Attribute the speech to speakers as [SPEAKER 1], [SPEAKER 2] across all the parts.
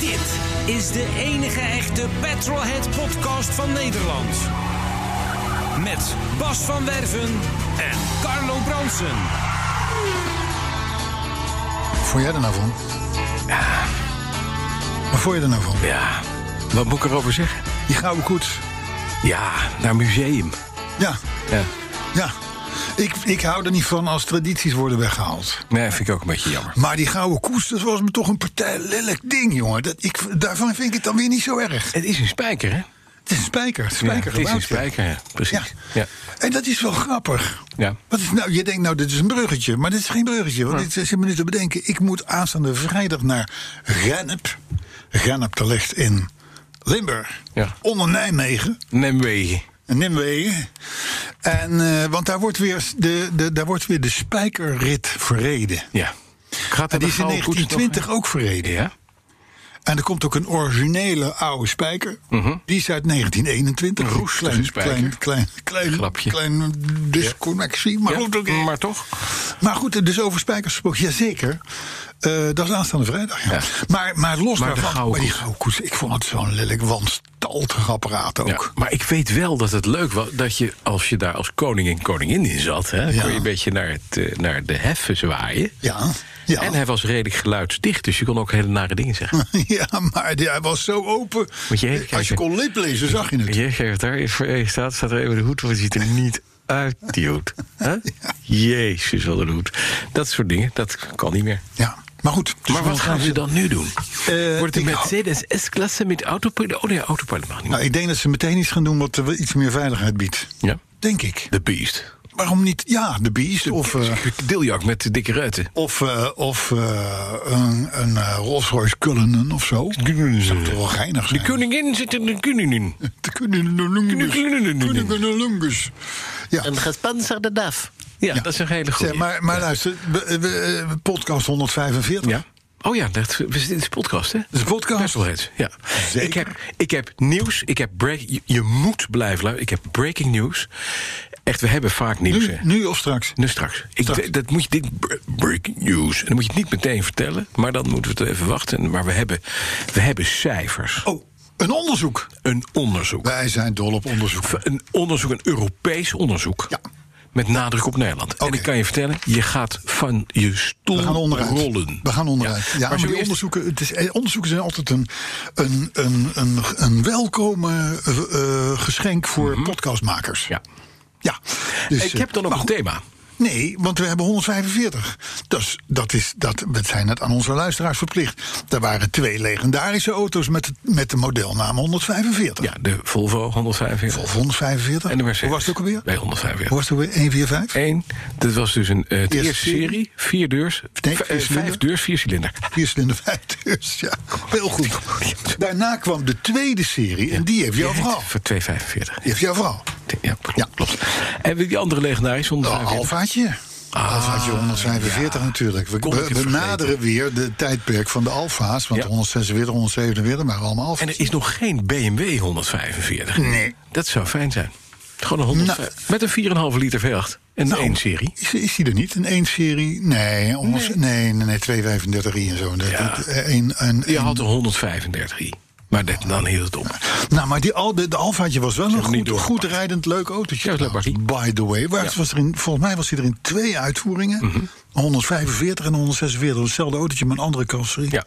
[SPEAKER 1] Dit is de enige echte Petrolhead podcast van Nederland. Met Bas van Werven en Carlo Bronsen.
[SPEAKER 2] Vond jij er nou van? Ja. Wat vond je er nou van?
[SPEAKER 3] Ja, wat moet ik erover zeggen?
[SPEAKER 2] Die gouden koets.
[SPEAKER 3] Ja, naar museum.
[SPEAKER 2] Ja,
[SPEAKER 3] Ja.
[SPEAKER 2] ja. Ik, ik hou er niet van als tradities worden weggehaald.
[SPEAKER 3] Nee, vind ik ook een beetje jammer.
[SPEAKER 2] Maar die gouden koets, dat was me toch een partij lelijk ding, jongen. Dat, ik, daarvan vind ik het dan weer niet zo erg.
[SPEAKER 3] Het is een spijker, hè?
[SPEAKER 2] Het is een spijker. Het is een spijker
[SPEAKER 3] ja, het is een
[SPEAKER 2] gebouwd, ja.
[SPEAKER 3] spijker, ja. precies. Ja.
[SPEAKER 2] Ja. En dat is wel grappig.
[SPEAKER 3] Ja.
[SPEAKER 2] Wat is, nou, je denkt, nou, dit is een bruggetje. Maar dit is geen bruggetje. Want dit is een minuut te bedenken. Ik moet aanstaande vrijdag naar Rennep. Rennep, dat ligt in Limburg.
[SPEAKER 3] Ja.
[SPEAKER 2] Onder Nijmegen.
[SPEAKER 3] Nijmegen.
[SPEAKER 2] Nimwegen. En, eh, want daar wordt, weer de, de, daar wordt weer de spijkerrit verreden.
[SPEAKER 3] Ja. Gaat
[SPEAKER 2] En die
[SPEAKER 3] er de
[SPEAKER 2] is in
[SPEAKER 3] gouden koets nog-
[SPEAKER 2] 1920 ook verreden.
[SPEAKER 3] Ja?
[SPEAKER 2] En er komt ook een originele oude spijker. Die is uit 1921.
[SPEAKER 3] Mhm. Een roestige
[SPEAKER 2] klein,
[SPEAKER 3] spijker.
[SPEAKER 2] Klein, klein, klein,
[SPEAKER 3] Glapje.
[SPEAKER 2] klein disconnectie. Maar
[SPEAKER 3] Ja, Mm,
[SPEAKER 2] goed, oké.
[SPEAKER 3] Maar toch?
[SPEAKER 2] Maar goed, dus over spijkers gesproken, jazeker. Eh dat is aanstaande vrijdag. Ja.
[SPEAKER 3] Ja.
[SPEAKER 2] Maar, maar los
[SPEAKER 3] Maar de
[SPEAKER 2] daarvan,
[SPEAKER 3] gouden
[SPEAKER 2] maar die
[SPEAKER 3] koets.
[SPEAKER 2] gouden koets, ik vond het zo'n lelijk wanstaltig apparaat ook.
[SPEAKER 3] Ja, maar ik weet wel dat het leuk was dat je, als je daar als koning en koningin in zat, hè,
[SPEAKER 2] Ja.
[SPEAKER 3] kon je een beetje naar, het, eh, naar de heffen zwaaien.
[SPEAKER 2] Ja, ja.
[SPEAKER 3] En hij was redelijk geluidsdicht, dus je kon ook hele nare dingen zeggen.
[SPEAKER 2] Ja, maar die- hij was zo open.
[SPEAKER 3] Moet je even kijken.
[SPEAKER 2] Als je kon liplezen, zag je het.
[SPEAKER 3] Je geeft daar is voor eh, staat, staat er even de hoed, want het ziet er niet uit, die hoed. Hè? Jezus, wat een hoed. Dat soort dingen, dat kan niet meer.
[SPEAKER 2] Ja, maar goed. dus
[SPEAKER 3] maar wat
[SPEAKER 2] we
[SPEAKER 3] gaan ze dan nu doen?
[SPEAKER 2] Eh,
[SPEAKER 3] Wordt de
[SPEAKER 2] ik-
[SPEAKER 3] Mercedes S-klasse met autopilot? Oh nee, autopilot mag niet.
[SPEAKER 2] Nou, ik denk dat ze meteen iets gaan doen wat eh, iets meer veiligheid biedt.
[SPEAKER 3] ja.
[SPEAKER 2] Denk ik.
[SPEAKER 3] De Beast.
[SPEAKER 2] Waarom niet? Ja, de Beast of, eh,
[SPEAKER 3] Deeljak met de dikke ruiten.
[SPEAKER 2] of, eh, of eh, een, een eh, Rolls Royce Cullinan of zo. Dat zou toch wel geinig zijn?
[SPEAKER 3] De koningin zit in de koningin.
[SPEAKER 2] De Cullinanungus. Cullinanungus. Ja.
[SPEAKER 4] Een gesponsorde DAF.
[SPEAKER 3] Ja, dat is een hele
[SPEAKER 2] Zeg,
[SPEAKER 3] goede.
[SPEAKER 2] maar, maar luister, we- we- eh, podcast 145.
[SPEAKER 3] Ja. Oh ja, dat, we zitten in de podcast, hè?
[SPEAKER 2] is een podcast.
[SPEAKER 3] Petrolheads, ja.
[SPEAKER 2] Zeker.
[SPEAKER 3] Ik heb, ik heb nieuws, ik heb break, je, je moet blijven luisteren. Ik heb breaking news. Echt, we hebben vaak nieuws,
[SPEAKER 2] Nu,
[SPEAKER 3] hè?
[SPEAKER 2] nu of straks?
[SPEAKER 3] Nu straks. Ik,
[SPEAKER 2] Straks.
[SPEAKER 3] d- dat moet je, dit br- breaking news. En dan moet je het niet meteen vertellen, maar dan moeten we het even wachten. Maar we hebben, we hebben cijfers.
[SPEAKER 2] Oh, een onderzoek.
[SPEAKER 3] Een onderzoek.
[SPEAKER 2] Wij zijn dol op onderzoek.
[SPEAKER 3] Een onderzoek, een Europees onderzoek.
[SPEAKER 2] Ja.
[SPEAKER 3] Met nadruk op Nederland. En
[SPEAKER 2] Oké.
[SPEAKER 3] ik kan je vertellen, je gaat van je stoel
[SPEAKER 2] We gaan onderuit.
[SPEAKER 3] rollen.
[SPEAKER 2] We gaan onderuit. Ja, maar,
[SPEAKER 3] zo
[SPEAKER 2] die
[SPEAKER 3] eerst-
[SPEAKER 2] onderzoeken, het is, eh, onderzoeken zijn altijd een, een, een, een, een welkome eh, eh, geschenk voor podcastmakers.
[SPEAKER 3] Mhm. Ja.
[SPEAKER 2] Ja, dus,
[SPEAKER 3] ik heb
[SPEAKER 2] eh,
[SPEAKER 3] dan ook
[SPEAKER 2] maar
[SPEAKER 3] een
[SPEAKER 2] goed,
[SPEAKER 3] thema.
[SPEAKER 2] Nee, want we hebben 145. Dus dat is, dat, we zijn het aan onze luisteraars verplicht. Er waren twee legendarische auto's met, de- met de modelnaam 145.
[SPEAKER 3] Ja, de Volvo 145.
[SPEAKER 2] Of 145.
[SPEAKER 3] En de Mercedes.
[SPEAKER 2] Hoe was het ook alweer?
[SPEAKER 3] Bij 145.
[SPEAKER 2] Hoe was het ook alweer? 145?
[SPEAKER 3] Eén, dat was dus een, eh, de
[SPEAKER 2] Eerste
[SPEAKER 3] eerste,
[SPEAKER 2] serie.
[SPEAKER 3] serie. Vier deurs.
[SPEAKER 2] Nee,
[SPEAKER 3] v- eh,
[SPEAKER 2] vier cilinder.
[SPEAKER 3] vijf deurs, vier cilinder.
[SPEAKER 2] Vier cilinder, vijf deurs. dus, Ja, heel goed. Daarna kwam de tweede serie en die heeft jouw vrouw.
[SPEAKER 3] Voor 2,45.
[SPEAKER 2] Die heeft jouw vrouw.
[SPEAKER 3] Ja, klopt.
[SPEAKER 2] Ja. Nou,
[SPEAKER 3] klopt. En die andere legendarische
[SPEAKER 2] Een
[SPEAKER 3] 145.
[SPEAKER 2] alfaatje. alfaatje 145 natuurlijk. We,
[SPEAKER 3] Kon Ah, ik
[SPEAKER 2] we,
[SPEAKER 3] het
[SPEAKER 2] we
[SPEAKER 3] vergeten.
[SPEAKER 2] naderen weer de tijdperk van de alfa's. Want
[SPEAKER 3] Ja.
[SPEAKER 2] 146, 147 waren allemaal
[SPEAKER 3] En
[SPEAKER 2] alfa's.
[SPEAKER 3] er is nog geen BMW 145.
[SPEAKER 2] Nee.
[SPEAKER 3] Dat zou fijn zijn. Gewoon een 105. Met een 4,5 liter V8. En
[SPEAKER 2] Nou,
[SPEAKER 3] één serie.
[SPEAKER 2] Is, is die er niet? Een 1 serie? Nee, ons, nee. nee, nee, 235 i en zo. Dat,
[SPEAKER 3] Ja.
[SPEAKER 2] dat, eh, een, een,
[SPEAKER 3] Je
[SPEAKER 2] een-
[SPEAKER 3] had een 135 i. Maar dat, dan hield het op.
[SPEAKER 2] nou, maar die, al, de, de alfaatje was wel een
[SPEAKER 3] hem niet
[SPEAKER 2] goed,
[SPEAKER 3] doorgepakt.
[SPEAKER 2] goed rijdend leuk autootje.
[SPEAKER 3] Ja, dat was
[SPEAKER 2] trouwens, by the way. Waar was er in, volgens mij was hij er in twee uitvoeringen.
[SPEAKER 3] Mhm.
[SPEAKER 2] 145 en 146. Hetzelfde autootje, maar een andere carrosserie.
[SPEAKER 3] Ja,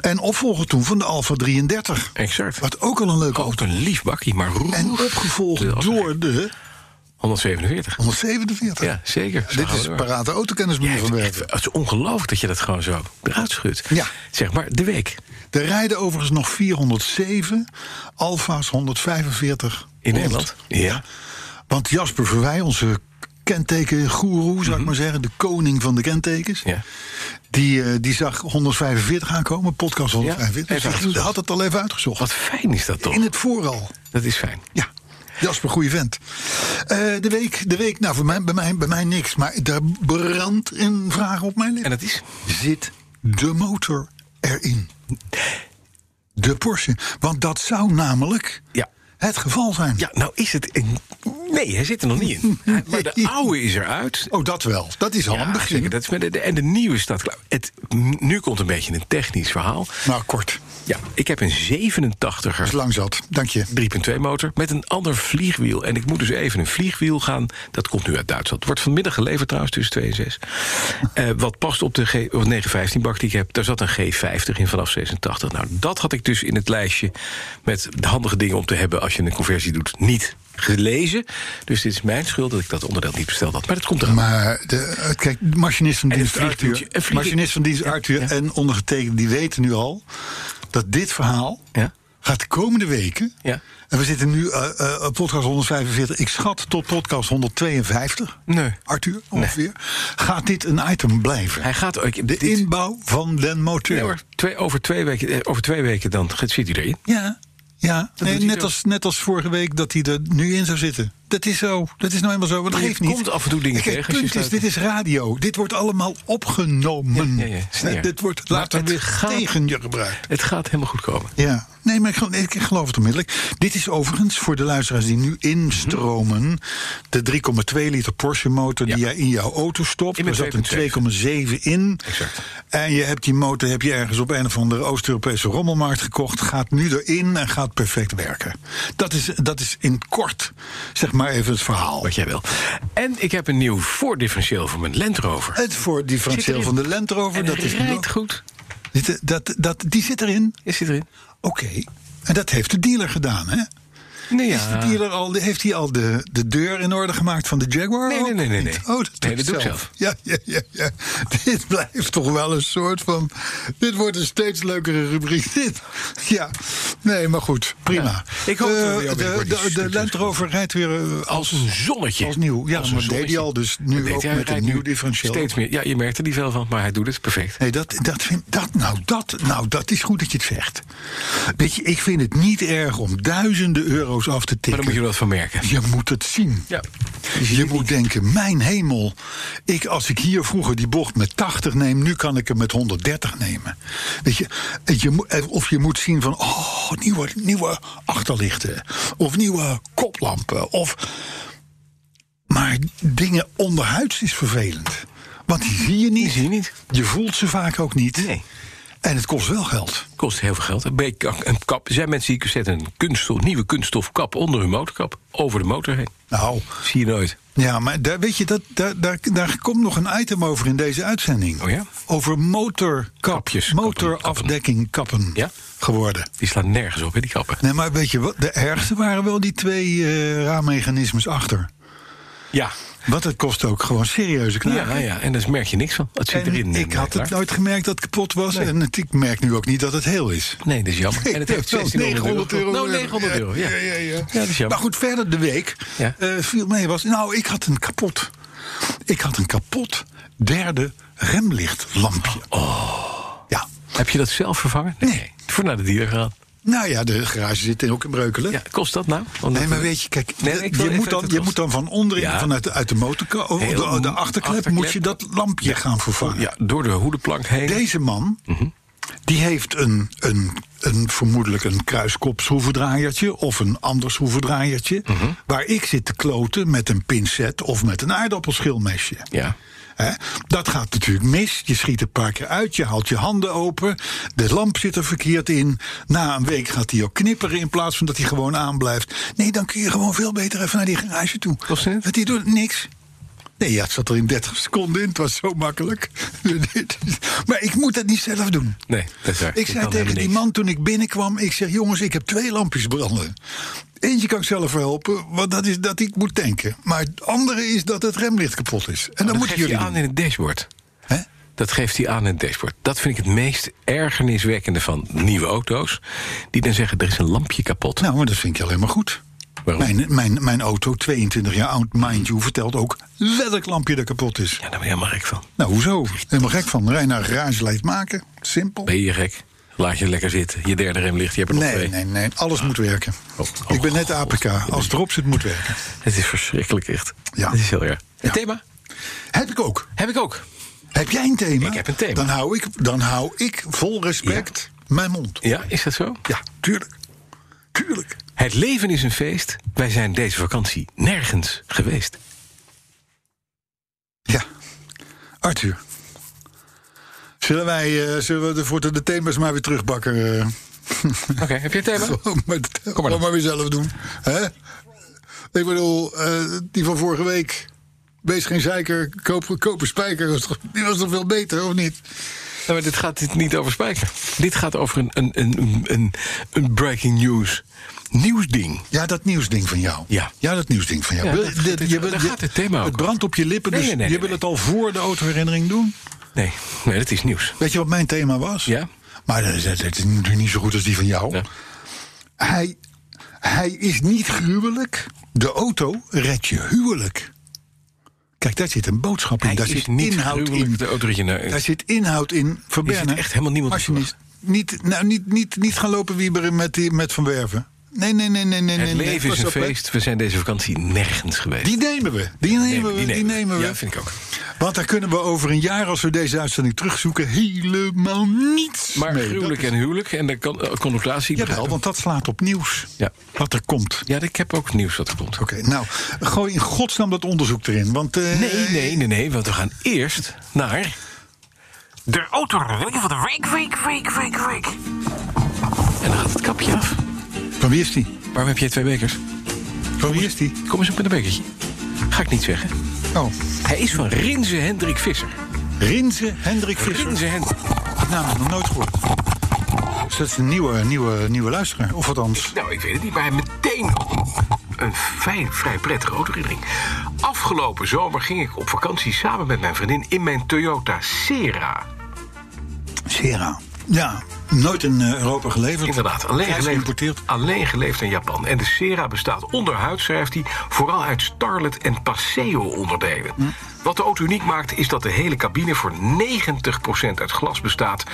[SPEAKER 2] En opvolger toen van de Alfa 33.
[SPEAKER 3] exact.
[SPEAKER 2] Wat ook al een leuke
[SPEAKER 3] Ook
[SPEAKER 2] auto.
[SPEAKER 3] een lief bakkie, maar roer.
[SPEAKER 2] En opgevolgd
[SPEAKER 3] Oh. De Alfa.
[SPEAKER 2] door de
[SPEAKER 3] 147.
[SPEAKER 2] 147.
[SPEAKER 3] Ja, zeker. Zo
[SPEAKER 2] Dit
[SPEAKER 3] gaan we
[SPEAKER 2] is
[SPEAKER 3] door.
[SPEAKER 2] parate autokennis
[SPEAKER 3] Ja,
[SPEAKER 2] manier
[SPEAKER 3] het,
[SPEAKER 2] van
[SPEAKER 3] het-
[SPEAKER 2] werken.
[SPEAKER 3] het is ongelooflijk dat je dat gewoon zo eruit schudt.
[SPEAKER 2] Ja.
[SPEAKER 3] Zeg maar, de week.
[SPEAKER 2] Er rijden overigens nog 407 Alfa's 145.
[SPEAKER 3] In Nederland? Ja.
[SPEAKER 2] Want Jasper Verwij, onze kentekengoeroe, zou ik maar zeggen, de koning van de kentekens,
[SPEAKER 3] Mhm. ja.
[SPEAKER 2] die, eh, die zag 145 aankomen, podcast
[SPEAKER 3] Ja,
[SPEAKER 2] 145.
[SPEAKER 3] even
[SPEAKER 2] Die had het al even uitgezocht.
[SPEAKER 3] Wat fijn is dat toch?
[SPEAKER 2] In het vooral.
[SPEAKER 3] Dat is fijn.
[SPEAKER 2] Ja, Jasper, goede vent. Eh, de, week, de week, nou, voor mij, bij, mij, bij mij niks. Maar daar brandt een vraag op mijn lip.
[SPEAKER 3] En dat is?
[SPEAKER 2] Zit de motor erin? De Porsche. Want dat zou namelijk
[SPEAKER 3] Ja.
[SPEAKER 2] het geval zijn.
[SPEAKER 3] Ja, nou is het... een- Nee, hij zit er nog niet in. Maar de oude is eruit.
[SPEAKER 2] Oh, dat wel. Dat is al een begin.
[SPEAKER 3] zeker. Dat is met de, de- en de nieuwe staat klaar. Het, nu komt een beetje een technisch verhaal.
[SPEAKER 2] Nou, kort.
[SPEAKER 3] Ja, ik heb een 87er
[SPEAKER 2] Is lang zat. Dank je.
[SPEAKER 3] 3.2 motor met een ander vliegwiel. En ik moet dus even een vliegwiel gaan. Dat komt nu uit Duitsland. Wordt vanmiddag geleverd trouwens tussen 2 en 6. Eh, wat past op de G, of 915 bak die ik heb. Daar zat een G50 in vanaf 86. Nou, dat had ik dus in het lijstje met de handige dingen om te hebben als je een conversie doet niet gelezen. Dus dit is mijn schuld dat ik dat onderdeel niet besteld had. Maar dat komt eraan.
[SPEAKER 2] Maar de, eh, kijk, machinist van
[SPEAKER 3] En een
[SPEAKER 2] dienst Arthur,
[SPEAKER 3] vliegtuurtje, een vlieg-
[SPEAKER 2] machinist van dienst Arthur en ondergetekend, die weten nu al dat dit verhaal
[SPEAKER 3] Ja.
[SPEAKER 2] gaat de komende weken.
[SPEAKER 3] Ja.
[SPEAKER 2] En we zitten nu eh eh, podcast 145. Ik schat tot podcast 152.
[SPEAKER 3] Nee.
[SPEAKER 2] Arthur ongeveer. Gaat dit een item blijven?
[SPEAKER 3] Hij gaat... ook-
[SPEAKER 2] de
[SPEAKER 3] dit-
[SPEAKER 2] inbouw van den motor.
[SPEAKER 3] Nee hoor, twee, over, twee weken, eh, over twee weken dan zit hij erin.
[SPEAKER 2] Ja. Ja, nee,
[SPEAKER 3] doet hij dus.
[SPEAKER 2] net,
[SPEAKER 3] zo.
[SPEAKER 2] als, net als vorige week dat hij er nu in zou zitten. Dat is zo. Dat is nou eenmaal zo. Maar dat
[SPEAKER 3] Je
[SPEAKER 2] geeft niet.
[SPEAKER 3] komt af en toe dingen
[SPEAKER 2] Kijk,
[SPEAKER 3] tegen
[SPEAKER 2] Het
[SPEAKER 3] als je
[SPEAKER 2] punt is,
[SPEAKER 3] sluit.
[SPEAKER 2] dit is radio. Dit wordt allemaal opgenomen.
[SPEAKER 3] Ja, ja, ja, sneer.
[SPEAKER 2] Eh, Dit wordt
[SPEAKER 3] Maar
[SPEAKER 2] later
[SPEAKER 3] het
[SPEAKER 2] weer
[SPEAKER 3] gaat-
[SPEAKER 2] tegen je gebruikt.
[SPEAKER 3] Het gaat helemaal goed komen.
[SPEAKER 2] Ja, nee, maar ik, gel- ik geloof het onmiddellijk. Dit is overigens voor de luisteraars die nu instromen... de 3,2 liter Porsche motor die
[SPEAKER 3] Mhm. Ja.
[SPEAKER 2] jij in jouw auto stopt.
[SPEAKER 3] In
[SPEAKER 2] Er
[SPEAKER 3] mijn
[SPEAKER 2] zat een 2,7 in.
[SPEAKER 3] Exact.
[SPEAKER 2] En je hebt die motor heb je ergens op een of andere Oost-Europese rommelmarkt gekocht. Gaat nu erin en gaat perfect werken. Dat is, dat is in kort, zeg maar even het verhaal.
[SPEAKER 3] Wat jij wil. En ik heb een nieuw voordifferentieel voor mijn Land Rover.
[SPEAKER 2] Het voor
[SPEAKER 3] Zit
[SPEAKER 2] differentieel
[SPEAKER 3] erin.
[SPEAKER 2] van de Land Rover,
[SPEAKER 3] en
[SPEAKER 2] Oh, dat
[SPEAKER 3] het
[SPEAKER 2] is
[SPEAKER 3] rijdt goed.
[SPEAKER 2] Dit- dat, dat, die zit erin.
[SPEAKER 3] Is hij erin?
[SPEAKER 2] Oké. En dat heeft de dealer gedaan, hè?
[SPEAKER 3] Nee,
[SPEAKER 2] Is de dealer al, heeft hij al de, de deur in orde gemaakt van de Jaguar?
[SPEAKER 3] Nee, nee,
[SPEAKER 2] ook?
[SPEAKER 3] nee, nee,
[SPEAKER 2] Niet?
[SPEAKER 3] nee.
[SPEAKER 2] Oh, dat,
[SPEAKER 3] Nee,
[SPEAKER 2] doe ik
[SPEAKER 3] dat doe ik
[SPEAKER 2] zelf. Ja, ja, ja, ja. Dit blijft toch wel een soort van... Dit wordt een steeds leukere rubriek. Dit. Ja, nee, maar goed. Prima.
[SPEAKER 3] Ik hoop dat we
[SPEAKER 2] Eh,
[SPEAKER 3] jou
[SPEAKER 2] de,
[SPEAKER 3] binnenkort
[SPEAKER 2] de,
[SPEAKER 3] iets
[SPEAKER 2] de
[SPEAKER 3] stukjes
[SPEAKER 2] Land Rover rijdt weer eh,
[SPEAKER 3] Als
[SPEAKER 2] als,
[SPEAKER 3] een zonnetje.
[SPEAKER 2] als nieuw. Ja,
[SPEAKER 3] Als een
[SPEAKER 2] maar deed hij
[SPEAKER 3] zonnetje.
[SPEAKER 2] al. Dus
[SPEAKER 3] Dat
[SPEAKER 2] nu
[SPEAKER 3] deed
[SPEAKER 2] ook
[SPEAKER 3] hij. Hij
[SPEAKER 2] met een
[SPEAKER 3] rijdt
[SPEAKER 2] nieuw
[SPEAKER 3] nu
[SPEAKER 2] differentieel.
[SPEAKER 3] Steeds meer. Ja, je merkt er niet veel van, maar hij doet het perfect.
[SPEAKER 2] Nee, dat, dat vind dat nou, dat, nou, dat is goed dat je het zegt. Weet je, ik vind het niet erg om duizenden euro's af te tikken.
[SPEAKER 3] Maar dan moet je er wat van merken.
[SPEAKER 2] Je moet het zien.
[SPEAKER 3] Ja.
[SPEAKER 2] Je moet denken, mijn hemel, ik, als ik hier vroeger die bocht met 80 neem, nu kan ik hem met 130 nemen. Weet je, je moet- eh, of je moet zien van, oh, nieuwe, nieuwe achterlichten, of nieuwe koplampen, of... Maar dingen onderhuids is vervelend. Want die zie je
[SPEAKER 3] Die
[SPEAKER 2] niet,
[SPEAKER 3] zie je niet.
[SPEAKER 2] je voelt ze vaak ook niet.
[SPEAKER 3] Nee.
[SPEAKER 2] En het kost wel geld.
[SPEAKER 3] Kost heel veel geld. Een beetje- Een kap. Er zijn mensen die zetten een kunststof, nieuwe kunststof kap onder hun motorkap. Over de motor heen.
[SPEAKER 2] Nou,
[SPEAKER 3] Zie je nooit.
[SPEAKER 2] Ja, maar daar, weet je, dat, daar, daar, daar komt nog een item over in deze uitzending.
[SPEAKER 3] Oh ja?
[SPEAKER 2] Over motorkapjes,
[SPEAKER 3] Kapjes,
[SPEAKER 2] motorafdekking kappen
[SPEAKER 3] Ja?
[SPEAKER 2] geworden.
[SPEAKER 3] Die slaat nergens op, hè, die kappen.
[SPEAKER 2] Nee, maar weet je wat? De ergste waren wel die twee eh, raammechanismes achter.
[SPEAKER 3] Ja.
[SPEAKER 2] Want het kost ook gewoon serieuze knagen.
[SPEAKER 3] Ja, ja, en daar merk je niks van. Het zit
[SPEAKER 2] En
[SPEAKER 3] erin.
[SPEAKER 2] ik
[SPEAKER 3] eh,
[SPEAKER 2] had
[SPEAKER 3] blijkbaar.
[SPEAKER 2] het nooit gemerkt dat het kapot was. En het, ik merk nu ook niet dat het heel is.
[SPEAKER 3] Nee, dat is jammer. En het heeft
[SPEAKER 2] Wel
[SPEAKER 3] 1600 euro.
[SPEAKER 2] euro.
[SPEAKER 3] Nou, 900 euro, ja.
[SPEAKER 2] Ja, ja, ja.
[SPEAKER 3] dat is jammer.
[SPEAKER 2] Maar goed, verder de week
[SPEAKER 3] Ja.
[SPEAKER 2] eh, viel mee was... Nou, ik had een kapot... Ik had een kapot derde remlichtlampje. Oh. Ja.
[SPEAKER 3] Heb je dat zelf vervangen?
[SPEAKER 2] Nee.
[SPEAKER 3] Voor naar de dealer gegaan.
[SPEAKER 2] Nou ja, de garage zit ook in Breukelen.
[SPEAKER 3] Ja, kost dat nou? Omdat-
[SPEAKER 2] Nee, maar weet je, kijk,
[SPEAKER 3] Nee, ik wil
[SPEAKER 2] je,
[SPEAKER 3] even
[SPEAKER 2] moet dan,
[SPEAKER 3] uit het
[SPEAKER 2] je
[SPEAKER 3] los.
[SPEAKER 2] moet dan van onderin,
[SPEAKER 3] Ja.
[SPEAKER 2] vanuit de, uit de motorkap, of
[SPEAKER 3] Heel
[SPEAKER 2] de, de
[SPEAKER 3] moe-
[SPEAKER 2] achterklep, moet je
[SPEAKER 3] achterklep.
[SPEAKER 2] dat lampje gaan vervangen.
[SPEAKER 3] Ja, door de hoedenplank heen.
[SPEAKER 2] Deze man, die heeft een, een, een vermoedelijk een kruiskopshoevendraaiertje... of een ander schroevendraaiertje... waar ik zit te kloten met een pincet of met een aardappelschilmesje.
[SPEAKER 3] Ja.
[SPEAKER 2] Hè? Dat gaat natuurlijk mis. Je schiet een paar keer uit, je haalt je handen open... de lamp zit er verkeerd in. Na een week gaat hij ook knipperen in plaats van dat hij gewoon aanblijft. Nee, dan kun je gewoon veel beter even naar die garage toe.
[SPEAKER 3] Kost het?
[SPEAKER 2] Want die doet niks. Nee, ja, het zat er in 30 seconden in. Het was zo makkelijk. maar ik moet dat niet zelf doen.
[SPEAKER 3] Nee, dat is waar.
[SPEAKER 2] Ik zei
[SPEAKER 3] kan
[SPEAKER 2] tegen
[SPEAKER 3] helemaal
[SPEAKER 2] die
[SPEAKER 3] niks.
[SPEAKER 2] man toen ik binnenkwam... ik zeg, jongens, ik heb twee lampjes branden. Eentje kan ik zelf helpen, want dat is dat ik moet tanken. Maar het andere is dat het remlicht kapot is. En dan
[SPEAKER 3] Dat
[SPEAKER 2] moeten
[SPEAKER 3] geeft
[SPEAKER 2] jullie
[SPEAKER 3] hij
[SPEAKER 2] doen.
[SPEAKER 3] aan in het dashboard.
[SPEAKER 2] Hè?
[SPEAKER 3] Dat geeft hij aan in het dashboard. Dat vind ik het meest ergerniswekkende van nieuwe auto's. Die dan zeggen, er is een lampje kapot.
[SPEAKER 2] Nou, maar dat vind ik alleen maar goed.
[SPEAKER 3] Waarom?
[SPEAKER 2] Mijn, mijn, mijn auto, 22 jaar oud, mind you, vertelt ook welk lampje er kapot is.
[SPEAKER 3] Ja, daar ben je helemaal gek van.
[SPEAKER 2] Nou, hoezo? Helemaal gek van. Rij naar garage, laat het maken. Simpel.
[SPEAKER 3] Ben je gek? Laat je lekker zitten. Je derde remlicht, je hebt er nog
[SPEAKER 2] Nee,
[SPEAKER 3] twee.
[SPEAKER 2] nee, nee. Alles moet werken.
[SPEAKER 3] Oh, oh,
[SPEAKER 2] ik ben net APK.
[SPEAKER 3] God.
[SPEAKER 2] Als het erop zit, moet werken.
[SPEAKER 3] Het is verschrikkelijk echt.
[SPEAKER 2] Ja.
[SPEAKER 3] Het is heel erg.
[SPEAKER 2] Ja.
[SPEAKER 3] Het thema
[SPEAKER 2] Heb ik ook.
[SPEAKER 3] heb ik ook.
[SPEAKER 2] Heb jij een thema?
[SPEAKER 3] Ik heb een thema.
[SPEAKER 2] Dan hou ik, dan hou ik vol respect mijn mond.
[SPEAKER 3] Ja, is dat zo?
[SPEAKER 2] Ja, tuurlijk. Tuurlijk.
[SPEAKER 3] Het leven is een feest. Wij zijn deze vakantie nergens geweest.
[SPEAKER 2] Ja. Arthur. Zullen wij eh, zullen we de, voor de, de thema's maar weer terugbakken? eh?
[SPEAKER 3] Oké, heb je een thema?
[SPEAKER 2] Gewoon maar, de-
[SPEAKER 3] Oh, maar
[SPEAKER 2] gewoon
[SPEAKER 3] dan.
[SPEAKER 2] maar weer zelf doen. Hè? Ik bedoel, eh, die van vorige week. Wees geen zeiker, koop, koop een spijker. was toch- Die was toch veel beter, of niet?
[SPEAKER 3] Nou, maar dit gaat dit niet over spijker. Dit gaat over een, een, een, een, een breaking news nieuwsding.
[SPEAKER 2] Ja, dat nieuwsding van jou.
[SPEAKER 3] Ja.
[SPEAKER 2] ja dat nieuwsding van jou.
[SPEAKER 3] Ja,
[SPEAKER 2] Wil-
[SPEAKER 3] dat- dat-
[SPEAKER 2] je wil-
[SPEAKER 3] daar
[SPEAKER 2] je-
[SPEAKER 3] gaat het thema
[SPEAKER 2] Het
[SPEAKER 3] ook
[SPEAKER 2] brandt op je lippen, dus
[SPEAKER 3] Nee, nee, nee,
[SPEAKER 2] je wil
[SPEAKER 3] nee, nee.
[SPEAKER 2] het al voor de autoherinnering doen.
[SPEAKER 3] Nee, nee, dat is nieuws.
[SPEAKER 2] Weet je wat mijn thema was?
[SPEAKER 3] Ja.
[SPEAKER 2] Maar dat, dat- dat is natuurlijk niet zo goed als die van jou.
[SPEAKER 3] Ja.
[SPEAKER 2] Hij, hij is niet gruwelijk. De auto redt je huwelijk. Kijk, daar zit een boodschap in.
[SPEAKER 3] Hij
[SPEAKER 2] daar
[SPEAKER 3] is
[SPEAKER 2] zit
[SPEAKER 3] niet
[SPEAKER 2] inhoud
[SPEAKER 3] gruwelijk,
[SPEAKER 2] in.
[SPEAKER 3] de auto redt je naar-
[SPEAKER 2] daar zit inhoud in. Van
[SPEAKER 3] Er zit
[SPEAKER 2] Berne,
[SPEAKER 3] echt helemaal niemand
[SPEAKER 2] Als je
[SPEAKER 3] op
[SPEAKER 2] niet, niet, nou, niet, niet, niet gaan lopen wieberen met, die, met Van Werven. Nee, nee, nee, nee, nee.
[SPEAKER 3] Het
[SPEAKER 2] nee, nee.
[SPEAKER 3] leven is
[SPEAKER 2] Pas
[SPEAKER 3] een
[SPEAKER 2] op, hè.
[SPEAKER 3] feest. We zijn deze vakantie nergens geweest.
[SPEAKER 2] Die nemen we. Die nemen we. Die nemen we.
[SPEAKER 3] Ja, vind ik ook.
[SPEAKER 2] Want daar kunnen we over een jaar, als we deze uitzending terugzoeken, helemaal niets
[SPEAKER 3] Maar
[SPEAKER 2] mee.
[SPEAKER 3] gruwelijk en huwelijk en de con- eh, connotatie.
[SPEAKER 2] Jawel, want dat slaat op nieuws.
[SPEAKER 3] Ja.
[SPEAKER 2] Wat er komt.
[SPEAKER 3] Ja, ik heb ook nieuws dat komt.
[SPEAKER 2] Oké, nou, gooi in godsnaam dat onderzoek erin. Want, eh,
[SPEAKER 3] Nee, nee, nee, nee, want we gaan eerst naar...
[SPEAKER 4] De autorennen van de week, week, week, week, week.
[SPEAKER 3] En dan gaat het kapje af.
[SPEAKER 2] Van wie is die?
[SPEAKER 3] Waarom heb jij twee bekers?
[SPEAKER 2] Van wie is die?
[SPEAKER 3] Kom eens op met een bekertje. Ga ik niet zeggen.
[SPEAKER 2] Oh,
[SPEAKER 3] Hij is van Rinse Hendrik Visser.
[SPEAKER 2] Rinse Hendrik Visser.
[SPEAKER 3] Rinse Hendrik.
[SPEAKER 2] Die naam heb ik nog nooit gehoord. Dus dat is een nieuwe, nieuwe, nieuwe luisteraar. Of althans,
[SPEAKER 3] Nou, ik weet het niet, maar hij meteen een fijn, vrij prettige autoherinnering. Afgelopen zomer ging ik op vakantie samen met mijn vriendin in mijn Toyota Sera.
[SPEAKER 2] Sera. Ja, nooit in eh, Europa geleverd.
[SPEAKER 3] Inderdaad, alleen
[SPEAKER 2] Prijs
[SPEAKER 3] geleefd,
[SPEAKER 2] geïmporteerd.
[SPEAKER 3] alleen geleefd in Japan. En de Sera bestaat onderhuid, schrijft hij, vooral uit Starlet en Paseo-onderdelen. Wat de auto uniek maakt, is dat de hele cabine voor 90% uit glas bestaat...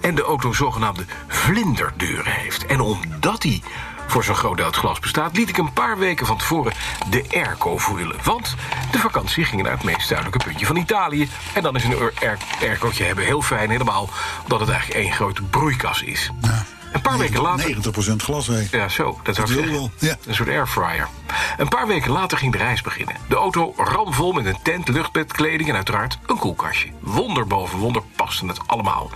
[SPEAKER 3] en de auto zogenaamde vlinderdeuren heeft. En omdat die voor zo'n groot deel uit glas bestaat... liet ik een paar weken van tevoren de airco voelen. Want de vakantie ging naar het meest zuidelijke puntje van Italië... en dan is een air- air- aircootje hebben heel fijn helemaal... omdat het eigenlijk één grote broeikas is. Een paar weken later...
[SPEAKER 2] 90% glas, hé.
[SPEAKER 3] Ja, zo. Dat zou ik
[SPEAKER 2] wil
[SPEAKER 3] zeggen.
[SPEAKER 2] wel, ja.
[SPEAKER 3] Een soort airfryer. Een paar weken later ging de reis beginnen. De auto ramvol met een tent, luchtbed, kleding en uiteraard een koelkastje. Wonder boven wonder paste het allemaal.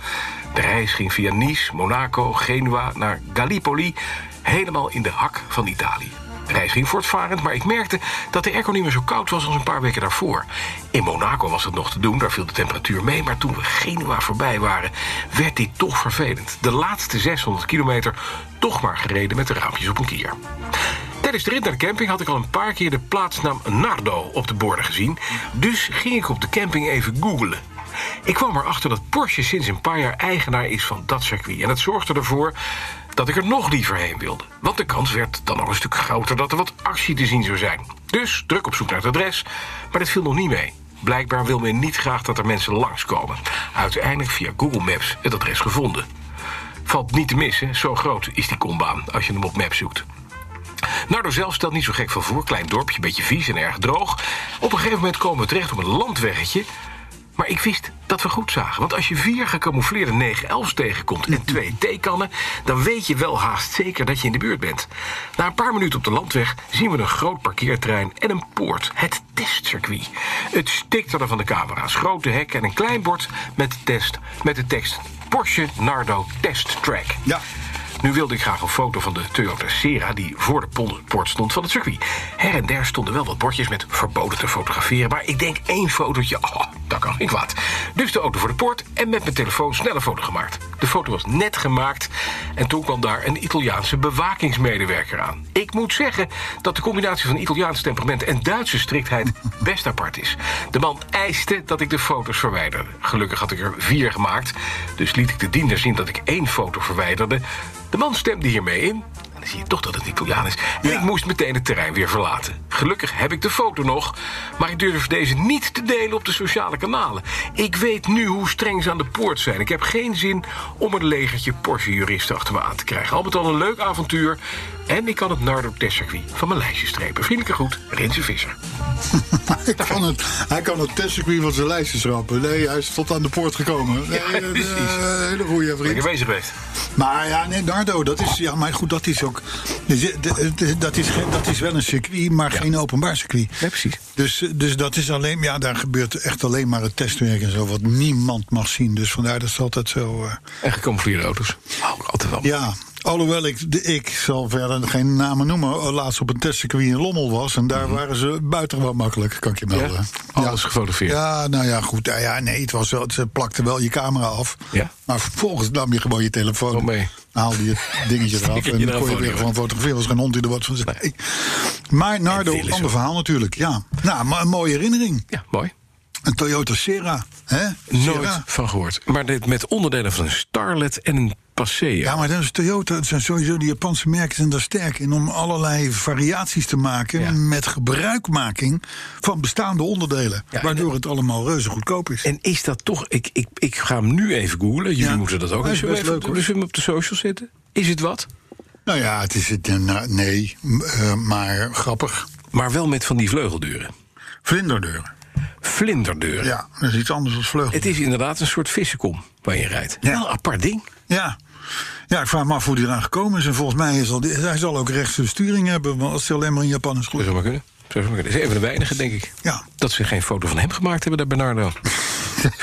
[SPEAKER 3] De reis ging via Nice, Monaco, Genua naar Gallipoli. Helemaal in de hak van Italië. De reis ging voortvarend, maar ik merkte dat de airco niet meer zo koud was als een paar weken daarvoor. In Monaco was het nog te doen, daar viel de temperatuur mee. Maar toen we Genua voorbij waren, werd dit toch vervelend. De laatste 600 kilometer toch maar gereden met de raampjes op een kier. Tijdens de rit naar de camping had ik al een paar keer de plaatsnaam Nardo op de borden gezien. Dus ging ik op de camping even googlen. Ik kwam erachter dat Porsche sinds een paar jaar eigenaar is van dat circuit. En dat zorgde ervoor dat ik er nog liever heen wilde. Want de kans werd dan nog een stuk groter dat er wat actie te zien zou zijn. Dus druk op zoek naar het adres, maar dat viel nog niet mee. Blijkbaar wil men niet graag dat er mensen langskomen. Uiteindelijk via Google Maps het adres gevonden. Valt niet te missen, zo groot is die kombaan als je hem op Maps zoekt. Nardo zelf stelt niet zo gek van voor. Klein dorpje, beetje vies en erg droog. Op een gegeven moment komen we terecht op een landweggetje. Maar ik wist dat we goed zagen. Want als je vier gecamoufleerde 9-11's tegenkomt en twee theekannen... dan weet je wel haast zeker dat je in de buurt bent. Na een paar minuten op de landweg zien we een groot parkeerterrein en een poort. Het testcircuit. Het stikt er van de camera's. Grote hekken en een klein bord met de, test, met de tekst... Porsche Nardo Test Track.
[SPEAKER 2] Ja.
[SPEAKER 3] Nu wilde ik graag een foto van de Toyota Sera die voor de pon- poort stond van het circuit. Her en der stonden wel wat bordjes met verboden te fotograferen, maar ik denk één fotootje, oh, dat kan geen kwaad. Dus de auto voor de poort en met mijn telefoon snel een foto gemaakt. De foto was net gemaakt en toen kwam daar een Italiaanse bewakingsmedewerker aan. Ik moet zeggen dat de combinatie van Italiaans temperament en Duitse striktheid best apart is. De man eiste dat ik de foto's verwijderde. Gelukkig had ik er vier gemaakt, dus liet ik de diender zien dat ik één foto verwijderde. De man stemde hiermee in. dan zie je toch dat het Italiaan is. En
[SPEAKER 2] Ja.
[SPEAKER 3] ik moest meteen het terrein weer verlaten. Gelukkig heb ik de foto nog, maar ik durf deze niet te delen op de sociale kanalen. Ik weet nu hoe streng ze aan de poort zijn. Ik heb geen zin om een legertje Porsche-juristen achter me aan te krijgen. Al met al een leuk avontuur. En ik kan het Nardo-testcircuit van mijn lijstje strepen. Vriendelijke groet, Rinse Visser.
[SPEAKER 2] Hij kan het, hij kan het testcircuit van zijn lijstjes schrappen. Nee, hij is tot aan de poort gekomen. Nee,
[SPEAKER 3] Ja,
[SPEAKER 2] eh,
[SPEAKER 3] precies.
[SPEAKER 2] eh, hele goede vriend.
[SPEAKER 3] Lekker bezig geweest.
[SPEAKER 2] Maar ja, nee, Nardo, dat is. Ja, maar goed, dat is ook. Dat is, ge- dat is wel een circuit, maar geen openbaar circuit.
[SPEAKER 3] Nee, precies.
[SPEAKER 2] Dus, dus dat is alleen. Ja, daar gebeurt echt alleen maar het testwerk en zo, wat niemand mag zien. Dus vandaar dat is altijd zo. eh,
[SPEAKER 3] En gecamoufleerde auto's. Hou ik Oh, altijd wel.
[SPEAKER 2] ja, alhoewel ik, de- ik zal verder geen namen noemen. Laatst op een testcircuit in Lommel was. En daar waren ze buitengewoon makkelijk, kan ik je melden.
[SPEAKER 3] Mhm. Ja? Alles gefotografeerd.
[SPEAKER 2] Ja, nou ja, goed. Ja, ja, nee, het was wel, ze plakten wel je camera af.
[SPEAKER 3] Ja.
[SPEAKER 2] Maar vervolgens nam je gewoon je telefoon.
[SPEAKER 3] Oh, mee.
[SPEAKER 2] Haalde je het dingetje eraf.
[SPEAKER 3] je
[SPEAKER 2] en
[SPEAKER 3] eraf
[SPEAKER 2] dan kon je
[SPEAKER 3] voor,
[SPEAKER 2] weer
[SPEAKER 3] ja.
[SPEAKER 2] gewoon fotograferen. was geen hond die er wat van zei. Maar Nardo,
[SPEAKER 3] En veel is
[SPEAKER 2] ander
[SPEAKER 3] ook.
[SPEAKER 2] verhaal natuurlijk. Ja. Nou, maar een mooie herinnering.
[SPEAKER 3] ja mooi.
[SPEAKER 2] Een Toyota Sierra. Hè?
[SPEAKER 3] Nooit
[SPEAKER 2] Sierra.
[SPEAKER 3] van gehoord. Maar dit met onderdelen van een Starlet en een Paseo.
[SPEAKER 2] Ja, maar dat is Toyota. Het zijn sowieso de Japanse merken zijn daar sterk in om allerlei variaties te maken
[SPEAKER 3] Ja.
[SPEAKER 2] met gebruikmaking van bestaande onderdelen,
[SPEAKER 3] Ja, en-
[SPEAKER 2] waardoor het allemaal reuze goedkoop is.
[SPEAKER 3] En is dat toch... Ik, ik, ik ga hem nu even googlen. Jullie
[SPEAKER 2] Ja.
[SPEAKER 3] moeten dat ook
[SPEAKER 2] Ja,
[SPEAKER 3] eens
[SPEAKER 2] is best
[SPEAKER 3] even
[SPEAKER 2] leuk, hoor.
[SPEAKER 3] Dus we hem op de social zetten. Is het wat?
[SPEAKER 2] Nou ja, het is het. eh, nou, Nee, m- eh, maar grappig.
[SPEAKER 3] Maar wel met van die vleugeldeuren.
[SPEAKER 2] Vlinderdeur.
[SPEAKER 3] Vlinderdeuren.
[SPEAKER 2] Ja, dat is iets anders dan vleugel.
[SPEAKER 3] Het is inderdaad een soort vissenkom waar je rijdt.
[SPEAKER 2] Ja.
[SPEAKER 3] Wel een apart ding.
[SPEAKER 2] Ja. ja, ik vraag me af hoe die eraan gekomen is. En volgens mij is al, die- hij zal ook rechtse sturing hebben, want als hij alleen maar in Japan is
[SPEAKER 3] Zou
[SPEAKER 2] goed.
[SPEAKER 3] zo maar kunnen. Zou zo maar kunnen. is een van de weinigen, denk ik.
[SPEAKER 2] Ja.
[SPEAKER 3] Dat ze geen foto van hem gemaakt hebben, daar Bernardo.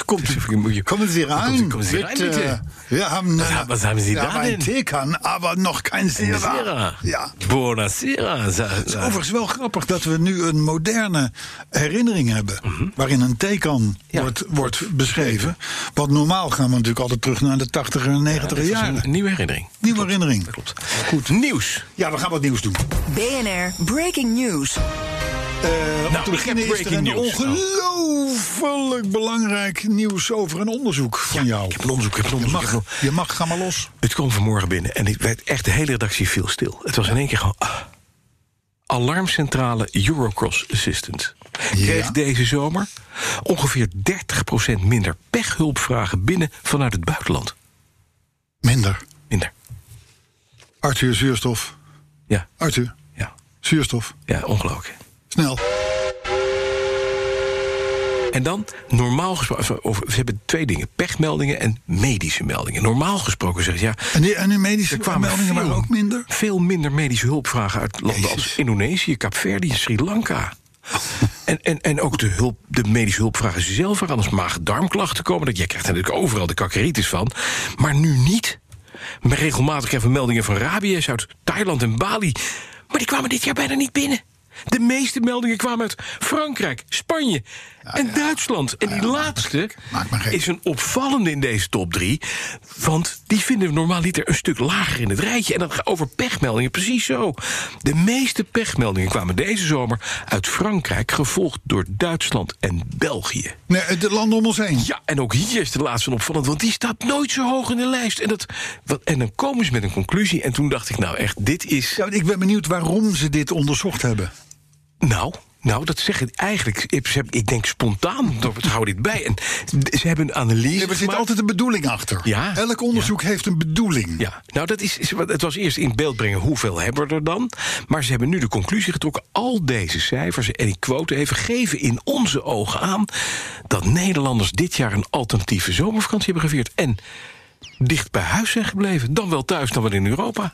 [SPEAKER 2] Komt,
[SPEAKER 3] Dus even moet je-
[SPEAKER 2] kommen Sie rein.
[SPEAKER 3] Kommen Sie rein,
[SPEAKER 2] Bitte.
[SPEAKER 3] bitte.
[SPEAKER 2] Wir haben,
[SPEAKER 3] Was haben- was haben Sie da
[SPEAKER 2] ein
[SPEAKER 3] denn?
[SPEAKER 2] Tekan, aber noch kein Sierra. Ja.
[SPEAKER 3] Buonasera. Za-
[SPEAKER 2] Het
[SPEAKER 3] za-
[SPEAKER 2] is overigens wel grappig dat we nu een moderne herinnering hebben.
[SPEAKER 3] Mhm.
[SPEAKER 2] waarin een tekan
[SPEAKER 3] Ja.
[SPEAKER 2] wordt, wordt beschreven. Want normaal gaan we natuurlijk altijd terug naar de 80er en 90er
[SPEAKER 3] Dat is
[SPEAKER 2] jaren.
[SPEAKER 3] een nieuwe herinnering.
[SPEAKER 2] Nieuwe herinnering.
[SPEAKER 3] Klopt. Goed. Nieuws.
[SPEAKER 2] Ja, we gaan wat nieuws doen.
[SPEAKER 5] BNR Breaking News.
[SPEAKER 2] Eh, om
[SPEAKER 3] Nou,
[SPEAKER 2] te
[SPEAKER 3] ik heb
[SPEAKER 2] beginnen is er
[SPEAKER 3] breaking
[SPEAKER 2] een
[SPEAKER 3] news.
[SPEAKER 2] ongelooflijk belangrijk nieuws over een onderzoek van jou.
[SPEAKER 3] Ik heb een onderzoek, ik heb een
[SPEAKER 2] Je
[SPEAKER 3] onderzoek. ik
[SPEAKER 2] mag,
[SPEAKER 3] heb een-
[SPEAKER 2] je mag, ga maar los.
[SPEAKER 3] Het kwam vanmorgen binnen en ik werd echt de hele redactie viel stil. Het was in één keer gewoon... ah. Alarmcentrale Eurocross Assistant. Kreeg
[SPEAKER 2] Ja.
[SPEAKER 3] deze zomer ongeveer 30% minder pechhulpvragen binnen vanuit het buitenland.
[SPEAKER 2] Minder.
[SPEAKER 3] Minder.
[SPEAKER 2] Arthur, zuurstof.
[SPEAKER 3] Ja,
[SPEAKER 2] Arthur,
[SPEAKER 3] ja,
[SPEAKER 2] zuurstof.
[SPEAKER 3] ja ongelooflijk.
[SPEAKER 2] Snel.
[SPEAKER 3] En dan, normaal gesproken, of, ze hebben twee dingen: pechmeldingen en medische meldingen. Normaal gesproken zeggen ze ja.
[SPEAKER 2] En die, en die medische
[SPEAKER 3] Er kwamen
[SPEAKER 2] meldingen
[SPEAKER 3] veel,
[SPEAKER 2] waren ook minder.
[SPEAKER 3] Veel minder medische hulpvragen uit landen als
[SPEAKER 2] Jezus.
[SPEAKER 3] Indonesië, Kaapverdië, Sri Lanka. En, en, en ook de, hulp, de medische hulpvragen zelf, waar anders maag-darmklachten komen. Dat, je krijgt er natuurlijk overal de kakeritis van. Maar nu niet. Maar regelmatig krijgen we meldingen van rabies uit Thailand en Bali. Maar die kwamen dit jaar bijna niet binnen. De meeste meldingen kwamen uit Frankrijk, Spanje en Duitsland. En die laatste
[SPEAKER 2] maak maar gek.
[SPEAKER 3] is een opvallende in deze top 3. Want die vinden we normaaliter een stuk lager in het rijtje. En dan gaat over pechmeldingen precies zo. De meeste pechmeldingen kwamen deze zomer uit Frankrijk, gevolgd door Duitsland en België.
[SPEAKER 2] Nee, het land om ons heen.
[SPEAKER 3] Ja, en ook hier is de laatste opvallend, want die staat nooit zo hoog in de lijst. En, dat, wat, en dan komen ze met een conclusie. En toen dacht ik, nou echt, dit is.
[SPEAKER 2] Ja, ik ben benieuwd waarom ze dit onderzocht hebben.
[SPEAKER 3] Nou, nou, dat zeg ik eigenlijk. Ik, ze hebben- ik denk spontaan, het hou dit bij. En ze hebben een analyse.
[SPEAKER 2] Nee, er zit
[SPEAKER 3] gemaakt.
[SPEAKER 2] altijd een bedoeling achter.
[SPEAKER 3] Ja.
[SPEAKER 2] Elk onderzoek heeft een bedoeling.
[SPEAKER 3] Ja, nou dat is, is- het was eerst in beeld brengen hoeveel hebben we er dan. Maar ze hebben nu de conclusie getrokken. Al deze cijfers, en ik quote even, geven in onze ogen aan... dat Nederlanders dit jaar een alternatieve zomervakantie hebben gevierd. En dicht bij huis zijn gebleven. Dan wel thuis, dan wel in Europa.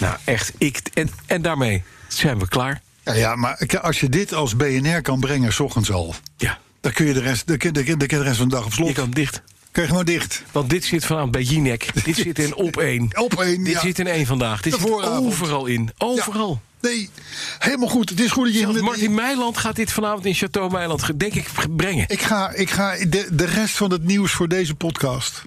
[SPEAKER 3] Nou echt, ik, en, en daarmee zijn we klaar.
[SPEAKER 2] Ja, ja, maar k- als je dit als BNR kan brengen, s ochtends al...
[SPEAKER 3] Ja,
[SPEAKER 2] dan kun je de rest, dan kun, dan kun- dan kun je de rest van de dag op slot.
[SPEAKER 3] je kan dicht.
[SPEAKER 2] Kun je gewoon dicht.
[SPEAKER 3] Want dit zit vanavond bij Jinek. Dit zit in op één.
[SPEAKER 2] Op één,
[SPEAKER 3] Dit
[SPEAKER 2] ja.
[SPEAKER 3] zit in één vandaag. Dit
[SPEAKER 2] De
[SPEAKER 3] zit
[SPEAKER 2] vooravond.
[SPEAKER 3] overal in. Overal.
[SPEAKER 2] Ja. Nee, helemaal goed. Het is goed dat je...
[SPEAKER 3] Zelfs Martin Meiland gaat dit vanavond in Chateau Meiland, ge- denk ik, ge- brengen.
[SPEAKER 2] Ik ga, ik ga de, de rest van het nieuws voor deze podcast...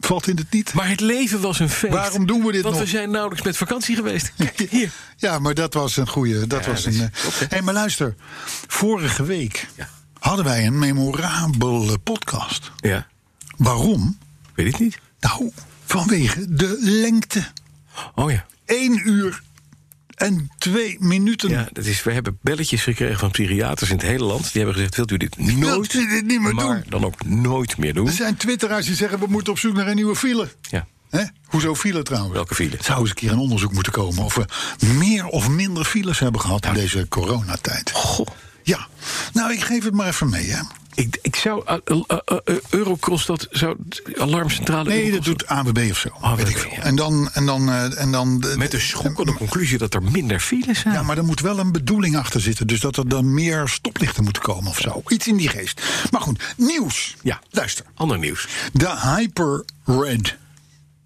[SPEAKER 2] valt in het niet.
[SPEAKER 3] Maar het leven was een feest.
[SPEAKER 2] Waarom doen we dit
[SPEAKER 3] Want
[SPEAKER 2] nog?
[SPEAKER 3] we zijn nauwelijks met vakantie geweest. Kijk, hier.
[SPEAKER 2] Ja, maar dat was een goede. Dat was
[SPEAKER 3] dat
[SPEAKER 2] een.
[SPEAKER 3] is
[SPEAKER 2] eh,
[SPEAKER 3] top, hè?
[SPEAKER 2] hey, maar luister, vorige week
[SPEAKER 3] Ja.
[SPEAKER 2] hadden wij een memorabele podcast.
[SPEAKER 3] Ja,
[SPEAKER 2] Waarom?
[SPEAKER 3] weet ik niet.
[SPEAKER 2] Nou, vanwege de lengte.
[SPEAKER 3] Oh ja.
[SPEAKER 2] 1 uur en 2 minuten.
[SPEAKER 3] ja dat is, we hebben belletjes gekregen van psychiaters in het hele land. Die hebben gezegd, wilt u dit nooit,
[SPEAKER 2] u dit niet meer
[SPEAKER 3] maar
[SPEAKER 2] doen?
[SPEAKER 3] dan ook nooit meer doen?
[SPEAKER 2] Er zijn twitteraars die zeggen, we moeten op zoek naar een nieuwe file.
[SPEAKER 3] Ja.
[SPEAKER 2] Hè? Hoezo file trouwens?
[SPEAKER 3] Welke file?
[SPEAKER 2] Zou eens een keer een onderzoek moeten komen of we meer of minder files hebben gehad in deze coronatijd.
[SPEAKER 3] Goh.
[SPEAKER 2] Ja, nou ik geef het maar even mee. Hè.
[SPEAKER 3] Ik, ik zou... eh, eh, eh, eh, Eurocross, dat zou... Alarmcentrale...
[SPEAKER 2] Nee, dat
[SPEAKER 3] Eurocross-
[SPEAKER 2] doet AWB of zo.
[SPEAKER 3] AWB,
[SPEAKER 2] weet ik veel.
[SPEAKER 3] ja.
[SPEAKER 2] En dan. En dan, eh, en dan de-
[SPEAKER 3] Met de schokkende conclusie dat er minder files zijn.
[SPEAKER 2] Ja, maar er moet wel een bedoeling achter zitten. Dus dat er dan meer stoplichten moeten komen of zo. Iets in die geest. Maar goed, nieuws.
[SPEAKER 3] Ja.
[SPEAKER 2] Luister.
[SPEAKER 3] Ander nieuws.
[SPEAKER 2] De Hyper Red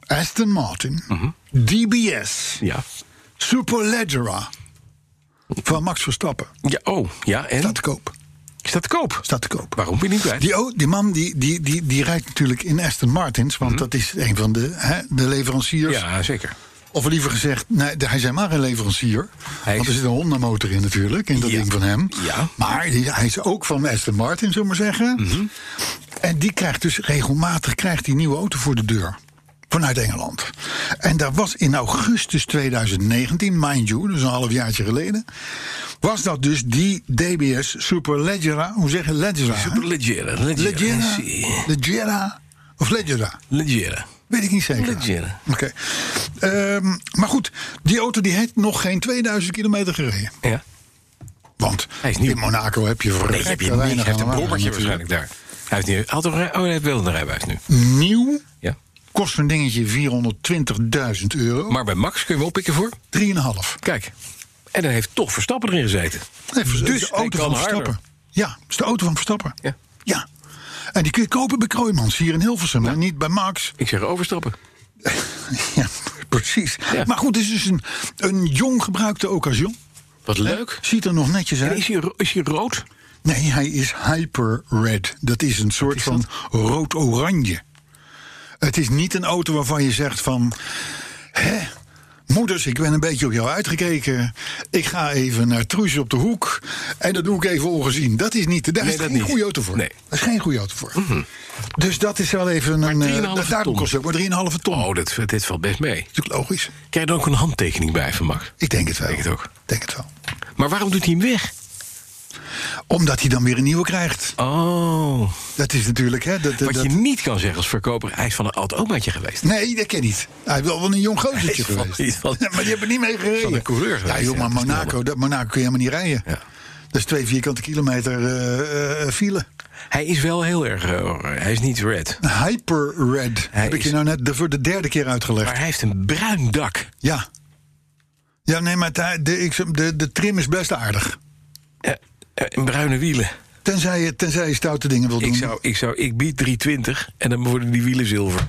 [SPEAKER 2] Aston Martin
[SPEAKER 3] Mhm.
[SPEAKER 2] DBS
[SPEAKER 3] Ja.
[SPEAKER 2] Superleggera van Max Verstappen.
[SPEAKER 3] ja. Oh, ja, en?
[SPEAKER 2] Staat te koop.
[SPEAKER 3] Is dat te koop?
[SPEAKER 2] Staat te koop.
[SPEAKER 3] Waarom ben je niet kwijt?
[SPEAKER 2] Die, o- die man die, die, die, die rijdt natuurlijk in Aston Martins, want dat is een van de, hè, de leveranciers.
[SPEAKER 3] Mhm. Ja, zeker.
[SPEAKER 2] Of liever gezegd, nee, de- hij zijn maar een leverancier.
[SPEAKER 3] Hij
[SPEAKER 2] want
[SPEAKER 3] is-
[SPEAKER 2] er zit een Honda-motor in natuurlijk, in dat
[SPEAKER 3] Ja.
[SPEAKER 2] ding van hem.
[SPEAKER 3] Ja. Mhm.
[SPEAKER 2] Maar die- hij is ook van Aston Martin, zullen we maar zeggen. En die krijgt dus regelmatig krijgt die nieuwe auto voor de deur. Vanuit Engeland. En daar was in augustus 2019, mind you, dus een halfjaartje geleden... was dat dus die DBS Superleggera, hoe zeg je Leggera? hè?
[SPEAKER 3] Legere.
[SPEAKER 2] Leggera,
[SPEAKER 3] Legere.
[SPEAKER 2] Leggera of Leggera?
[SPEAKER 3] Legere.
[SPEAKER 2] Weet ik niet zeker.
[SPEAKER 3] Legere.
[SPEAKER 2] Oké. Ehm, maar goed, die auto die heeft nog geen 2000 kilometer gereden.
[SPEAKER 3] Ja.
[SPEAKER 2] Want
[SPEAKER 3] Hij is nieuw.
[SPEAKER 2] in Monaco heb je
[SPEAKER 3] Nee, heb je
[SPEAKER 2] verrekte
[SPEAKER 3] niet. Hij
[SPEAKER 2] weinig
[SPEAKER 3] heeft een
[SPEAKER 2] aan
[SPEAKER 3] brommertje
[SPEAKER 2] waarde natuurlijk.
[SPEAKER 3] waarschijnlijk daar. Hij heeft, niet, had toch een, rij- oh, hij heeft wel een rijbewijs nu.
[SPEAKER 2] Nieuw
[SPEAKER 3] Ja.
[SPEAKER 2] kost een dingetje 420.000 euro.
[SPEAKER 3] Maar bij Max kun je hem oppikken voor.
[SPEAKER 2] 3,5.
[SPEAKER 3] Kijk. En dan heeft toch Verstappen erin gezeten.
[SPEAKER 2] Nee, Vers-
[SPEAKER 3] Dus
[SPEAKER 2] de
[SPEAKER 3] hij
[SPEAKER 2] auto
[SPEAKER 3] kan
[SPEAKER 2] van
[SPEAKER 3] harder.
[SPEAKER 2] Verstappen. Ja, het is de auto van Verstappen.
[SPEAKER 3] Ja.
[SPEAKER 2] Ja. En die kun je kopen bij Kooijmans hier in Hilversum. En niet bij Max.
[SPEAKER 3] Ik zeg overstappen.
[SPEAKER 2] Ja, precies.
[SPEAKER 3] Ja.
[SPEAKER 2] Maar goed, het is dus een, een jong gebruikte occasion.
[SPEAKER 3] Wat leuk.
[SPEAKER 2] Ziet er nog netjes
[SPEAKER 3] En
[SPEAKER 2] uit.
[SPEAKER 3] is hij, ro- is hij rood?
[SPEAKER 2] Nee, hij is hyper red. Dat is een soort van rood-oranje. Het is niet een auto waarvan je zegt van... Hè, moeders, ik ben een beetje op jou uitgekeken. Ik ga even naar Truus op de hoek. En dat doe ik even ongezien. Dat is niet... Daar
[SPEAKER 3] Nee,
[SPEAKER 2] is
[SPEAKER 3] dat
[SPEAKER 2] geen
[SPEAKER 3] niet.
[SPEAKER 2] goede auto voor.
[SPEAKER 3] Nee.
[SPEAKER 2] Daar is geen goede auto voor. Dus dat is wel even een... eh,
[SPEAKER 3] 3,5
[SPEAKER 2] dat- Daarom
[SPEAKER 3] ton.
[SPEAKER 2] kost het ook maar 3,5 ton.
[SPEAKER 3] Oh, dat, dit valt best mee.
[SPEAKER 2] Dat is logisch.
[SPEAKER 3] Krijg je dan ook een handtekening bij van Max?
[SPEAKER 2] Ik denk het wel.
[SPEAKER 3] Denk het ook.
[SPEAKER 2] Denk het wel.
[SPEAKER 3] Maar waarom doet hij hem weg?
[SPEAKER 2] Omdat hij dan weer een nieuwe krijgt.
[SPEAKER 3] Oh.
[SPEAKER 2] Dat is natuurlijk... Hè, dat,
[SPEAKER 3] Wat
[SPEAKER 2] dat-
[SPEAKER 3] je niet kan zeggen als verkoper, hij is van een oud omaatje geweest.
[SPEAKER 2] Nee, dat ken niet. Hij is wel wel een jong
[SPEAKER 3] Hij
[SPEAKER 2] gozertje
[SPEAKER 3] is van-
[SPEAKER 2] geweest.
[SPEAKER 3] hij is van-
[SPEAKER 2] Ja, maar die hebben niet mee gereden.
[SPEAKER 3] van een coureur
[SPEAKER 2] Ja,
[SPEAKER 3] geweest,
[SPEAKER 2] joh, maar
[SPEAKER 3] ja, dat is
[SPEAKER 2] Monaco,
[SPEAKER 3] jammer.
[SPEAKER 2] dat, Monaco kun je helemaal niet rijden.
[SPEAKER 3] Ja.
[SPEAKER 2] Dat is twee vierkante kilometer eh, eh, file.
[SPEAKER 3] Hij is wel heel erg. eh, hij is niet red.
[SPEAKER 2] Hyper red.
[SPEAKER 3] Hij
[SPEAKER 2] heb ik je
[SPEAKER 3] is-
[SPEAKER 2] nou net de, voor de derde keer uitgelegd.
[SPEAKER 3] Maar hij heeft een bruin dak.
[SPEAKER 2] Ja. Ja, nee, maar de, de, ik- de, de trim is best aardig.
[SPEAKER 3] Eh, eh, en bruine wielen. Mm.
[SPEAKER 2] Tenzij je, tenzij je stoute dingen wil doen.
[SPEAKER 3] Ik, zou, ik, zou, ik bied 320 en dan worden die wielen zilver.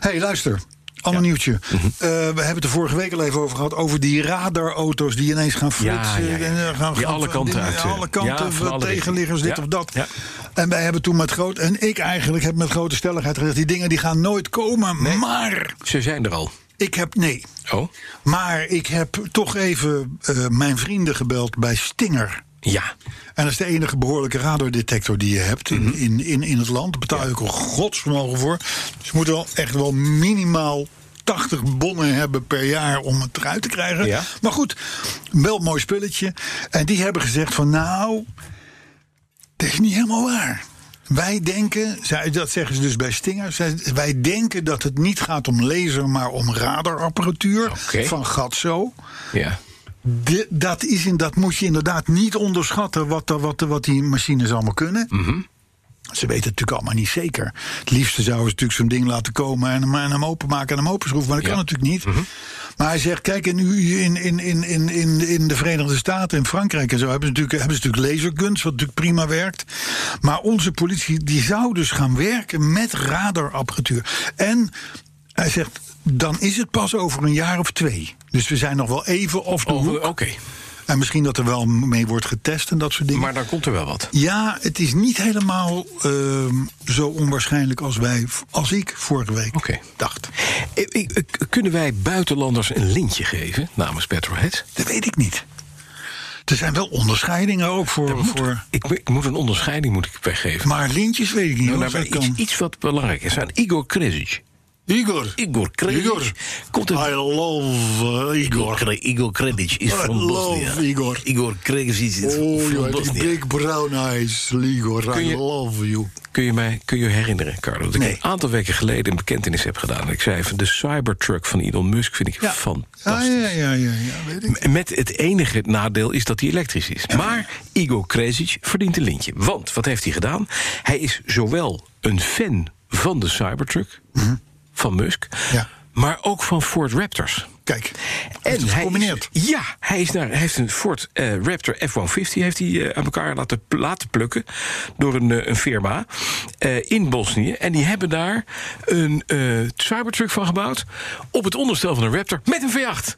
[SPEAKER 2] hey, luister. Ander nieuwtje.
[SPEAKER 3] Mhm.
[SPEAKER 2] Eh, we hebben het er vorige week al even over gehad. Over die radarauto's die ineens gaan flitsen.
[SPEAKER 3] ja, ja.
[SPEAKER 2] En, eh, gaan,
[SPEAKER 3] Die
[SPEAKER 2] gaan-
[SPEAKER 3] alle kanten
[SPEAKER 2] dingen
[SPEAKER 3] uit, eh,
[SPEAKER 2] alle kanten,
[SPEAKER 3] ja, van alle
[SPEAKER 2] tegenliggers, dit
[SPEAKER 3] richtingen.
[SPEAKER 2] of
[SPEAKER 3] Ja,
[SPEAKER 2] dat.
[SPEAKER 3] ja.
[SPEAKER 2] En wij hebben toen met groot... En ik eigenlijk heb met grote stelligheid gezegd... die dingen die gaan nooit komen. Maar
[SPEAKER 3] Ze zijn er al.
[SPEAKER 2] ik heb... Nee.
[SPEAKER 3] Oh?
[SPEAKER 2] Maar ik heb toch even eh, mijn vrienden gebeld bij Stinger.
[SPEAKER 3] Ja.
[SPEAKER 2] En dat is de enige behoorlijke radardetector die je hebt in,
[SPEAKER 3] Mhm.
[SPEAKER 2] in, in, in het land. Daar betaal ik een godsvermogen voor. Dus je moet wel echt wel minimaal 80 bonnen hebben per jaar om het eruit te krijgen.
[SPEAKER 3] Ja.
[SPEAKER 2] Maar goed, wel een mooi spulletje. En die hebben gezegd van nou, dat is niet helemaal waar. Wij denken, zij- dat zeggen ze dus bij Stinger, zij- wij denken dat het niet gaat om laser, maar om radarapparatuur
[SPEAKER 3] Oké.
[SPEAKER 2] van Gatso.
[SPEAKER 3] Ja.
[SPEAKER 2] De- dat, is in, dat moet je inderdaad niet onderschatten wat, de- wat, de- wat die machines allemaal kunnen.
[SPEAKER 3] Mhm.
[SPEAKER 2] Ze weten het natuurlijk allemaal niet zeker. Het liefste zouden ze natuurlijk zo'n ding laten komen en hem, en hem openmaken en hem openschroeven. Maar dat
[SPEAKER 3] Ja. Mhm.
[SPEAKER 2] kan natuurlijk niet. Maar hij zegt, kijk, in, u- in, in, in, in, in, in de Verenigde Staten, in Frankrijk en zo... hebben ze natuurlijk, hebben ze natuurlijk laserguns, wat natuurlijk prima werkt. Maar onze politie die zou dus gaan werken met radarapparatuur. En hij zegt, dan is het pas over een jaar of twee. Dus we zijn nog wel even off the
[SPEAKER 3] Oh,
[SPEAKER 2] hook.
[SPEAKER 3] Oké.
[SPEAKER 2] En misschien dat er wel mee wordt getest en dat soort dingen.
[SPEAKER 3] Maar dan komt er wel wat.
[SPEAKER 2] Ja, het is niet helemaal ehm, zo onwaarschijnlijk als, wij, als ik vorige week
[SPEAKER 3] Oké.
[SPEAKER 2] dacht.
[SPEAKER 3] Eh, eh, eh, Kunnen wij buitenlanders een lintje geven namens Petrohead?
[SPEAKER 2] Dat weet ik niet. Er zijn wel onderscheidingen ook voor. voor
[SPEAKER 3] Ik, ik moet een onderscheiding moet ik weggeven.
[SPEAKER 2] maar lintjes weet ik niet.
[SPEAKER 3] Nou,
[SPEAKER 2] hoor,
[SPEAKER 3] daarbij
[SPEAKER 2] dat
[SPEAKER 3] iets,
[SPEAKER 2] kan.
[SPEAKER 3] iets wat belangrijk is aan Igor Kresic.
[SPEAKER 6] Igor.
[SPEAKER 3] Igor Kredic.
[SPEAKER 6] Igor.
[SPEAKER 3] Komt uit-
[SPEAKER 6] I love eh, Igor.
[SPEAKER 3] Kre- Igor Kredic is
[SPEAKER 6] I
[SPEAKER 3] van
[SPEAKER 6] love
[SPEAKER 3] Bosnia.
[SPEAKER 6] Igor.
[SPEAKER 3] Igor Kredic is
[SPEAKER 6] Oh,
[SPEAKER 3] van
[SPEAKER 6] you had
[SPEAKER 3] Bosnia.
[SPEAKER 6] big brown eyes, Igor.
[SPEAKER 3] Kun
[SPEAKER 6] I
[SPEAKER 3] je-
[SPEAKER 6] love you.
[SPEAKER 3] Kun je mij kun je herinneren, Carlo, dat ik
[SPEAKER 6] Nee.
[SPEAKER 3] een aantal weken geleden een bekentenis heb gedaan. Ik zei van de Cybertruck van Elon Musk vind ik fantastisch.
[SPEAKER 2] Ja, ja, ja, ja, ja, weet ik.
[SPEAKER 3] En Met het enige nadeel is dat hij elektrisch is. Maar Igor Kresic verdient een lintje. Want wat heeft hij gedaan? Hij is zowel een fan van de Cybertruck, van Musk,
[SPEAKER 2] Mhm. Ja.
[SPEAKER 3] maar ook van Ford Raptors.
[SPEAKER 2] Kijk, en
[SPEAKER 3] hij
[SPEAKER 2] hij combineert.
[SPEAKER 3] Is, ja, hij, is naar, hij heeft een Ford eh, Raptor F-150 heeft hij, eh, aan elkaar laten, pl- laten plukken door een, eh, een firma eh, in Bosnië. En die hebben daar een eh, Cybertruck van gebouwd op het onderstel van een Raptor met een V8.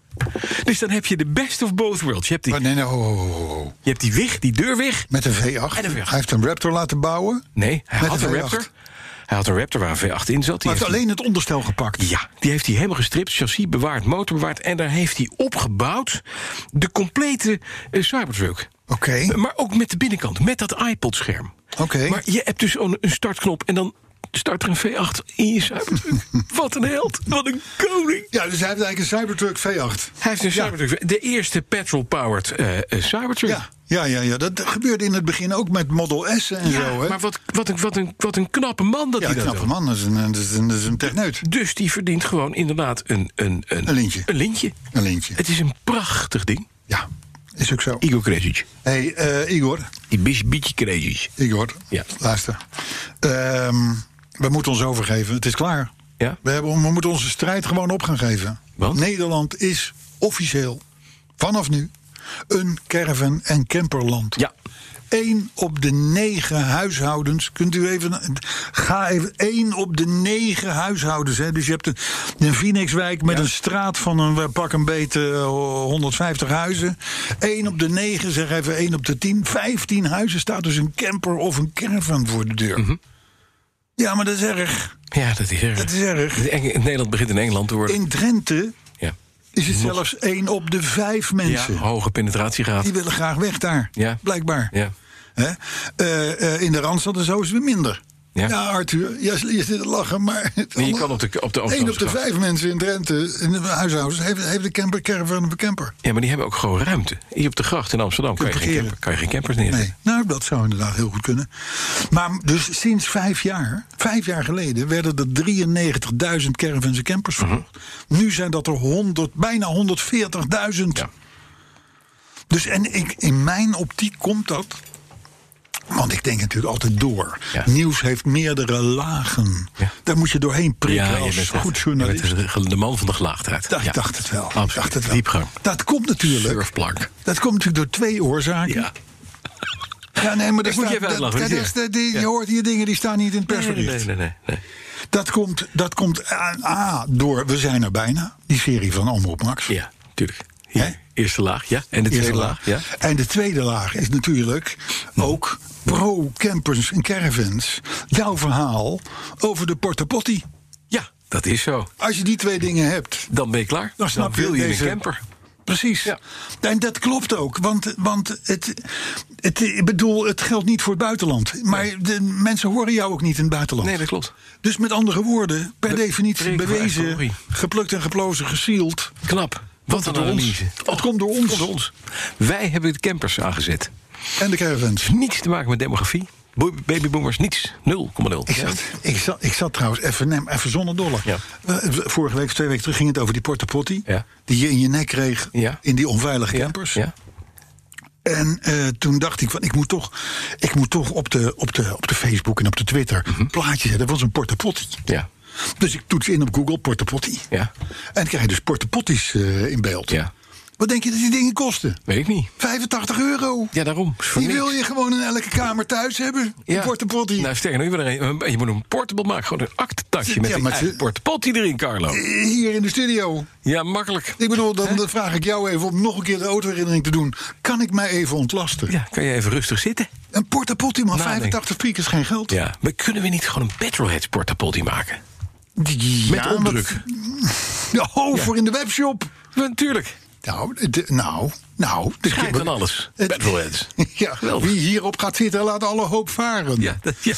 [SPEAKER 3] Dus dan heb je de best of both worlds. Je hebt die,
[SPEAKER 2] Maar Oh, nee, nee, ho, ho, ho, ho.
[SPEAKER 3] je hebt die wig, die deur weg.
[SPEAKER 2] Met een V8.
[SPEAKER 3] En een
[SPEAKER 2] Hij
[SPEAKER 3] V8.
[SPEAKER 2] heeft een Raptor laten bouwen.
[SPEAKER 3] Nee, hij
[SPEAKER 2] Met
[SPEAKER 3] had
[SPEAKER 2] een
[SPEAKER 3] een
[SPEAKER 2] V8.
[SPEAKER 3] Raptor. Hij had een Raptor waar een V8 in zat. Die
[SPEAKER 2] Maar heeft
[SPEAKER 3] heeft hij-
[SPEAKER 2] alleen het onderstel gepakt.
[SPEAKER 3] Ja, die heeft hij helemaal gestript, chassis bewaard, motor bewaard... en daar heeft hij opgebouwd de complete eh, Cybertruck.
[SPEAKER 2] Oké.
[SPEAKER 3] Maar ook met de binnenkant, met dat iPod-scherm.
[SPEAKER 2] Oké.
[SPEAKER 3] Maar je hebt dus een een startknop en dan start er een V8 in je Cybertruck. wat een held, wat een koning.
[SPEAKER 2] Ja, dus hij heeft eigenlijk een Cybertruck V8.
[SPEAKER 3] Hij heeft een Cybertruck, de eerste petrol-powered eh, eh, Cybertruck.
[SPEAKER 2] Ja, ja, ja, ja. dat gebeurde in het begin ook met Model S en
[SPEAKER 3] Ja,
[SPEAKER 2] zo. Hè?
[SPEAKER 3] maar wat, wat, een, wat, een, wat een knappe man dat
[SPEAKER 2] ja,
[SPEAKER 3] hij dat
[SPEAKER 2] knappe
[SPEAKER 3] doet.
[SPEAKER 2] man. Dat is een, dat is een, dat is een techneut.
[SPEAKER 3] Dus die verdient gewoon inderdaad een... Een,
[SPEAKER 2] Een lintje.
[SPEAKER 3] Een lintje.
[SPEAKER 2] Een lintje.
[SPEAKER 3] Het is een prachtig ding.
[SPEAKER 2] Ja, is ook zo.
[SPEAKER 3] Igor Kresic.
[SPEAKER 2] hey, eh, Igor.
[SPEAKER 3] Die beetje, beetje Kresic.
[SPEAKER 2] Igor,
[SPEAKER 3] Ja.
[SPEAKER 2] luister. Ehm, we moeten ons overgeven. Het is klaar.
[SPEAKER 3] Ja.
[SPEAKER 2] We, hebben, we moeten onze strijd gewoon op gaan geven.
[SPEAKER 3] Want?
[SPEAKER 2] Nederland is officieel, vanaf nu, een caravan- en camperland.
[SPEAKER 3] Ja.
[SPEAKER 2] Eén op de negen huishoudens. Kunt u even. Ga even. één op de negen huishoudens. Hè. Dus je hebt een, een Phoenixwijk met een straat van een eh, pak een beet eh, 150 huizen. Eén op de negen, zeg even één op de tien. Vijftien huizen staat dus een camper of een caravan voor de deur.
[SPEAKER 3] Mhm.
[SPEAKER 2] Ja, maar dat is erg.
[SPEAKER 3] Ja, dat is erg.
[SPEAKER 2] Dat is erg.
[SPEAKER 3] Eng- Nederland begint in Engeland te worden.
[SPEAKER 2] In Drenthe
[SPEAKER 3] Ja.
[SPEAKER 2] is het zelfs één op de vijf mensen.
[SPEAKER 3] Ja, hoge penetratiegraad.
[SPEAKER 2] Die willen graag weg daar.
[SPEAKER 3] Ja.
[SPEAKER 2] Blijkbaar.
[SPEAKER 3] Ja.
[SPEAKER 2] Hè? Eh, eh, in de Randstad en zo is het weer minder.
[SPEAKER 3] Ja.
[SPEAKER 2] Ja, Arthur, jij zit- je zit te lachen, maar...
[SPEAKER 3] Nee, je kan op de- op de
[SPEAKER 2] Eén op de
[SPEAKER 3] Amsterdamse
[SPEAKER 2] vijf mensen in Drenthe, in de huishoudens, heeft, heeft de camper caravan een camper.
[SPEAKER 3] ja, maar die hebben ook gewoon ruimte. Hier op de gracht in Amsterdam kan je, geen,
[SPEAKER 2] parkeren.
[SPEAKER 3] camper- kan je geen campers neerzetten.
[SPEAKER 2] Nee, nou, dat zou inderdaad heel goed kunnen. Maar dus sinds vijf jaar, vijf jaar geleden, werden er 93.000 caravans en campers
[SPEAKER 3] Mhm.
[SPEAKER 2] verkocht. Nu zijn dat er 100, bijna 140.000.
[SPEAKER 3] Ja.
[SPEAKER 2] Dus en ik, in mijn optiek komt dat. Want ik denk natuurlijk altijd door.
[SPEAKER 3] Ja.
[SPEAKER 2] Nieuws heeft meerdere lagen.
[SPEAKER 3] Ja.
[SPEAKER 2] Daar moet je doorheen prikken
[SPEAKER 3] Ja, je
[SPEAKER 2] als
[SPEAKER 3] bent
[SPEAKER 2] goed
[SPEAKER 3] echt-
[SPEAKER 2] journalist.
[SPEAKER 3] je bent de- de man van de gelaagdheid.
[SPEAKER 2] Ja,
[SPEAKER 3] Ja.
[SPEAKER 2] Ik dacht het wel.
[SPEAKER 3] Absoluut.
[SPEAKER 2] Ik dacht het wel.
[SPEAKER 3] Diepgang.
[SPEAKER 2] Dat komt natuurlijk.
[SPEAKER 3] Surfplank.
[SPEAKER 2] Dat komt natuurlijk door twee oorzaken.
[SPEAKER 3] Ja.
[SPEAKER 2] Ja, nee, maar dat
[SPEAKER 3] moet
[SPEAKER 2] staat-
[SPEAKER 3] je even
[SPEAKER 2] dat-
[SPEAKER 3] uitlachen,
[SPEAKER 2] dat
[SPEAKER 3] dit
[SPEAKER 2] is
[SPEAKER 3] hier.
[SPEAKER 2] de- die-
[SPEAKER 3] Ja.
[SPEAKER 2] Je hoort hier dingen die staan niet in het
[SPEAKER 3] Nee,
[SPEAKER 2] persbericht.
[SPEAKER 3] nee, nee, nee, nee.
[SPEAKER 2] Dat komt, dat komt A, A, door We zijn er bijna. Die serie van Omroep Max.
[SPEAKER 3] Ja, tuurlijk.
[SPEAKER 2] Hè?
[SPEAKER 3] Hier, eerste laag, ja. En de tweede
[SPEAKER 2] Eerste
[SPEAKER 3] laag, ja.
[SPEAKER 2] En de tweede laag is natuurlijk ook pro-campers en caravans. Jouw verhaal over de porta potty.
[SPEAKER 3] Ja, dat is zo.
[SPEAKER 2] Als je die twee dingen hebt,
[SPEAKER 3] Dan ben je klaar.
[SPEAKER 2] dan Nou, snap
[SPEAKER 3] wil je
[SPEAKER 2] deze-
[SPEAKER 3] een camper.
[SPEAKER 2] Precies.
[SPEAKER 3] Ja.
[SPEAKER 2] En dat klopt ook, want, want het, het, ik bedoel, het geldt niet voor het buitenland. Maar de mensen horen jou ook niet in het buitenland.
[SPEAKER 3] Nee, dat klopt.
[SPEAKER 2] Dus met andere woorden, per
[SPEAKER 3] We
[SPEAKER 2] definitie
[SPEAKER 3] spreken vanuit theorie.
[SPEAKER 2] bewezen, geplukt en geplozen, gesield.
[SPEAKER 3] Knap. Wat een
[SPEAKER 2] door ons.
[SPEAKER 3] analyse.
[SPEAKER 2] Het komt door ons.
[SPEAKER 3] Het komt door ons. Wij hebben de campers aangezet.
[SPEAKER 2] En de caravans.
[SPEAKER 3] Niets te maken met demografie. Bo- Babyboomers, niets. 0,0.
[SPEAKER 2] Ik zat, ik zat, ik zat trouwens even, neem even zonder dollar.
[SPEAKER 3] Ja.
[SPEAKER 2] Eh, Vorige week, of twee weken terug, ging het over die porta potty.
[SPEAKER 3] Ja.
[SPEAKER 2] Die je in je nek kreeg
[SPEAKER 3] Ja.
[SPEAKER 2] in die onveilige
[SPEAKER 3] Ja,
[SPEAKER 2] campers.
[SPEAKER 3] Ja.
[SPEAKER 2] En eh, toen dacht ik van, ik moet toch, ik moet toch op, de, op, de, op de Facebook en op de Twitter een plaatje zetten. Dat was een porta potty.
[SPEAKER 3] Mhm. Ja.
[SPEAKER 2] Dus ik toets in op Google porta potty.
[SPEAKER 3] Ja.
[SPEAKER 2] En dan krijg je dus porta potties eh, in beeld.
[SPEAKER 3] Ja.
[SPEAKER 2] Wat denk je dat die dingen kosten?
[SPEAKER 3] Weet ik niet.
[SPEAKER 2] 85 euro.
[SPEAKER 3] Ja, daarom. Is voor
[SPEAKER 2] Die
[SPEAKER 3] niks.
[SPEAKER 2] wil je gewoon in elke kamer thuis hebben.
[SPEAKER 3] Ja.
[SPEAKER 2] Een porta potty.
[SPEAKER 3] Nou, sterker nog, je, wil er een- je moet een portable maken. Gewoon een aktentasje met
[SPEAKER 2] Ja,
[SPEAKER 3] een
[SPEAKER 2] maar ze- Eh.
[SPEAKER 3] eigen portepotty erin, Carlo.
[SPEAKER 2] Hier in de studio.
[SPEAKER 3] Ja, makkelijk.
[SPEAKER 2] Ik bedoel, dan dan vraag ik jou even om nog een keer de autoherinnering te doen. Kan ik mij even ontlasten?
[SPEAKER 3] Ja, kan je even rustig zitten?
[SPEAKER 2] Een porta potty, man.
[SPEAKER 3] Nadenken.
[SPEAKER 2] 85 piek is geen geld.
[SPEAKER 3] Ja. Maar kunnen we niet gewoon een petrolheads portepotty maken?
[SPEAKER 2] Die-
[SPEAKER 3] Met
[SPEAKER 2] ja,
[SPEAKER 3] omdruk.
[SPEAKER 2] wat- Oh, voor in de webshop.
[SPEAKER 3] Natuurlijk.
[SPEAKER 2] Nou, de- nou, nou. de-
[SPEAKER 3] Schijt aan alles.
[SPEAKER 2] Het-
[SPEAKER 3] Petrolheads.
[SPEAKER 2] Ja,
[SPEAKER 3] Geweldig.
[SPEAKER 2] wie hierop gaat zitten, laat alle hoop varen.
[SPEAKER 3] Ja, dat, ja.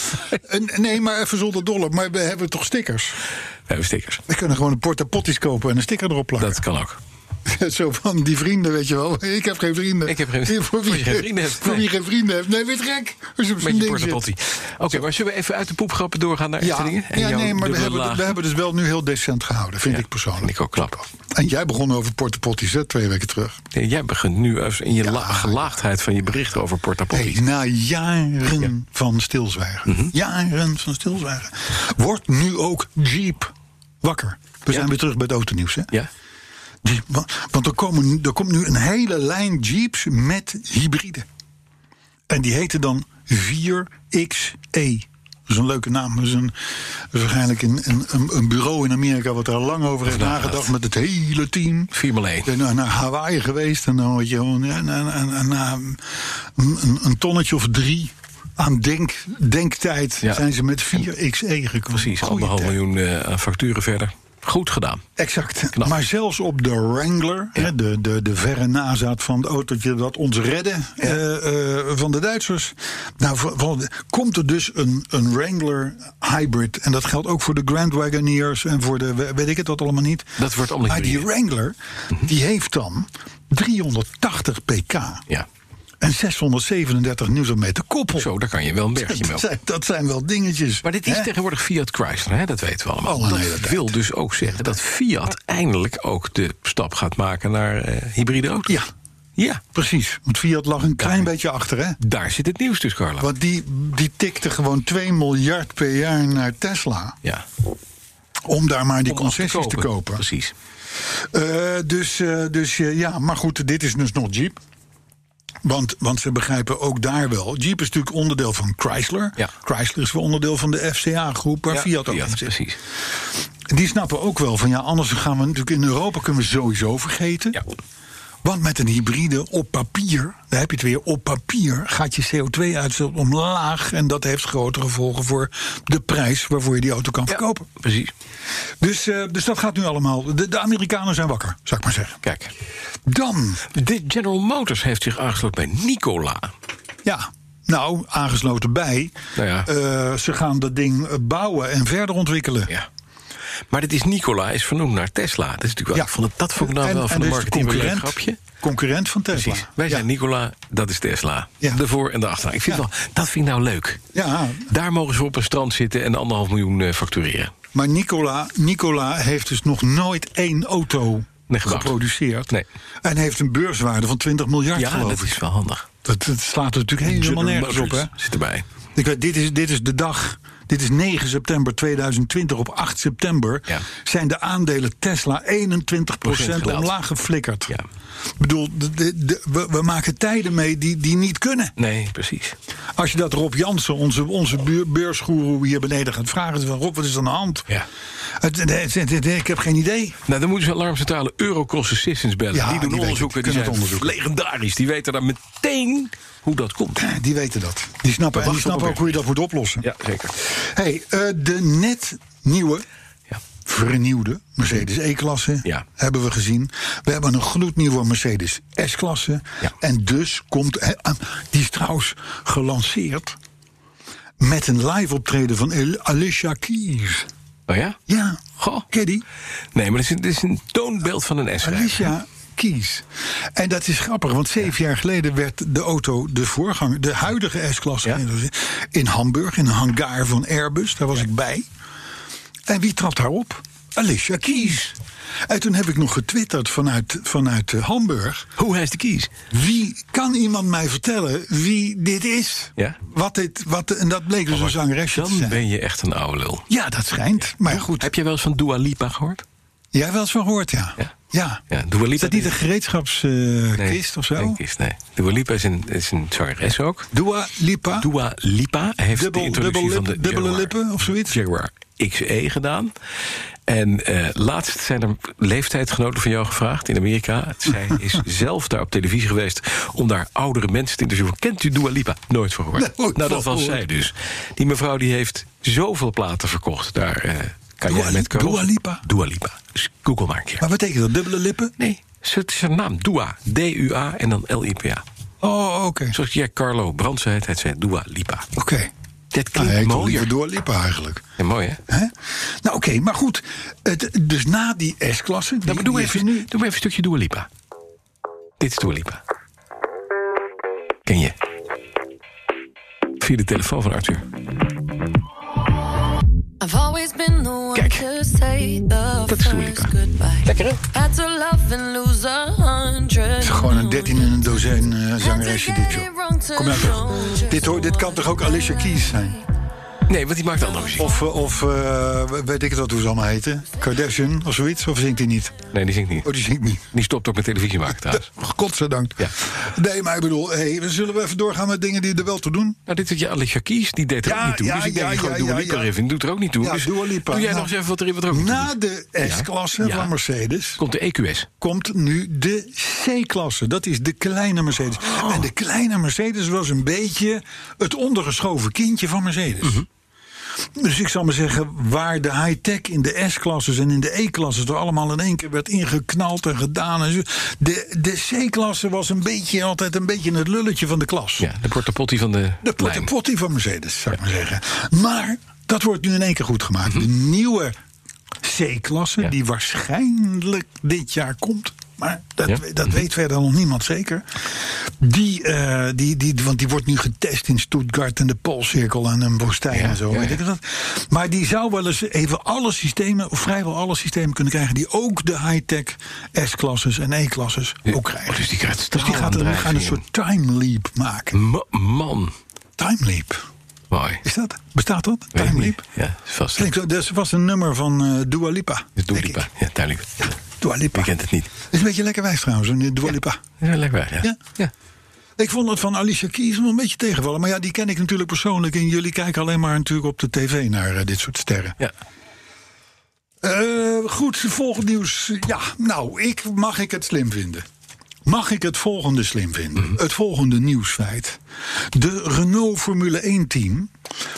[SPEAKER 2] En- nee, maar even zonder dollar. Maar we hebben toch stickers?
[SPEAKER 3] hebben we stickers.
[SPEAKER 2] We kunnen gewoon een porta potties kopen en een sticker erop plakken.
[SPEAKER 3] Dat kan ook.
[SPEAKER 2] Zo van die vrienden, weet je wel. Ik heb geen vrienden.
[SPEAKER 3] Ik heb geen-
[SPEAKER 2] Voor wie, geen vrienden hebt. Voor wie
[SPEAKER 3] nee.
[SPEAKER 2] geen vrienden hebt. Nee, weet gek. Als je op zo'n
[SPEAKER 3] Met je
[SPEAKER 2] ding zit.
[SPEAKER 3] portapotty. Oké, maar zullen we even uit de poepgrappen doorgaan naar
[SPEAKER 2] Ja,
[SPEAKER 3] Eftelingen? En
[SPEAKER 2] ja
[SPEAKER 3] jouw
[SPEAKER 2] nee, maar we
[SPEAKER 3] dubbele
[SPEAKER 2] hebben,
[SPEAKER 3] laag?
[SPEAKER 2] we hebben dus wel nu heel decent gehouden, vind
[SPEAKER 3] Ja,
[SPEAKER 2] ik persoonlijk.
[SPEAKER 3] vind ik ook knap.
[SPEAKER 2] En jij begon over portapotties, hè, twee weken terug.
[SPEAKER 3] Nee, jij begint nu even in je la- gelaagdheid van je berichten over portapotties.
[SPEAKER 2] Hey, na jaren van stilzwijgen, jaren van stilzwijgen, wordt nu ook Jeep wakker. We
[SPEAKER 3] Ja.
[SPEAKER 2] zijn weer terug bij het autonieuws, hè?
[SPEAKER 3] Ja?
[SPEAKER 2] Jeep, wa- want er, komen, er komt nu een hele lijn Jeeps met hybride. En die heten dan 4XE. Dat is een leuke naam. Dat is, een, dat is waarschijnlijk een, een, een- een bureau in Amerika... wat er al lang over heeft
[SPEAKER 3] Vandaag
[SPEAKER 2] nagedacht
[SPEAKER 3] dat.
[SPEAKER 2] met het hele team.
[SPEAKER 3] Viermaal één.
[SPEAKER 2] Ik ben naar- naar Hawaii geweest en dan word je gewoon ja, na, na- na- na een, een, een tonnetje of drie aan denk, denktijd...
[SPEAKER 3] Ja.
[SPEAKER 2] zijn ze met 4XE gekomen.
[SPEAKER 3] Precies,
[SPEAKER 2] Goeie
[SPEAKER 3] anderhalf
[SPEAKER 2] tijd.
[SPEAKER 3] miljoen eh, aan facturen verder. Goed gedaan.
[SPEAKER 2] Exact.
[SPEAKER 3] Knap.
[SPEAKER 2] Maar zelfs op de Wrangler, hè, de, de, de verre nazaat van het autootje dat ons redde eh, eh, van de Duitsers. Nou, van- van- komt er dus een, een Wrangler hybrid. En dat geldt ook voor de Grand Wagoneers en voor de we- weet ik het wat allemaal niet.
[SPEAKER 3] Dat wordt allemaal Mhm.
[SPEAKER 2] Maar die
[SPEAKER 3] hybride.
[SPEAKER 2] Wrangler, die heeft dan 380 pk
[SPEAKER 3] Ja.
[SPEAKER 2] en 637 Nm koppel.
[SPEAKER 3] Zo, daar kan je wel een bergje mee
[SPEAKER 2] dat,
[SPEAKER 3] op.
[SPEAKER 2] zijn, dat zijn wel dingetjes.
[SPEAKER 3] Maar dit is
[SPEAKER 2] hè?
[SPEAKER 3] tegenwoordig Fiat Chrysler, hè? dat weten we allemaal.
[SPEAKER 2] Al een hele
[SPEAKER 3] dat
[SPEAKER 2] tijd.
[SPEAKER 3] wil dus ook zeggen dat Fiat eindelijk ook de stap gaat maken naar eh, hybride auto's.
[SPEAKER 2] Ja,
[SPEAKER 3] Ja,
[SPEAKER 2] precies. Want Fiat lag een klein beetje achter, hè?
[SPEAKER 3] daar zit het nieuws dus, Carla.
[SPEAKER 2] Want die, die tikte gewoon 2 miljard per jaar naar Tesla.
[SPEAKER 3] Ja,
[SPEAKER 2] Om daar maar die
[SPEAKER 3] Om af
[SPEAKER 2] concessies te kopen.
[SPEAKER 3] Precies.
[SPEAKER 2] Eh, dus eh, dus eh, ja, maar goed, dit is dus nog Jeep. Want, want ze begrijpen ook daar wel. Jeep is natuurlijk onderdeel van Chrysler.
[SPEAKER 3] Ja.
[SPEAKER 2] Chrysler is wel onderdeel van de FCA-groep, waar
[SPEAKER 3] Ja,
[SPEAKER 2] Fiat ook in zit.
[SPEAKER 3] precies.
[SPEAKER 2] Die snappen ook wel van ja, anders gaan we natuurlijk in Europa kunnen we sowieso vergeten.
[SPEAKER 3] Ja.
[SPEAKER 2] Want met een hybride op papier, daar heb je het weer, op papier gaat je CO2-uitstoot omlaag. En dat heeft grotere gevolgen voor de prijs waarvoor je die auto kan verkopen.
[SPEAKER 3] Precies.
[SPEAKER 2] Dus, eh, dus dat gaat nu allemaal. De, de Amerikanen zijn wakker, zou ik maar zeggen.
[SPEAKER 3] Kijk,
[SPEAKER 2] Dan,
[SPEAKER 3] de General Motors heeft zich aangesloten bij Nicola.
[SPEAKER 2] ja, nou, aangesloten bij.
[SPEAKER 3] Nou ja.
[SPEAKER 2] eh, ze gaan dat ding eh, bouwen en verder ontwikkelen.
[SPEAKER 3] Ja. Maar dit is Nicola, is vernoemd naar Tesla. Dat is natuurlijk wel, ik vond het, dat vond ik nou
[SPEAKER 2] En-
[SPEAKER 3] wel
[SPEAKER 2] en
[SPEAKER 3] van de
[SPEAKER 2] dit is
[SPEAKER 3] marketing wel een leuk grapje.
[SPEAKER 2] Concurrent van Tesla.
[SPEAKER 3] Precies. Wij zijn Nicola, dat is Tesla.
[SPEAKER 2] Ja.
[SPEAKER 3] De voor- en de achternaam. Ik vind
[SPEAKER 2] Ja.
[SPEAKER 3] wel, dat vind ik nou leuk.
[SPEAKER 2] Ja,
[SPEAKER 3] Daar mogen ze op een strand zitten en anderhalf miljoen eh, factureren.
[SPEAKER 2] Maar Nicola, Nicola heeft dus nog nooit één auto
[SPEAKER 3] Nee, gebouwd.
[SPEAKER 2] geproduceerd.
[SPEAKER 3] Nee.
[SPEAKER 2] En heeft een beurswaarde van 20 miljard,
[SPEAKER 3] Ja,
[SPEAKER 2] geloof
[SPEAKER 3] dat
[SPEAKER 2] ik.
[SPEAKER 3] is wel handig.
[SPEAKER 2] Dat, dat slaat er natuurlijk helemaal
[SPEAKER 3] General
[SPEAKER 2] nergens op, hè?
[SPEAKER 3] Motors Zit erbij.
[SPEAKER 2] Ik weet, dit is, dit is de dag. Dit is 9 september 2020. Op 8 september
[SPEAKER 3] Ja.
[SPEAKER 2] zijn de aandelen Tesla 21%
[SPEAKER 3] gedaald.
[SPEAKER 2] omlaag geflikkerd.
[SPEAKER 3] Ja.
[SPEAKER 2] Ik bedoel, de- de- de- we, we maken tijden mee die, die niet kunnen.
[SPEAKER 3] Nee, precies.
[SPEAKER 2] Als je dat Rob Jansen, onze, onze buur- beursgoeroe hier beneden gaat vragen... van Rob, wat is er aan de hand?
[SPEAKER 3] Ja.
[SPEAKER 2] Het- het- het- het- ik heb geen idee.
[SPEAKER 3] Nou, dan moeten ze alarmcentrale Eurocross Assistance bellen.
[SPEAKER 2] Ja,
[SPEAKER 3] die doen
[SPEAKER 2] die weten-
[SPEAKER 3] onderzoeken, die
[SPEAKER 2] kunnen
[SPEAKER 3] zijn
[SPEAKER 2] het onderzoeken.
[SPEAKER 3] legendarisch. Die weten daar meteen hoe dat komt.
[SPEAKER 2] Die weten dat. Die snappen, en die
[SPEAKER 3] wachten op
[SPEAKER 2] snappen ook
[SPEAKER 3] elkaar.
[SPEAKER 2] hoe je dat moet oplossen.
[SPEAKER 3] Ja, zeker.
[SPEAKER 2] Hey, eh, de net nieuwe,
[SPEAKER 3] Ja.
[SPEAKER 2] vernieuwde Mercedes E-klasse
[SPEAKER 3] Ja.
[SPEAKER 2] hebben we gezien. We hebben een gloednieuwe Mercedes S-klasse.
[SPEAKER 3] Ja.
[SPEAKER 2] En dus komt, eh, aan- die is trouwens gelanceerd met een live optreden van El- Alicia Keys.
[SPEAKER 3] Oh ja?
[SPEAKER 2] Ja,
[SPEAKER 3] Goh.
[SPEAKER 2] ken je die?
[SPEAKER 3] Nee, maar dit is, dit is een toonbeeld van een s
[SPEAKER 2] Alicia Keys. En dat is grappig, want zeven jaar geleden werd de auto, de voorganger, de huidige S-klasse,
[SPEAKER 3] Ja.
[SPEAKER 2] in Hamburg, in een hangar van Airbus, daar was ik bij. En wie trapt haar op? Alicia Keys. En toen heb ik nog getwitterd vanuit, vanuit eh, Hamburg.
[SPEAKER 3] Hoe hij is de kies?
[SPEAKER 2] Wie kan iemand mij vertellen wie dit is?
[SPEAKER 3] Ja. Oh,
[SPEAKER 2] Wat dit, wat, en dat bleek dus een zangeresje te
[SPEAKER 3] Dan
[SPEAKER 2] zijn.
[SPEAKER 3] ben je echt een oude lul.
[SPEAKER 2] Ja, dat schijnt. Maar goed,
[SPEAKER 3] Heb jij wel eens van Dua Lipa gehoord?
[SPEAKER 2] jij hebt wel eens van gehoord, ja.
[SPEAKER 3] Ja.
[SPEAKER 2] ja.
[SPEAKER 3] Ja, Dua Lipa
[SPEAKER 2] Is dat niet
[SPEAKER 3] is-
[SPEAKER 2] een gereedschapskist eh,
[SPEAKER 3] Nee,
[SPEAKER 2] of zo?
[SPEAKER 3] geen kist, nee. Dua Lipa is een, is een zangeres ook.
[SPEAKER 2] Dua Lipa.
[SPEAKER 3] Dua Lipa heeft
[SPEAKER 2] Dubbel-
[SPEAKER 3] de introductie
[SPEAKER 2] dubbel
[SPEAKER 3] van de
[SPEAKER 2] lip- dubbele
[SPEAKER 3] Jaguar-
[SPEAKER 2] lippen of zoiets?
[SPEAKER 3] Jaguar XE gedaan. En eh, laatst zijn er leeftijdsgenoten van jou gevraagd in Amerika. Zij is zelf daar op televisie geweest om daar oudere mensen te interviewen. Kent u Dua Lipa? Nooit van
[SPEAKER 2] Nooit
[SPEAKER 3] gehoord. nou,
[SPEAKER 2] van
[SPEAKER 3] dat was
[SPEAKER 2] gehoord.
[SPEAKER 3] zij dus. Die mevrouw die heeft zoveel platen verkocht. Daar eh, kan
[SPEAKER 2] Dua
[SPEAKER 3] jij
[SPEAKER 2] Li-
[SPEAKER 3] met Carlos-
[SPEAKER 2] Dua Lipa?
[SPEAKER 3] Dua Lipa. Dus Google maar een keer.
[SPEAKER 2] Maar wat betekent dat? Dubbele lippen?
[SPEAKER 3] Nee, het is haar naam. Dua. D-U-A en dan L-I-P-A.
[SPEAKER 2] Oh, oké.
[SPEAKER 3] Zoals jij Carlo Brandt zei, het zei Dua Lipa.
[SPEAKER 2] Oké.
[SPEAKER 3] Dat
[SPEAKER 2] Nou,
[SPEAKER 3] klinkt
[SPEAKER 2] hij toch
[SPEAKER 3] mooier.
[SPEAKER 2] liever doorlippen eigenlijk.
[SPEAKER 3] Ja, mooi, hè?
[SPEAKER 2] Hè? Nou, oké, maar goed. Het, dus na die S-klasse. die-
[SPEAKER 3] Dan Nou, doe,
[SPEAKER 2] die
[SPEAKER 3] even,
[SPEAKER 2] is
[SPEAKER 3] doe even een stukje Dua Lipa. Dit is Dua Lipa. Ken je? Via de telefoon van Arthur.
[SPEAKER 7] I've always been the one
[SPEAKER 3] Kijk.
[SPEAKER 7] to say the
[SPEAKER 3] Dat is Dua Lipa.
[SPEAKER 7] first goodbye.
[SPEAKER 3] Lekker, hè?
[SPEAKER 7] Had to love and lose a hundred.
[SPEAKER 2] Het is gewoon een 13 en een dozijn eh, zangeresje, dit joh. Kom
[SPEAKER 7] Kom
[SPEAKER 2] nou toch. Dit, hoor- dit kan toch ook Alicia Keys zijn?
[SPEAKER 3] Nee, want die maakt andere muziek.
[SPEAKER 2] Of, eh, of eh, weet ik het wat hoe ze allemaal heten? Kardashian of zoiets? Of zingt hij niet?
[SPEAKER 3] Nee, die zingt niet.
[SPEAKER 2] Oh, die zingt niet.
[SPEAKER 3] Die stopt ook met televisie maken, trouwens.
[SPEAKER 2] Godzijdank.
[SPEAKER 3] Ja.
[SPEAKER 2] Nee, maar ik bedoel, hey, zullen we even doorgaan met dingen die er wel toe doen?
[SPEAKER 3] Nou, dit had je Alicia Keys, die deed er
[SPEAKER 2] Ja,
[SPEAKER 3] ook niet toe.
[SPEAKER 2] ja,
[SPEAKER 3] dus ik denk,
[SPEAKER 2] ja,
[SPEAKER 3] gewoon
[SPEAKER 2] ja,
[SPEAKER 3] Dua
[SPEAKER 2] ja,
[SPEAKER 3] Lipa
[SPEAKER 2] ja.
[SPEAKER 3] even. Doet er ook niet toe.
[SPEAKER 2] Ja,
[SPEAKER 3] dus
[SPEAKER 2] Dua Lipa.
[SPEAKER 3] Doe jij
[SPEAKER 2] Nou,
[SPEAKER 3] nog eens even wat er, wat er ook niet toe
[SPEAKER 2] Na
[SPEAKER 3] doet.
[SPEAKER 2] de S-klasse
[SPEAKER 3] Oh, Ja.
[SPEAKER 2] van Mercedes
[SPEAKER 3] Komt de E EQS.
[SPEAKER 2] komt nu de C-klasse. Dat is de kleine Mercedes. En de kleine Mercedes was een beetje het ondergeschoven kindje van Mercedes. Dus ik zal maar zeggen, waar de high-tech in de S-klasses en in de E-klasses er allemaal in één keer werd ingeknald en gedaan. En zo. De, de C-klasse was een beetje, altijd een beetje het lulletje van de klas.
[SPEAKER 3] Ja, de portapotti van de,
[SPEAKER 2] De
[SPEAKER 3] lijn.
[SPEAKER 2] portapotti van Mercedes, zou ik maar zeggen. Maar dat wordt nu in één keer goed gemaakt. De nieuwe C-klasse,
[SPEAKER 3] Mhm. Ja.
[SPEAKER 2] die waarschijnlijk dit jaar komt. Maar dat,
[SPEAKER 3] Ja. Mhm.
[SPEAKER 2] we- dat weet verder nog niemand zeker. Die, eh, die, die, want die wordt nu getest in Stuttgart en de Poolcirkel en een woestijn
[SPEAKER 3] Ja,
[SPEAKER 2] en zo.
[SPEAKER 3] ja,
[SPEAKER 2] weet
[SPEAKER 3] ja.
[SPEAKER 2] ik dat. Maar die zou wel eens even alle systemen, of vrijwel alle systemen kunnen krijgen. die ook de high-tech S-klasses en E-klasses ook krijgen.
[SPEAKER 3] Oh, dus die krijgt
[SPEAKER 2] Dus die gaat een, gaan een soort time leap maken.
[SPEAKER 3] Ma- man.
[SPEAKER 2] Time leap.
[SPEAKER 3] Mooi.
[SPEAKER 2] Is dat? Bestaat dat?
[SPEAKER 3] Weet ik
[SPEAKER 2] Time
[SPEAKER 3] niet.
[SPEAKER 2] Leap?
[SPEAKER 3] Ja, vast.
[SPEAKER 2] Klinkt zo- Dat was een nummer van eh Dua Lipa.
[SPEAKER 3] Dus Dua
[SPEAKER 2] denk ik.
[SPEAKER 3] Lipa. Ja, duidelijk.
[SPEAKER 2] Dua Lipa.
[SPEAKER 3] Je kent het niet.
[SPEAKER 2] Is een beetje lekker wijs trouwens, een Dua Lipa.
[SPEAKER 3] Ja, lekker, ja.
[SPEAKER 2] Ja?
[SPEAKER 3] ja.
[SPEAKER 2] Ik vond het van Alicia Keys wel een beetje tegenvallen. Maar ja, die ken ik natuurlijk persoonlijk. En jullie kijken alleen maar natuurlijk op de tv naar eh, dit soort sterren.
[SPEAKER 3] Ja.
[SPEAKER 2] Eh, goed, volgend nieuws. Ja, nou, ik, mag ik het slim vinden? Mag ik het volgende slim vinden?
[SPEAKER 3] Mhm.
[SPEAKER 2] Het volgende nieuwsfeit. De Renault Formule 1 team...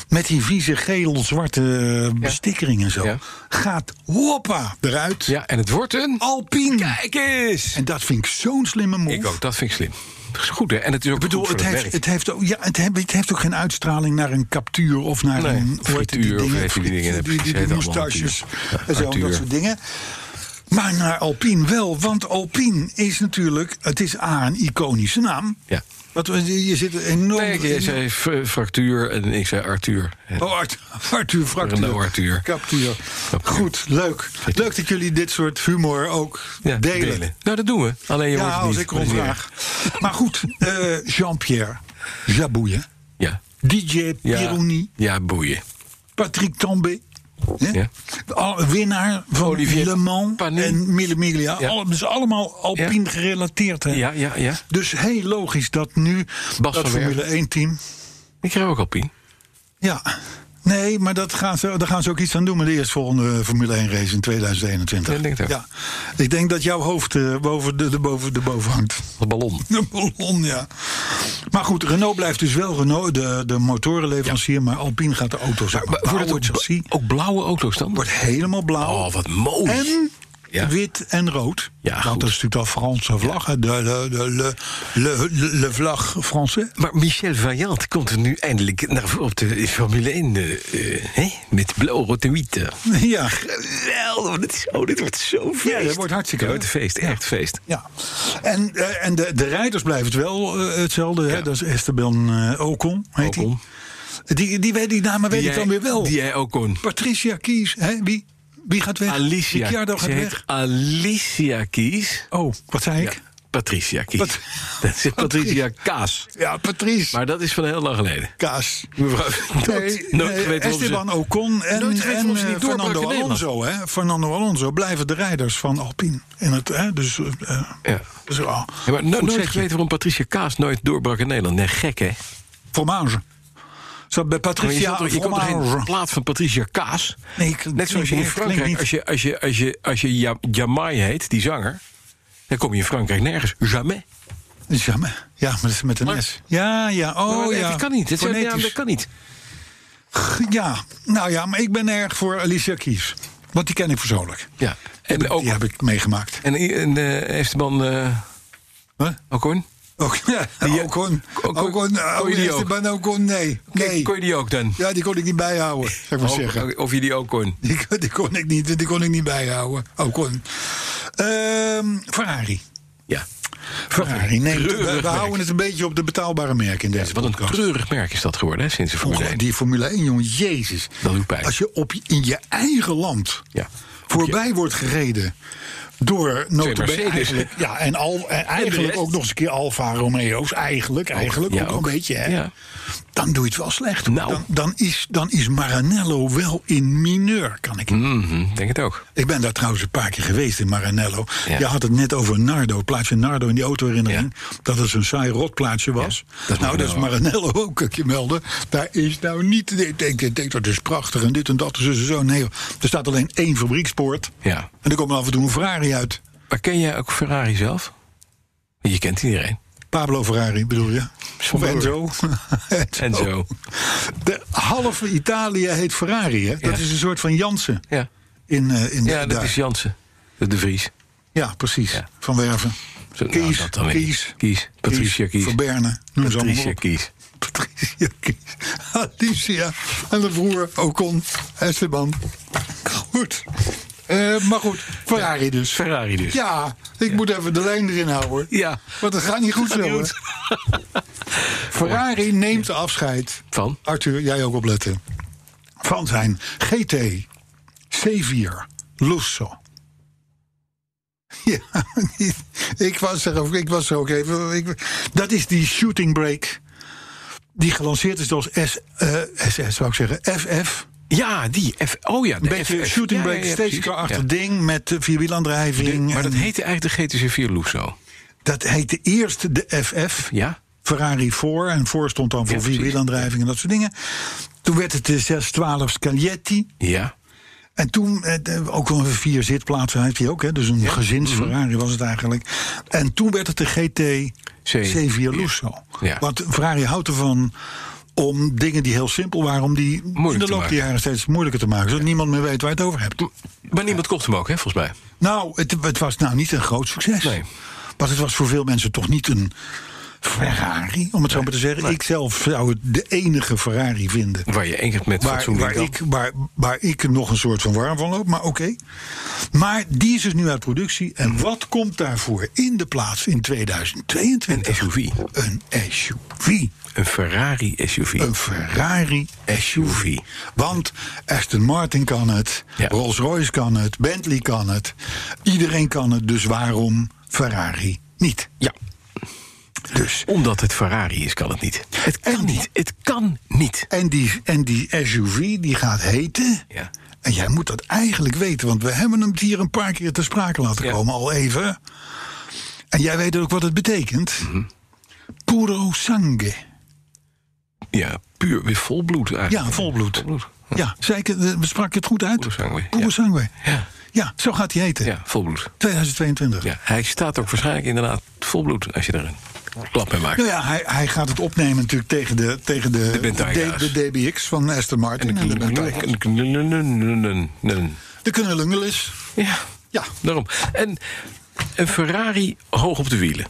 [SPEAKER 2] met die vieze geel-zwarte bestikkering en zo...
[SPEAKER 3] Ja.
[SPEAKER 2] gaat hoppa eruit.
[SPEAKER 3] Ja, en het wordt een...
[SPEAKER 2] Alpine.
[SPEAKER 3] Kijk eens!
[SPEAKER 2] En dat vind ik zo'n slimme move.
[SPEAKER 3] Ik ook, dat vind ik slim. Dat is goed, hè? En het is ook
[SPEAKER 2] Ik bedoel,
[SPEAKER 3] goed voor
[SPEAKER 2] het
[SPEAKER 3] het,
[SPEAKER 2] heeft,
[SPEAKER 3] werk.
[SPEAKER 2] het, heeft ook, ja, het, heeft, het heeft ook geen uitstraling naar een captuur of naar
[SPEAKER 3] Nee,
[SPEAKER 2] een hoe heet
[SPEAKER 3] frituur of weet ik die dingen,
[SPEAKER 2] die, die,
[SPEAKER 3] precies,
[SPEAKER 2] die,
[SPEAKER 3] heet allemaal
[SPEAKER 2] moustaches
[SPEAKER 3] natuurlijk.
[SPEAKER 2] en zo,
[SPEAKER 3] Frituur.
[SPEAKER 2] dat soort dingen. Maar naar Alpine wel, want Alpine is natuurlijk, het is A, een iconische naam.
[SPEAKER 3] Ja.
[SPEAKER 2] Wat, we- je zit enorm...
[SPEAKER 3] Nee, ik eh, zei f- fractuur en ik zei Arthur. En-
[SPEAKER 2] Oh, Art- Arthur Fractuur.
[SPEAKER 3] Renault Arthur.
[SPEAKER 2] Captuur.
[SPEAKER 3] Captuur.
[SPEAKER 2] Goed, leuk. Leuk dat jullie dit soort humor ook
[SPEAKER 3] Ja,
[SPEAKER 2] delen.
[SPEAKER 3] Nou, dat doen we. Alleen je
[SPEAKER 2] Ja,
[SPEAKER 3] hoort het
[SPEAKER 2] als
[SPEAKER 3] niet.
[SPEAKER 2] ik erom
[SPEAKER 3] Maar-
[SPEAKER 2] vraag. Maar goed, eh, Jean-Pierre Jabouille,
[SPEAKER 3] Ja.
[SPEAKER 2] DJ
[SPEAKER 3] Ja.
[SPEAKER 2] Pironi,
[SPEAKER 3] Ja, boeien.
[SPEAKER 2] Patrick Tambay. hè?
[SPEAKER 3] Ja.
[SPEAKER 2] Al- Winnaar van
[SPEAKER 3] Olivier
[SPEAKER 2] Le Mans
[SPEAKER 3] Panis.
[SPEAKER 2] en Mille Miglia.
[SPEAKER 3] Ja.
[SPEAKER 2] Al, dus allemaal alpien gerelateerd. Hè?
[SPEAKER 3] Ja, ja, ja.
[SPEAKER 2] Dus heel logisch dat nu
[SPEAKER 3] Bas
[SPEAKER 2] dat
[SPEAKER 3] van Werven.
[SPEAKER 2] Formule 1-team...
[SPEAKER 3] Ik krijg ook Alpine.
[SPEAKER 2] Ja, nee, maar dat gaan ze, daar gaan ze ook iets aan doen... met de eerstvolgende eh, Formule 1-race in 2021.
[SPEAKER 3] Ja, ik denk het ook.
[SPEAKER 2] Ja. Ik denk dat jouw hoofd eh, boven de, de, boven, de boven hangt.
[SPEAKER 3] Een ballon.
[SPEAKER 2] Een ballon, ja. Maar goed, Renault blijft dus wel Renault, de, de motorenleverancier. Maar Alpine gaat de auto's maar,
[SPEAKER 3] Maar worden
[SPEAKER 2] het
[SPEAKER 3] het ook,
[SPEAKER 2] chassis.
[SPEAKER 3] ook blauwe auto's dan?
[SPEAKER 2] Wordt helemaal blauw.
[SPEAKER 3] Oh, wat mooi.
[SPEAKER 2] en
[SPEAKER 3] Ja.
[SPEAKER 2] wit en rood.
[SPEAKER 3] Ja,
[SPEAKER 2] Want
[SPEAKER 3] goed.
[SPEAKER 2] dat is natuurlijk al Franse vlag. hè. De, de, de, le, le, le, le vlag Français.
[SPEAKER 3] Maar Michel Vaillant komt er nu eindelijk naar, op de Formule 1. eh, eh, hè? Met blauw, rood en wit. eh.
[SPEAKER 2] Ja.
[SPEAKER 3] Geweldig. Dit, is, oh, dit wordt zo feest.
[SPEAKER 2] dat wordt hartstikke
[SPEAKER 3] Ja, het feest. Echt feest.
[SPEAKER 2] Ja, en, eh, en de, de rijders blijven het wel eh, hetzelfde. Hè?
[SPEAKER 3] Ja.
[SPEAKER 2] Dat is Esteban eh, Ocon, heet hij.
[SPEAKER 3] Ocon.
[SPEAKER 2] Die, die, weet- die namen weet ik
[SPEAKER 3] jij-
[SPEAKER 2] dan weer wel.
[SPEAKER 3] Die jij ook kon.
[SPEAKER 2] Patricia Kies, hè? Wie, wie gaat weg?
[SPEAKER 3] Alicia.
[SPEAKER 2] Ricciardo gaat
[SPEAKER 3] Ze heet
[SPEAKER 2] weg.
[SPEAKER 3] Alicia Kies.
[SPEAKER 2] Oh, wat zei ik?
[SPEAKER 3] Ja, Patricia Kies.
[SPEAKER 2] Pat-
[SPEAKER 3] dat is Patricia Kaas.
[SPEAKER 2] Ja, Patrice.
[SPEAKER 3] Maar dat is van heel lang geleden.
[SPEAKER 2] Kaas.
[SPEAKER 3] Mevrouw,
[SPEAKER 2] Nee,
[SPEAKER 3] nooit
[SPEAKER 2] nee,
[SPEAKER 3] geweten waarom ze-
[SPEAKER 2] Esteban Ocon en,
[SPEAKER 3] Nooit geweten
[SPEAKER 2] en
[SPEAKER 3] waarom ze
[SPEAKER 2] eh,
[SPEAKER 3] niet doorbraken
[SPEAKER 2] Fernando
[SPEAKER 3] in Nederland.
[SPEAKER 2] Alonso. Hè? Fernando Alonso blijven de rijders van Alpine. In het, hè? Dus, eh, eh,
[SPEAKER 3] Ja.
[SPEAKER 2] dus, oh,
[SPEAKER 3] Ja, maar no-
[SPEAKER 2] goed
[SPEAKER 3] nooit
[SPEAKER 2] zetje.
[SPEAKER 3] geweten waarom Patricia Kaas nooit doorbrak in Nederland. Nee, gek hè?
[SPEAKER 2] Fromage. Zat bij
[SPEAKER 3] Maar je,
[SPEAKER 2] Patricia
[SPEAKER 3] zult toch- je komt toch in
[SPEAKER 2] Fromage.
[SPEAKER 3] plaats van Patricia Kaas?
[SPEAKER 2] Nee, ik-
[SPEAKER 3] Net zoals je in
[SPEAKER 2] nee, het klinkt
[SPEAKER 3] Frankrijk,
[SPEAKER 2] niet.
[SPEAKER 3] als je, als je, als je, als je Ja- Jamai heet, die zanger... dan kom je in Frankrijk nergens. Jamais.
[SPEAKER 2] Ja, maar, ja, maar dat is met een
[SPEAKER 3] Maar-
[SPEAKER 2] S. Ja, ja, oh
[SPEAKER 3] Maar
[SPEAKER 2] ja.
[SPEAKER 3] Dat kan niet. Dat, zou- ja,
[SPEAKER 2] Fonetisch.
[SPEAKER 3] dat kan niet.
[SPEAKER 2] Ja, nou ja, maar ik ben erg voor Alicia Kies. Want die ken ik persoonlijk.
[SPEAKER 3] Ja. En ook...
[SPEAKER 2] Die heb ik meegemaakt.
[SPEAKER 3] En, en eh, Esteban eh
[SPEAKER 2] Huh?
[SPEAKER 3] Ocon?
[SPEAKER 2] Ook, ja,
[SPEAKER 3] Die-
[SPEAKER 2] Ocon.
[SPEAKER 3] Ocon-
[SPEAKER 2] Ocon.
[SPEAKER 3] kon je die ook?
[SPEAKER 2] Oh, Esteban Ocon, nee. nee.
[SPEAKER 3] Kon je die Oh, ook dan?
[SPEAKER 2] Ja, die kon ik niet bijhouden, zou ik maar zeggen.
[SPEAKER 3] Of, of je die ook kon?
[SPEAKER 2] Die, kon- die, kon ik niet, die kon ik niet bijhouden. Ocon. Ehm Ferrari.
[SPEAKER 3] Ja.
[SPEAKER 2] Ferrari. Nee, we,
[SPEAKER 3] treurig
[SPEAKER 2] we
[SPEAKER 3] merk.
[SPEAKER 2] houden het een beetje op de betaalbare merk in deze
[SPEAKER 3] dus Wat een
[SPEAKER 2] podcast.
[SPEAKER 3] treurig merk is dat geworden, hè, sinds de Formule
[SPEAKER 2] Ongelooflijk,
[SPEAKER 3] 1.
[SPEAKER 2] Die Formule 1, jongen, jezus.
[SPEAKER 3] Dat doet pijn.
[SPEAKER 2] Als je op, je- in je eigen land
[SPEAKER 3] Ja.
[SPEAKER 2] voorbij wordt gereden door notabene
[SPEAKER 3] Mercedes.
[SPEAKER 2] eigenlijk, ja, en, al, en eigenlijk
[SPEAKER 3] rest.
[SPEAKER 2] ook nog eens een keer Alfa Romeo's, eigenlijk, eigenlijk
[SPEAKER 3] ja,
[SPEAKER 2] ook, wel
[SPEAKER 3] ook.
[SPEAKER 2] een beetje, hè?
[SPEAKER 3] Ja.
[SPEAKER 2] Dan doe je het wel slecht.
[SPEAKER 3] Nou.
[SPEAKER 2] Dan, dan, is, dan is Maranello wel in mineur, kan ik.
[SPEAKER 3] Mhm, denk het ook.
[SPEAKER 2] Ik ben daar trouwens een paar keer geweest in Maranello.
[SPEAKER 3] Ja.
[SPEAKER 2] Je had het net over Nardo, plaatsje Nardo in die autoherinnering. Dat het zo'n saai rotplaatsje was.
[SPEAKER 3] Ja, dat is
[SPEAKER 2] nou, dat is
[SPEAKER 3] Maranello.
[SPEAKER 2] Maranello ook, kan ik je melden. Daar is nou niet... Ik denk, ik denk dat is prachtig en dit en dat Dus en zo en zo. Nee, hoor. er staat alleen één fabriekspoort.
[SPEAKER 3] Ja.
[SPEAKER 2] En er komt af en toe een Ferrari uit.
[SPEAKER 3] Maar ken jij ook Ferrari zelf? Je kent iedereen.
[SPEAKER 2] Pablo Ferrari bedoel je? Of Enzo.
[SPEAKER 3] En
[SPEAKER 2] Oh.
[SPEAKER 3] zo.
[SPEAKER 2] De halve Italië heet Ferrari, hè? Dat
[SPEAKER 3] Ja.
[SPEAKER 2] is een soort van Jansen.
[SPEAKER 3] Ja,
[SPEAKER 2] In, eh, in
[SPEAKER 3] ja dat
[SPEAKER 2] daar.
[SPEAKER 3] is Jansen. De, de Vries.
[SPEAKER 2] Ja, precies.
[SPEAKER 3] Ja.
[SPEAKER 2] Van Werven.
[SPEAKER 3] Zo- nou,
[SPEAKER 2] Kies,
[SPEAKER 3] dat dan weer.
[SPEAKER 2] Kies.
[SPEAKER 3] Kies. Patricia Kies.
[SPEAKER 2] Verberne. Noem ze allemaal
[SPEAKER 3] Patricia
[SPEAKER 2] op.
[SPEAKER 3] Kies.
[SPEAKER 2] Patricia Kies. Alicia. En de broer Ocon. Esteban. Goed. Eh, maar goed, Ferrari dus.
[SPEAKER 3] Ferrari dus.
[SPEAKER 2] Ja, ik moet even de lijn erin houden. hoor.
[SPEAKER 3] Ja.
[SPEAKER 2] Want het gaat niet goed zo. hè. Ferrari neemt afscheid.
[SPEAKER 3] Van?
[SPEAKER 2] Arthur, jij ook opletten. Van zijn GT C4 Lusso. Ja, ik was er, ook- ik was er ook even. ik- dat is die shooting break. Die gelanceerd is als S, eh, SS, zou ik zeggen. FF.
[SPEAKER 3] Ja, die. F oh ja, de
[SPEAKER 2] Een beetje
[SPEAKER 3] FF.
[SPEAKER 2] shooting
[SPEAKER 3] Ja,
[SPEAKER 2] break,
[SPEAKER 3] ja, ja,
[SPEAKER 2] steeds
[SPEAKER 3] precies.
[SPEAKER 2] achter
[SPEAKER 3] Ja.
[SPEAKER 2] ding met eh, vierwielaandrijving.
[SPEAKER 3] Maar dat
[SPEAKER 2] en-
[SPEAKER 3] heette eigenlijk de GTC 4 Lusso.
[SPEAKER 2] dat heette eerst de FF.
[SPEAKER 3] Ja?
[SPEAKER 2] Ferrari voor. En voor stond dan voor
[SPEAKER 3] Ja, precies.
[SPEAKER 2] vierwielaandrijving en dat soort dingen. Toen werd het de 612 Scaglietti.
[SPEAKER 3] Ja.
[SPEAKER 2] En toen, eh, de- ook wel een vier zitplaatsen heeft hij ook. Hè? Dus een
[SPEAKER 3] Mhm.
[SPEAKER 2] gezins-Ferrari was het eigenlijk. En toen werd het de GT
[SPEAKER 3] C-
[SPEAKER 2] C4 Lusso.
[SPEAKER 3] Ja.
[SPEAKER 2] Want Ferrari houdt ervan om dingen die heel simpel waren... om die in
[SPEAKER 3] te
[SPEAKER 2] de loop
[SPEAKER 3] maken.
[SPEAKER 2] der jaren steeds moeilijker te maken. Zodat niemand meer weet waar je het over hebt.
[SPEAKER 3] Maar niemand kocht hem ook, hè, volgens mij.
[SPEAKER 2] Nou, het, het was nou niet een groot succes.
[SPEAKER 3] Nee.
[SPEAKER 2] Want het was voor veel mensen toch niet een Ferrari, om het zo maar te zeggen. Ik zelf zou het de enige Ferrari vinden.
[SPEAKER 3] Waar je één keer met
[SPEAKER 2] Waar,
[SPEAKER 3] fatsoen
[SPEAKER 2] waar,
[SPEAKER 3] in kan.
[SPEAKER 2] ik, waar, waar ik nog een soort van warm van loop, maar oké. Maar die is dus nu uit productie.
[SPEAKER 3] Hmm.
[SPEAKER 2] En wat komt daarvoor in de plaats in 2022?
[SPEAKER 3] Een SUV.
[SPEAKER 2] Een SUV.
[SPEAKER 3] Een Ferrari SUV.
[SPEAKER 2] Een Ferrari
[SPEAKER 3] SUV.
[SPEAKER 2] want Aston Martin kan het,
[SPEAKER 3] Ja.
[SPEAKER 2] Rolls-Royce kan het, Bentley kan het. Iedereen kan het, dus waarom Ferrari niet?
[SPEAKER 3] Ja.
[SPEAKER 2] Dus.
[SPEAKER 3] Omdat het Ferrari is, kan het niet. Het kan
[SPEAKER 2] En-
[SPEAKER 3] niet. Het kan niet.
[SPEAKER 2] En die, en die SUV die gaat heten.
[SPEAKER 3] Ja.
[SPEAKER 2] En jij moet dat eigenlijk weten, want we hebben hem hier een paar keer te sprake laten
[SPEAKER 3] Ja.
[SPEAKER 2] komen, al even. En jij weet ook wat het betekent.
[SPEAKER 3] Mhm.
[SPEAKER 2] Puro sangue.
[SPEAKER 3] Ja, puur weer volbloed eigenlijk.
[SPEAKER 2] Ja, volbloed.
[SPEAKER 3] Volbloed.
[SPEAKER 2] Ja, zei ik, het- eh, sprak je het goed uit?
[SPEAKER 3] Puro sangue,
[SPEAKER 2] Puro
[SPEAKER 3] ja.
[SPEAKER 2] sangue.
[SPEAKER 3] Ja.
[SPEAKER 2] Ja, zo gaat hij heten.
[SPEAKER 3] Ja, volbloed.
[SPEAKER 2] 2022.
[SPEAKER 3] Ja, hij staat ook waarschijnlijk inderdaad volbloed als je er een klap mee maakt.
[SPEAKER 2] Nou ja, hij, hij gaat het opnemen natuurlijk tegen de, tegen de,
[SPEAKER 3] De Bentayga's.
[SPEAKER 2] de- de DBX van Aston Martin. En de, Bentayga's. de kunnen lungelis.
[SPEAKER 3] Ja,
[SPEAKER 2] Ja.
[SPEAKER 3] daarom. En een Ferrari hoog op de wielen.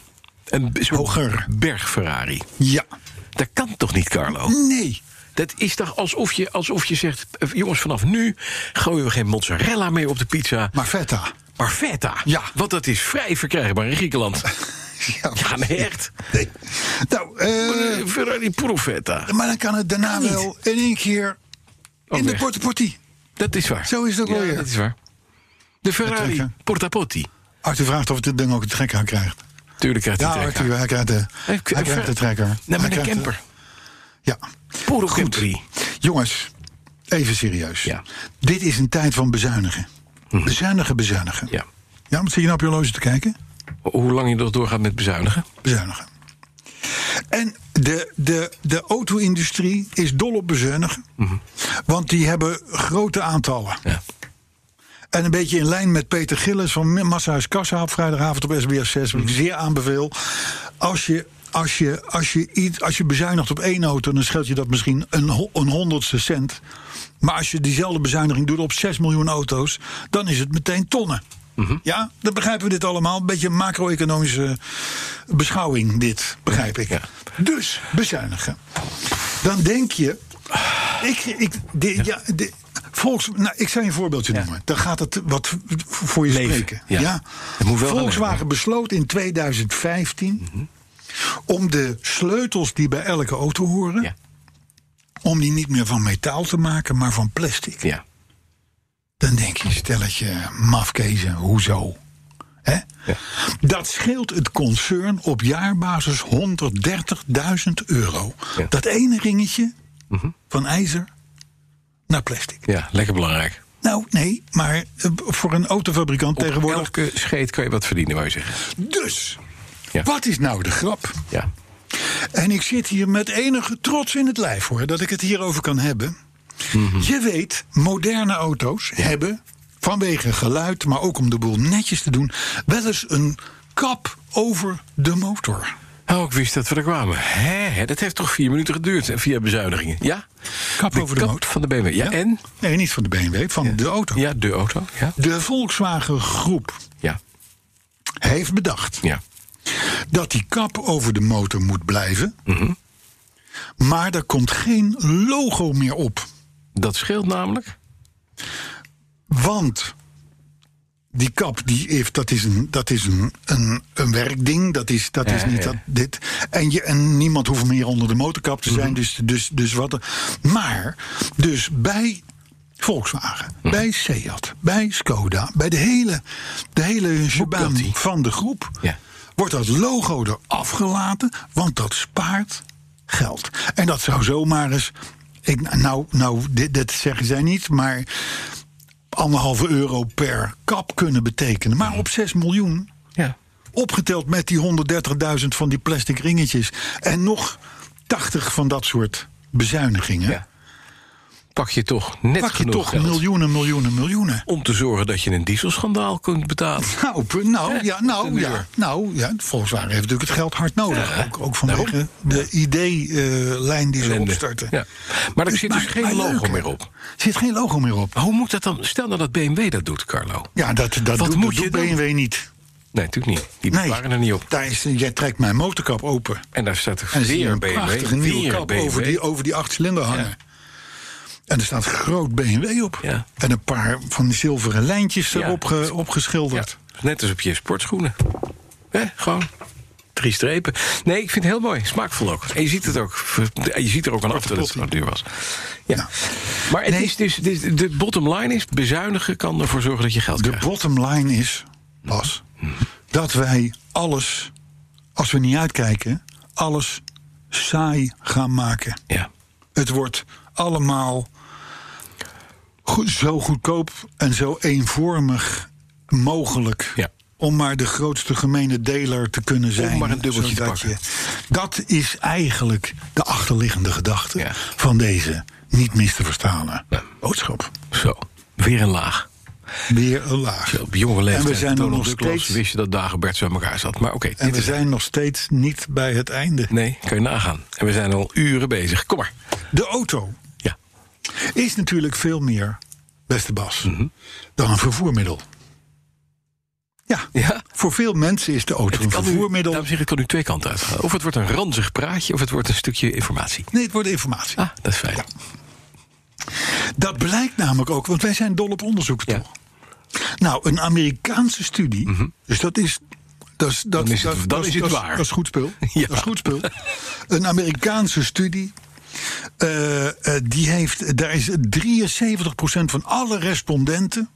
[SPEAKER 3] Een soort
[SPEAKER 2] Hoger.
[SPEAKER 3] berg-Ferrari.
[SPEAKER 2] Ja.
[SPEAKER 3] Dat kan toch niet, Carlo?
[SPEAKER 2] Nee.
[SPEAKER 3] Dat is toch alsof je, alsof je zegt... eh, jongens, vanaf nu gooien we geen mozzarella meer op de pizza...
[SPEAKER 2] Maar Vetta.
[SPEAKER 3] maar feta.
[SPEAKER 2] Ja.
[SPEAKER 3] Want dat is vrij verkrijgbaar in Griekenland.
[SPEAKER 2] Ja.
[SPEAKER 3] ja, nee, echt.
[SPEAKER 2] Nee. Nou, eh,
[SPEAKER 3] Eh, Ferrari puro feta.
[SPEAKER 2] maar dan kan het daarna
[SPEAKER 3] niet.
[SPEAKER 2] wel in één keer
[SPEAKER 3] Ook
[SPEAKER 2] in de
[SPEAKER 3] weg.
[SPEAKER 2] porte potty.
[SPEAKER 3] Dat is waar.
[SPEAKER 2] Zo is het ook
[SPEAKER 3] ja,
[SPEAKER 2] wel weer.
[SPEAKER 3] dat is waar. De Ferrari
[SPEAKER 2] trekken.
[SPEAKER 3] Portapotti.
[SPEAKER 2] Arthur vraagt of dit ding ook het trekker aan krijgt.
[SPEAKER 3] Tuurlijk krijgt
[SPEAKER 2] Ja,
[SPEAKER 3] hij trek.
[SPEAKER 2] Arthur, hij krijgt de, hij krijgt de trekker.
[SPEAKER 3] Nee,
[SPEAKER 2] Hij
[SPEAKER 3] maar een
[SPEAKER 2] krijgt de-
[SPEAKER 3] camper.
[SPEAKER 2] Ja.
[SPEAKER 3] Puro Capri.
[SPEAKER 2] Jongens, even serieus.
[SPEAKER 3] Ja. Mhm.
[SPEAKER 2] Dit is een tijd van bezuinigen. Bezuinigen, bezuinigen.
[SPEAKER 3] Ja.
[SPEAKER 2] Ja, wat zit je nou op je horloge te kijken?
[SPEAKER 3] Hoe lang je nog doorgaat met bezuinigen?
[SPEAKER 2] bezuinigen. En de, de, de auto-industrie is dol op bezuinigen.
[SPEAKER 3] Mhm.
[SPEAKER 2] Want die hebben grote aantallen.
[SPEAKER 3] Ja.
[SPEAKER 2] En een beetje in lijn met Peter Gillis van Massahuis Kassa op vrijdagavond op SBS 6. Wat ik zeer aanbeveel. Als je, als, je, als, je iets, als je bezuinigt op één auto, dan scheelt je dat misschien een, ho- een honderdste cent. Maar als je diezelfde bezuiniging doet op 6 miljoen auto's, dan is het meteen tonnen. Ja, dat begrijpen we dit allemaal. Een beetje macro-economische beschouwing, dit begrijp ik. Dus bezuinigen. Dan denk je. Ik, ik, de- ja. de- volks, nou, ik zal je een voorbeeldje noemen. Dan gaat het wat voor je
[SPEAKER 3] Leven,
[SPEAKER 2] spreken.
[SPEAKER 3] ja. Het moet wel gaan
[SPEAKER 2] Volkswagen
[SPEAKER 3] leven. Mhm.
[SPEAKER 2] besloot in 2015 om de sleutels die bij elke auto horen,
[SPEAKER 3] Ja.
[SPEAKER 2] om die niet meer van metaal te maken, maar van plastic.
[SPEAKER 3] Ja.
[SPEAKER 2] Dan denk je, stelletje, mafkezen, hoezo? Hè? Dat scheelt het concern op jaarbasis 130.000 euro.
[SPEAKER 3] Ja. Mhm.
[SPEAKER 2] Dat ene ringetje van ijzer naar plastic.
[SPEAKER 3] ja, lekker belangrijk.
[SPEAKER 2] Nou, nee, maar eh, voor een autofabrikant
[SPEAKER 3] Op
[SPEAKER 2] tegenwoordig...
[SPEAKER 3] elke scheet kan je wat verdienen, wou je zeggen.
[SPEAKER 2] Dus,
[SPEAKER 3] Ja.
[SPEAKER 2] wat is nou de grap?
[SPEAKER 3] Ja.
[SPEAKER 2] En ik zit hier met enige trots in het lijf hoor, dat ik het hierover kan hebben.
[SPEAKER 3] Mhm.
[SPEAKER 2] Je weet, moderne auto's hebben vanwege geluid, maar ook om de boel netjes te doen, wel eens een kap over de motor.
[SPEAKER 3] Oh, ik wist dat we er kwamen. Hè, hè, dat heeft toch vier minuten geduurd hè, via bezuinigingen. Ja?
[SPEAKER 2] Kap over de motor.
[SPEAKER 3] van de BMW. Ja, en?
[SPEAKER 2] Nee, niet van de BMW, van de auto.
[SPEAKER 3] Ja, de auto. Ja.
[SPEAKER 2] De Volkswagen Groep
[SPEAKER 3] Ja.
[SPEAKER 2] heeft bedacht
[SPEAKER 3] Ja.
[SPEAKER 2] dat die kap over de motor moet blijven.
[SPEAKER 3] Mhm.
[SPEAKER 2] Maar daar komt geen logo meer op.
[SPEAKER 3] Dat scheelt namelijk.
[SPEAKER 2] Want die kap, die heeft, dat is een, dat is een, een, een werkding. Dat is, dat is niet
[SPEAKER 3] ja.
[SPEAKER 2] dat, dit. En, je, en niemand hoeft meer onder de motorkap te zijn.
[SPEAKER 3] Mhm.
[SPEAKER 2] dus, dus, dus wat. er- Maar, dus bij Volkswagen,
[SPEAKER 3] Mhm.
[SPEAKER 2] bij Seat, bij Skoda, bij de hele, de hele jebaan
[SPEAKER 3] Bugatti.
[SPEAKER 2] van de groep.
[SPEAKER 3] Ja.
[SPEAKER 2] Wordt dat logo eraf gelaten, want dat spaart geld. En dat zou zomaar eens. Ik, nou, nou dit, dit zeggen zij niet, maar anderhalve euro per kap kunnen betekenen. Maar op 6 miljoen,
[SPEAKER 3] Ja.
[SPEAKER 2] opgeteld met die 130.000 van die plastic ringetjes... en nog 80 van dat soort bezuinigingen...
[SPEAKER 3] Ja. Pak je toch net
[SPEAKER 2] pak je
[SPEAKER 3] genoeg
[SPEAKER 2] toch
[SPEAKER 3] geld
[SPEAKER 2] miljoenen, miljoenen, miljoenen.
[SPEAKER 3] om te zorgen dat je een dieselschandaal kunt betalen.
[SPEAKER 2] Nou, p- nou, ja, nou,
[SPEAKER 3] een
[SPEAKER 2] ja,
[SPEAKER 3] uur.
[SPEAKER 2] nou ja, Volkswagen heeft natuurlijk het geld hard nodig. ook, ook vanwege de ID-lijn die ze
[SPEAKER 3] Ellende.
[SPEAKER 2] opstarten.
[SPEAKER 3] eh, Ja. Maar er
[SPEAKER 2] Dus
[SPEAKER 3] zit
[SPEAKER 2] maar-
[SPEAKER 3] dus geen
[SPEAKER 2] maar
[SPEAKER 3] logo
[SPEAKER 2] leuk, hè?
[SPEAKER 3] meer op.
[SPEAKER 2] Er zit geen logo meer op.
[SPEAKER 3] Hoe moet dat dan? Stel nou dat BMW dat doet, Carlo.
[SPEAKER 2] Ja, dat, dat,
[SPEAKER 3] Wat
[SPEAKER 2] doet,
[SPEAKER 3] moet
[SPEAKER 2] dat
[SPEAKER 3] je
[SPEAKER 2] doet
[SPEAKER 3] doen?
[SPEAKER 2] BMW niet.
[SPEAKER 3] Nee, natuurlijk niet. Die
[SPEAKER 2] Nee,
[SPEAKER 3] waren er niet op.
[SPEAKER 2] Daar is, jij trekt mijn motorkap open.
[SPEAKER 3] En daar staat
[SPEAKER 2] En
[SPEAKER 3] er
[SPEAKER 2] dan zie je
[SPEAKER 3] weer
[SPEAKER 2] een
[SPEAKER 3] BMW.
[SPEAKER 2] prachtige nieuwe
[SPEAKER 3] weer
[SPEAKER 2] kap
[SPEAKER 3] BMW.
[SPEAKER 2] over die, over die acht cilinder hangen. En er staat groot BMW op.
[SPEAKER 3] Ja.
[SPEAKER 2] En een paar van die zilveren lijntjes
[SPEAKER 3] Ja.
[SPEAKER 2] erop ge-
[SPEAKER 3] Ja,
[SPEAKER 2] opgeschilderd.
[SPEAKER 3] net als op je sportschoenen. Hè, gewoon. Drie strepen. Nee, ik vind het heel mooi. Smaakvol ook. En je ziet het ook. Je ziet er ook aan af dat het zo duur was. Ja.
[SPEAKER 2] Nou.
[SPEAKER 3] maar het
[SPEAKER 2] Nee.
[SPEAKER 3] is dus, dit- de bottom line is... bezuinigen kan ervoor zorgen dat je geld
[SPEAKER 2] De
[SPEAKER 3] krijgt.
[SPEAKER 2] bottom line is, Bas, dat wij alles, als we niet uitkijken, alles saai gaan maken.
[SPEAKER 3] Ja.
[SPEAKER 2] Het wordt allemaal go- zo goedkoop en zo eenvormig mogelijk.
[SPEAKER 3] Ja.
[SPEAKER 2] Om maar de grootste gemene deler te kunnen zijn.
[SPEAKER 3] maar een dubbeltje te
[SPEAKER 2] zodat
[SPEAKER 3] pakken.
[SPEAKER 2] dat is eigenlijk de achterliggende gedachte
[SPEAKER 3] Ja.
[SPEAKER 2] van deze niet mis te verstalen boodschap.
[SPEAKER 3] Zo. Weer een laag.
[SPEAKER 2] Weer een laag.
[SPEAKER 3] Op jonge leeftijd.
[SPEAKER 2] En we zijn er
[SPEAKER 3] Donald
[SPEAKER 2] nog
[SPEAKER 3] Duckloos,
[SPEAKER 2] steeds.
[SPEAKER 3] wist je dat Dagobert zo aan elkaar zat. Maar oké.
[SPEAKER 2] En
[SPEAKER 3] dit
[SPEAKER 2] we
[SPEAKER 3] is-
[SPEAKER 2] zijn nog steeds niet bij het einde.
[SPEAKER 3] Nee, kan je nagaan. En we zijn al uren bezig. Kom maar.
[SPEAKER 2] De auto
[SPEAKER 3] Ja.
[SPEAKER 2] is natuurlijk veel meer, beste Bas,
[SPEAKER 3] Mhm.
[SPEAKER 2] dan een vervoermiddel. Ja.
[SPEAKER 3] Ja.
[SPEAKER 2] Voor veel mensen is de auto een
[SPEAKER 3] kan nu-
[SPEAKER 2] vervoermiddel.
[SPEAKER 3] Dames en heren, het kan nu twee kanten uitgaan. Of het wordt een ranzig praatje, of het wordt een stukje informatie.
[SPEAKER 2] Nee, het wordt informatie.
[SPEAKER 3] Ah, dat is fijn.
[SPEAKER 2] Dat blijkt namelijk ook, want wij zijn dol op onderzoek,
[SPEAKER 3] Ja. Mhm.
[SPEAKER 2] toch? Nou, een Amerikaanse studie, dus dat is. Dat is, dat,
[SPEAKER 3] Dan is het-
[SPEAKER 2] dat,
[SPEAKER 3] dan
[SPEAKER 2] dat-
[SPEAKER 3] is het
[SPEAKER 2] dat
[SPEAKER 3] waar.
[SPEAKER 2] Dat is goed spul.
[SPEAKER 3] Ja.
[SPEAKER 2] Dat is goed spul. Een Amerikaanse studie. eh, eh, die heeft, daar is 73% van alle respondenten.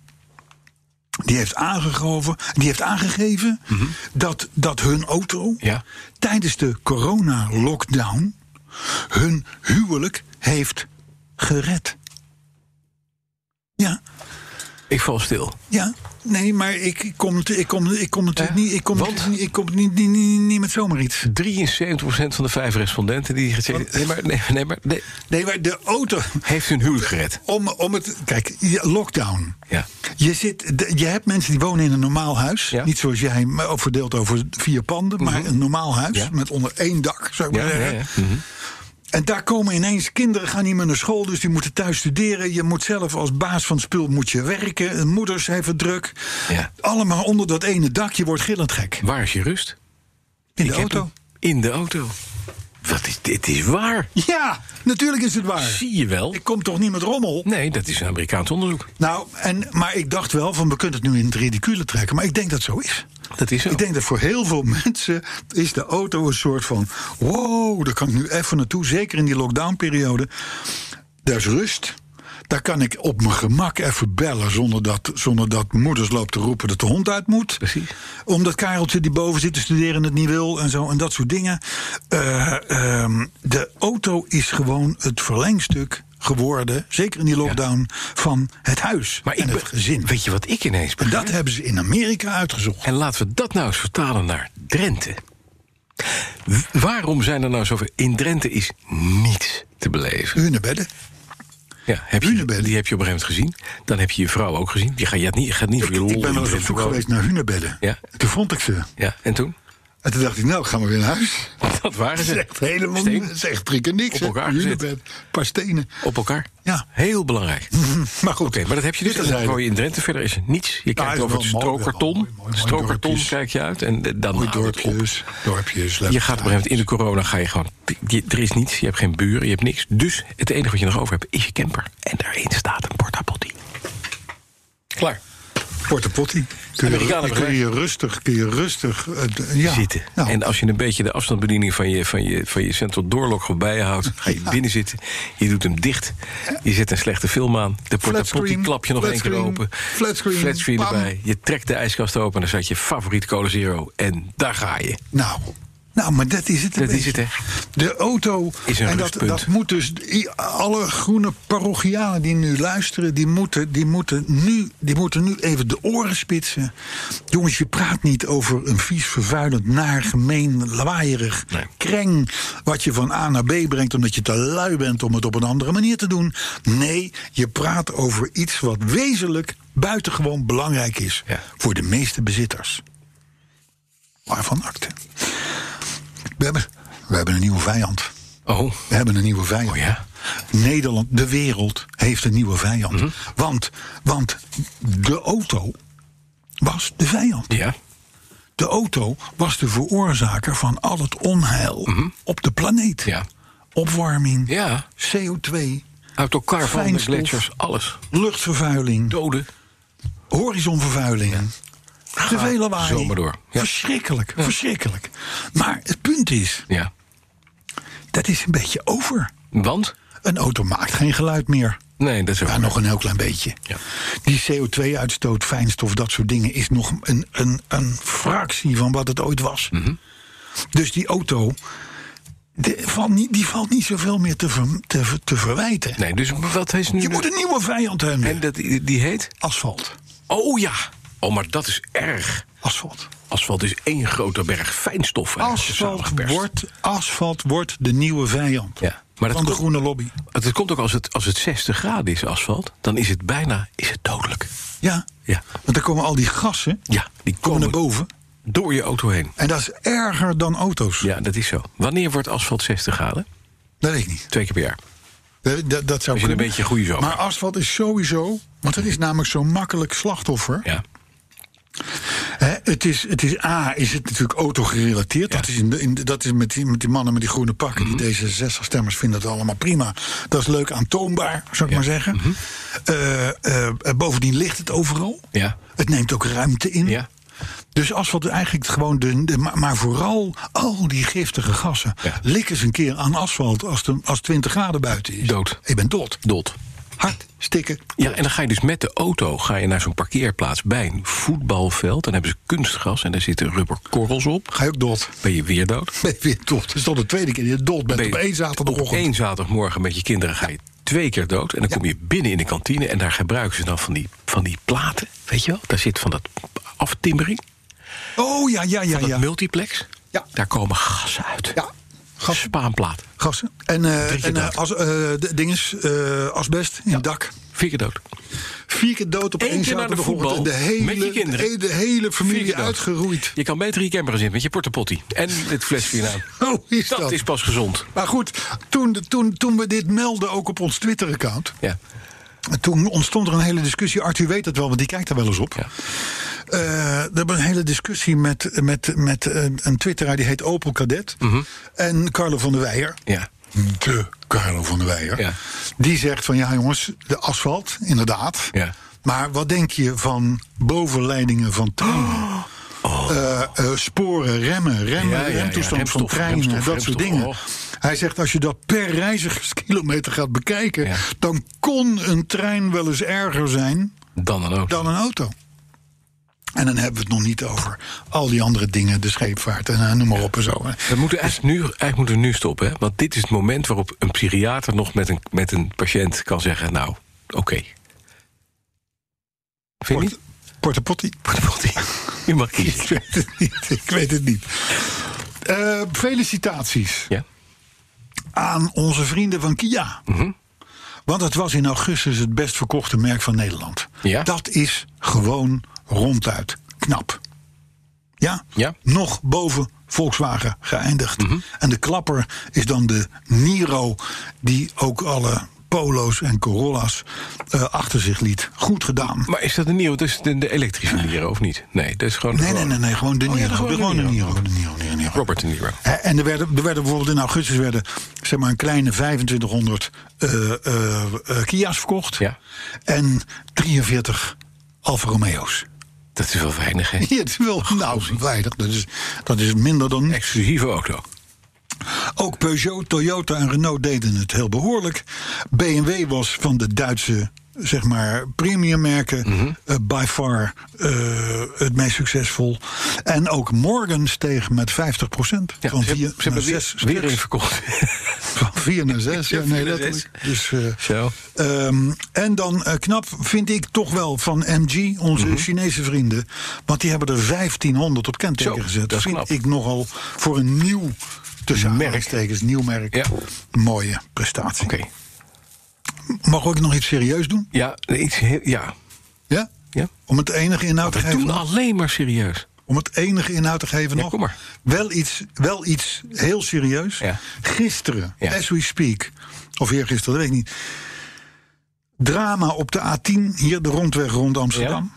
[SPEAKER 2] Die heeft aangegeven, die heeft aangegeven dat, dat hun auto
[SPEAKER 3] Mhm. Ja.
[SPEAKER 2] tijdens de corona-lockdown hun huwelijk heeft gered. Ja,
[SPEAKER 3] Ik val stil.
[SPEAKER 2] ja. Nee, maar ik kom, het- ik kom, ik kom natuurlijk
[SPEAKER 3] Ja,
[SPEAKER 2] niet. Ik kom,
[SPEAKER 3] want?
[SPEAKER 2] natuurlijk niet- ik kom niet, niet, niet, niet met zomaar iets.
[SPEAKER 3] 73% van de vijf respondenten die gezegd nee, maar, nee, nee, maar nee,
[SPEAKER 2] Nee, maar de auto.
[SPEAKER 3] heeft hun huwelijk gered.
[SPEAKER 2] Om, om het. Kijk, ja, lockdown.
[SPEAKER 3] Ja.
[SPEAKER 2] Je, zit, de- je hebt mensen die wonen in een normaal huis.
[SPEAKER 3] Ja. Mhm.
[SPEAKER 2] Niet zoals jij, maar ook verdeeld over vier panden. Maar een normaal huis
[SPEAKER 3] Ja.
[SPEAKER 2] met onder één dak, zou ik
[SPEAKER 3] Ja, Mhm.
[SPEAKER 2] maar
[SPEAKER 3] ja,
[SPEAKER 2] zeggen.
[SPEAKER 3] ja.
[SPEAKER 2] En daar komen ineens kinderen, gaan niet meer naar school, dus die moeten thuis studeren. Je moet zelf als baas van het spul moet je werken. En moeders hebben druk.
[SPEAKER 3] Ja.
[SPEAKER 2] Allemaal onder dat ene dak. Je wordt gillend gek.
[SPEAKER 3] Waar is je rust?
[SPEAKER 2] In de
[SPEAKER 3] Ik heb
[SPEAKER 2] auto.
[SPEAKER 3] hem. In de auto. Wat is dit? is waar.
[SPEAKER 2] Ja, natuurlijk is het waar.
[SPEAKER 3] Zie je wel.
[SPEAKER 2] Ik kom toch niet met rommel?
[SPEAKER 3] Nee, dat is een Amerikaans onderzoek.
[SPEAKER 2] Nou, en, maar ik dacht wel van we kunnen het nu in het ridicule trekken. Maar ik denk dat zo is.
[SPEAKER 3] Dat is zo.
[SPEAKER 2] Ik denk dat voor heel veel mensen is de auto een soort van... wow, daar kan ik nu even naartoe. Zeker in die lockdownperiode. Daar is rust. Daar kan ik op mijn gemak even bellen... zonder dat, zonder dat moeders loopt te roepen dat de hond uit moet.
[SPEAKER 3] Precies.
[SPEAKER 2] Omdat Kareltje die boven zit te studeren en het niet wil en zo. En dat soort dingen. Eh, ehm, de auto is gewoon het verlengstuk geworden... zeker in die lockdown, van het huis
[SPEAKER 3] Maar ik
[SPEAKER 2] en het
[SPEAKER 3] be-
[SPEAKER 2] gezin.
[SPEAKER 3] Weet je wat ik ineens
[SPEAKER 2] En
[SPEAKER 3] begrijp?
[SPEAKER 2] dat hebben ze in Amerika uitgezocht.
[SPEAKER 3] En laten we dat nou eens vertalen naar Drenthe. W- Waarom zijn er nou zoveel... In Drenthe is niets te beleven.
[SPEAKER 2] Hun bedden.
[SPEAKER 3] Ja, heb je,
[SPEAKER 2] Hunebedden.
[SPEAKER 3] die heb je op een gegeven moment gezien. Dan heb je je vrouw ook gezien. Je gaat, je gaat niet, je gaat niet
[SPEAKER 2] Ik,
[SPEAKER 3] voor je lol
[SPEAKER 2] ik ben
[SPEAKER 3] in
[SPEAKER 2] wel eens op
[SPEAKER 3] Drenthe
[SPEAKER 2] zoek
[SPEAKER 3] wonen.
[SPEAKER 2] geweest naar hunebedden.
[SPEAKER 3] Ja.
[SPEAKER 2] Toen vond ik ze.
[SPEAKER 3] Ja, en toen?
[SPEAKER 2] En toen dacht ik, nou, gaan we weer naar huis.
[SPEAKER 3] Dat
[SPEAKER 2] Dat
[SPEAKER 3] waren
[SPEAKER 2] is
[SPEAKER 3] ze.
[SPEAKER 2] echt helemaal
[SPEAKER 3] Steen.
[SPEAKER 2] niet- dat is echt prikken niks.
[SPEAKER 3] Op
[SPEAKER 2] hè.
[SPEAKER 3] elkaar gezet.
[SPEAKER 2] hunebed, een paar stenen.
[SPEAKER 3] Op elkaar.
[SPEAKER 2] Ja.
[SPEAKER 3] Heel belangrijk.
[SPEAKER 2] Maar goed.
[SPEAKER 3] Oké, maar dat heb je dus.
[SPEAKER 2] Dit
[SPEAKER 3] Dan
[SPEAKER 2] terzijde.
[SPEAKER 3] woon je in Drenthe verder is het niets. Je kijkt
[SPEAKER 2] is
[SPEAKER 3] over het
[SPEAKER 2] wel mooi, wel
[SPEAKER 3] strookarton.
[SPEAKER 2] mooi, mooi, mooi
[SPEAKER 3] strookarton
[SPEAKER 2] dorpjes.
[SPEAKER 3] kijk je uit en eh, dan
[SPEAKER 2] Mooi
[SPEAKER 3] houdt het op.
[SPEAKER 2] dorpjes. dus. Dorpjes.
[SPEAKER 3] Je gaat op een gegeven moment in de corona ga je gewoon. je- er is niets, je hebt geen buren, je hebt niks. Dus het enige wat je nog over hebt is je camper. En daarin staat een portapotti. Klaar.
[SPEAKER 2] Porta potty. Kun je,
[SPEAKER 3] Amerikanen
[SPEAKER 2] kun je rustig, kun je rustig... eh, d- ja.
[SPEAKER 3] Zitten.
[SPEAKER 2] Nou,
[SPEAKER 3] En als je een beetje de afstandsbediening van je, van je, van je central doorlok goed bijhoudt, ga je binnen zitten. Je doet hem dicht. Je zet een slechte film aan. De portapotti
[SPEAKER 2] Flatscreen,
[SPEAKER 3] klap je nog één keer
[SPEAKER 2] flatscreen,
[SPEAKER 3] open.
[SPEAKER 2] flatscreen,
[SPEAKER 3] Flatscreen
[SPEAKER 2] bam.
[SPEAKER 3] erbij. Je trekt de ijskast open en dan staat je favoriete Cola Zero. En daar ga je.
[SPEAKER 2] nou, nou, maar dat is het. een
[SPEAKER 3] Dat is
[SPEAKER 2] beetje.
[SPEAKER 3] het, hè.
[SPEAKER 2] De auto.
[SPEAKER 3] Is een
[SPEAKER 2] en dat,
[SPEAKER 3] rustpunt.
[SPEAKER 2] dat moet dus. i- Alle groene parochianen die nu luisteren, die moeten, die, moeten nu, die moeten nu even de oren spitsen. Jongens, je praat niet over een vies, vervuilend, naar, gemeen, lawaaierig
[SPEAKER 3] Nee.
[SPEAKER 2] kreng. wat je van A naar B brengt omdat je te lui bent om het op een andere manier te doen. Nee, je praat over iets wat wezenlijk buitengewoon belangrijk is
[SPEAKER 3] Ja.
[SPEAKER 2] voor de meeste bezitters. Waarvan acte? We hebben, we hebben een nieuwe vijand.
[SPEAKER 3] Oh,
[SPEAKER 2] We hebben een nieuwe vijand.
[SPEAKER 3] Oh ja?
[SPEAKER 2] Nederland, de wereld heeft een nieuwe vijand.
[SPEAKER 3] Mhm.
[SPEAKER 2] want, want de auto was de vijand.
[SPEAKER 3] ja.
[SPEAKER 2] De auto was de veroorzaker van al het onheil op de planeet.
[SPEAKER 3] Mhm. Ja.
[SPEAKER 2] Opwarming,
[SPEAKER 3] Ja.
[SPEAKER 2] CO2,
[SPEAKER 3] Uit elkaar van de
[SPEAKER 2] Fijnstof.
[SPEAKER 3] gletsjers, alles.
[SPEAKER 2] luchtvervuiling,
[SPEAKER 3] Doden.
[SPEAKER 2] horizonvervuiling. Te veel lawaai.
[SPEAKER 3] zo maar door. Ja.
[SPEAKER 2] Verschrikkelijk, verschrikkelijk. Maar het punt is,
[SPEAKER 3] Ja.
[SPEAKER 2] dat is een beetje over.
[SPEAKER 3] Want?
[SPEAKER 2] Een auto maakt geen geluid meer.
[SPEAKER 3] Nee, dat is ook.
[SPEAKER 2] Ja, nog een heel klein beetje.
[SPEAKER 3] Ja.
[SPEAKER 2] Die CO2-uitstoot, fijnstof, dat soort dingen... is nog een, een, een fractie van wat het ooit was.
[SPEAKER 3] Mhm.
[SPEAKER 2] Dus die auto, de, valt niet, die valt niet zoveel meer te, ver- te, ver- te verwijten.
[SPEAKER 3] Nee, dus wat is nu.
[SPEAKER 2] Je
[SPEAKER 3] de-
[SPEAKER 2] moet een nieuwe vijand hebben.
[SPEAKER 3] En dat, die heet?
[SPEAKER 2] Asfalt.
[SPEAKER 3] Oh ja. Oh, maar dat is erg.
[SPEAKER 2] Asfalt.
[SPEAKER 3] Asfalt is één grote berg fijnstof. en dat is
[SPEAKER 2] Asfalt
[SPEAKER 3] samengeperst.
[SPEAKER 2] wordt, asfalt wordt de nieuwe vijand
[SPEAKER 3] Ja, maar dat
[SPEAKER 2] van de
[SPEAKER 3] komt-
[SPEAKER 2] groene lobby.
[SPEAKER 3] Het komt ook als het, als het 60 graden is, asfalt. Dan is het bijna is het dodelijk.
[SPEAKER 2] Ja.
[SPEAKER 3] Ja.
[SPEAKER 2] Want dan komen al die gassen
[SPEAKER 3] Ja, die
[SPEAKER 2] komen
[SPEAKER 3] komen
[SPEAKER 2] naar boven.
[SPEAKER 3] door je auto heen.
[SPEAKER 2] En dat is erger dan auto's.
[SPEAKER 3] Ja, dat is zo. Wanneer wordt asfalt 60 graden?
[SPEAKER 2] Dat weet ik niet.
[SPEAKER 3] Twee keer per jaar.
[SPEAKER 2] Dat, dat, dat zou
[SPEAKER 3] Als je een
[SPEAKER 2] kunnen.
[SPEAKER 3] beetje goede zomer
[SPEAKER 2] Maar asfalt is sowieso, want er is namelijk zo'n makkelijk slachtoffer.
[SPEAKER 3] Ja.
[SPEAKER 2] Hè, het, is, het is A, is het natuurlijk autogerelateerd. Dat is, in de, in de- dat is met, die, met die mannen met die groene pakken,
[SPEAKER 3] Mhm.
[SPEAKER 2] die D66-stemmers vinden dat allemaal prima. Dat is leuk aantoonbaar, zou ik maar zeggen.
[SPEAKER 3] Mhm.
[SPEAKER 2] Eh, eh, eh, bovendien ligt het overal.
[SPEAKER 3] Ja.
[SPEAKER 2] Het neemt ook ruimte in.
[SPEAKER 3] Ja.
[SPEAKER 2] Dus asfalt is eigenlijk gewoon de. de- maar, maar vooral al die giftige gassen.
[SPEAKER 3] Ja.
[SPEAKER 2] Lik eens een keer aan asfalt als, de, als 20 graden buiten is.
[SPEAKER 3] Dood.
[SPEAKER 2] Ik ben dood.
[SPEAKER 3] Dot.
[SPEAKER 2] Hard stikken.
[SPEAKER 3] Ja, en dan ga je dus met de auto ga je naar zo'n parkeerplaats bij een voetbalveld. Dan hebben ze kunstgras en daar zitten rubberkorrels op.
[SPEAKER 2] Ga je ook dood.
[SPEAKER 3] Ben je weer dood?
[SPEAKER 2] Ben je weer dood. Dat is dan de tweede keer dat je dood bent
[SPEAKER 3] Ben
[SPEAKER 2] op
[SPEAKER 3] je
[SPEAKER 2] één
[SPEAKER 3] Op
[SPEAKER 2] zaterdagochtend.
[SPEAKER 3] één zaterdagmorgen met je kinderen ga je twee keer dood. En dan kom je binnen in de kantine en daar gebruiken ze dan van die, van die platen. Weet je wel? Daar zit van dat aftimmering,
[SPEAKER 2] Oh ja, ja, ja,
[SPEAKER 3] dat
[SPEAKER 2] ja.
[SPEAKER 3] multiplex.
[SPEAKER 2] Ja.
[SPEAKER 3] Daar komen gassen uit.
[SPEAKER 2] Ja, gas-
[SPEAKER 3] Spaanplaat.
[SPEAKER 2] Gassen. En, eh,
[SPEAKER 3] Drink je
[SPEAKER 2] en eh,
[SPEAKER 3] dood.
[SPEAKER 2] as, eh, de- dinges, eh, asbest in het dak.
[SPEAKER 3] Vier keer dood.
[SPEAKER 2] Vier keer dood op
[SPEAKER 3] Eén
[SPEAKER 2] één
[SPEAKER 3] keer naar de
[SPEAKER 2] zaterdagochtend
[SPEAKER 3] voetbal
[SPEAKER 2] en de hele,
[SPEAKER 3] met je kinderen.
[SPEAKER 2] De, de hele
[SPEAKER 3] Vier keer
[SPEAKER 2] familie
[SPEAKER 3] dood.
[SPEAKER 2] uitgeroeid.
[SPEAKER 3] Je kan beter in je camper gaan zitten met je portepotty. En dit flesje in aan.
[SPEAKER 2] Hoe is
[SPEAKER 3] Dat
[SPEAKER 2] dat?
[SPEAKER 3] is pas gezond.
[SPEAKER 2] Maar goed, toen, de- toen, toen we dit melden, ook op ons Twitter-account...
[SPEAKER 3] Ja.
[SPEAKER 2] toen ontstond er een hele discussie. Arthur weet dat wel, want die kijkt daar wel eens op.
[SPEAKER 3] Ja.
[SPEAKER 2] Eh, er was een hele discussie met, met, met een, een twitteraar die heet Opel Cadet.
[SPEAKER 3] Mhm.
[SPEAKER 2] En Carlo van der Weijer.
[SPEAKER 3] Ja.
[SPEAKER 2] De Carlo van der Weijer.
[SPEAKER 3] Ja.
[SPEAKER 2] Die zegt van ja jongens, de asfalt, inderdaad.
[SPEAKER 3] Ja. Oh.
[SPEAKER 2] Maar wat denk je van bovenleidingen van treinen? Eh, eh, sporen, remmen, remmen,
[SPEAKER 3] Ja, ja, ja,
[SPEAKER 2] remtoestand van
[SPEAKER 3] remstof,
[SPEAKER 2] treinen,
[SPEAKER 3] remstof,
[SPEAKER 2] dat soort
[SPEAKER 3] remstof,
[SPEAKER 2] dingen.
[SPEAKER 3] och.
[SPEAKER 2] Hij zegt, als je dat per reizigerskilometer gaat bekijken...
[SPEAKER 3] Ja.
[SPEAKER 2] dan kon een trein wel eens erger zijn
[SPEAKER 3] Dan dan ook.
[SPEAKER 2] dan een auto. En dan hebben we het nog niet over al die andere dingen, de scheepvaart en eh, noem maar op en zo.
[SPEAKER 3] We moeten eigenlijk nu, eigenlijk moeten we nu stoppen. Hè? Want dit is het moment waarop een psychiater nog met een, met een patiënt kan zeggen... nou, oké. Vind je niet?
[SPEAKER 2] Porta potty.
[SPEAKER 3] Portepotty. Je
[SPEAKER 2] Ik
[SPEAKER 3] mag kiezen.
[SPEAKER 2] weet het niet. Ik weet het niet. Eh, felicitaties
[SPEAKER 3] Ja.
[SPEAKER 2] aan onze vrienden van Kia.
[SPEAKER 3] Mhm.
[SPEAKER 2] Want het was in augustus het best verkochte merk van Nederland.
[SPEAKER 3] Ja.
[SPEAKER 2] Dat is gewoon ronduit knap. Ja?
[SPEAKER 3] Ja. Mhm.
[SPEAKER 2] Nog boven Volkswagen geëindigd. En de klapper is dan de Niro, die ook alle Polo's en Corolla's eh, achter zich liet. Goed gedaan.
[SPEAKER 3] Maar is dat een nieuw? Dus de, de elektrische Niro, of niet? Nee, dat is gewoon...
[SPEAKER 2] Nee, nee, nee, nee, gewoon de
[SPEAKER 3] Oh, ja,
[SPEAKER 2] Niro.
[SPEAKER 3] gewoon de
[SPEAKER 2] gewoon de
[SPEAKER 3] Niro.
[SPEAKER 2] Niro. De Niro, de Niro.
[SPEAKER 3] Robert de Niro.
[SPEAKER 2] Hè, Eh, En er werden, er werden bijvoorbeeld in augustus werden, zeg maar een kleine 2500 eh, eh, eh, Kia's verkocht.
[SPEAKER 3] Ja.
[SPEAKER 2] En 43 Alfa Romeo's.
[SPEAKER 3] Dat is wel weinig, hè?
[SPEAKER 2] Ja, het is wel nou, weinig. Dat is, dat is minder dan niks.
[SPEAKER 3] Exclusieve auto.
[SPEAKER 2] Ook Peugeot, Toyota en Renault deden het heel behoorlijk. BMW was van de Duitse zeg maar premiummerken
[SPEAKER 3] Mhm.
[SPEAKER 2] eh, by far eh, het meest succesvol. En ook Morgan steeg met 50%
[SPEAKER 3] Ja,
[SPEAKER 2] van
[SPEAKER 3] ze,
[SPEAKER 2] 4
[SPEAKER 3] hebben- ze hebben
[SPEAKER 2] naar
[SPEAKER 3] weer,
[SPEAKER 2] 6
[SPEAKER 3] weer een verkocht.
[SPEAKER 2] Van 4 naar 6, ja,
[SPEAKER 3] Ja,
[SPEAKER 2] nee,
[SPEAKER 3] vier naar zes.
[SPEAKER 2] letterlijk. Dus, eh,
[SPEAKER 3] Zo.
[SPEAKER 2] ehm, en dan eh, knap vind ik toch wel van MG, onze
[SPEAKER 3] Mhm.
[SPEAKER 2] Chinese vrienden. Want die hebben er 1500 op kenteken
[SPEAKER 3] Zo,
[SPEAKER 2] gezet.
[SPEAKER 3] dat is
[SPEAKER 2] vind
[SPEAKER 3] knap.
[SPEAKER 2] ik nogal voor een nieuw, tussen
[SPEAKER 3] Merk.
[SPEAKER 2] aanhalingstekens, nieuw merk.
[SPEAKER 3] Ja.
[SPEAKER 2] Mooie prestatie.
[SPEAKER 3] Oké.
[SPEAKER 2] Mag ik ook nog iets serieus doen?
[SPEAKER 3] Ja, iets heel- ja.
[SPEAKER 2] Ja?
[SPEAKER 3] ja.
[SPEAKER 2] Om het enige inhoud te
[SPEAKER 3] We
[SPEAKER 2] geven.
[SPEAKER 3] doen
[SPEAKER 2] nog?
[SPEAKER 3] alleen maar serieus.
[SPEAKER 2] Om het enige inhoud te geven
[SPEAKER 3] Ja,
[SPEAKER 2] nog.
[SPEAKER 3] kom maar.
[SPEAKER 2] Wel iets, wel iets heel serieus.
[SPEAKER 3] Ja.
[SPEAKER 2] Gisteren,
[SPEAKER 3] Ja.
[SPEAKER 2] as we speak, of eergisteren, dat weet ik niet. Drama op de A10, hier de rondweg rond Amsterdam.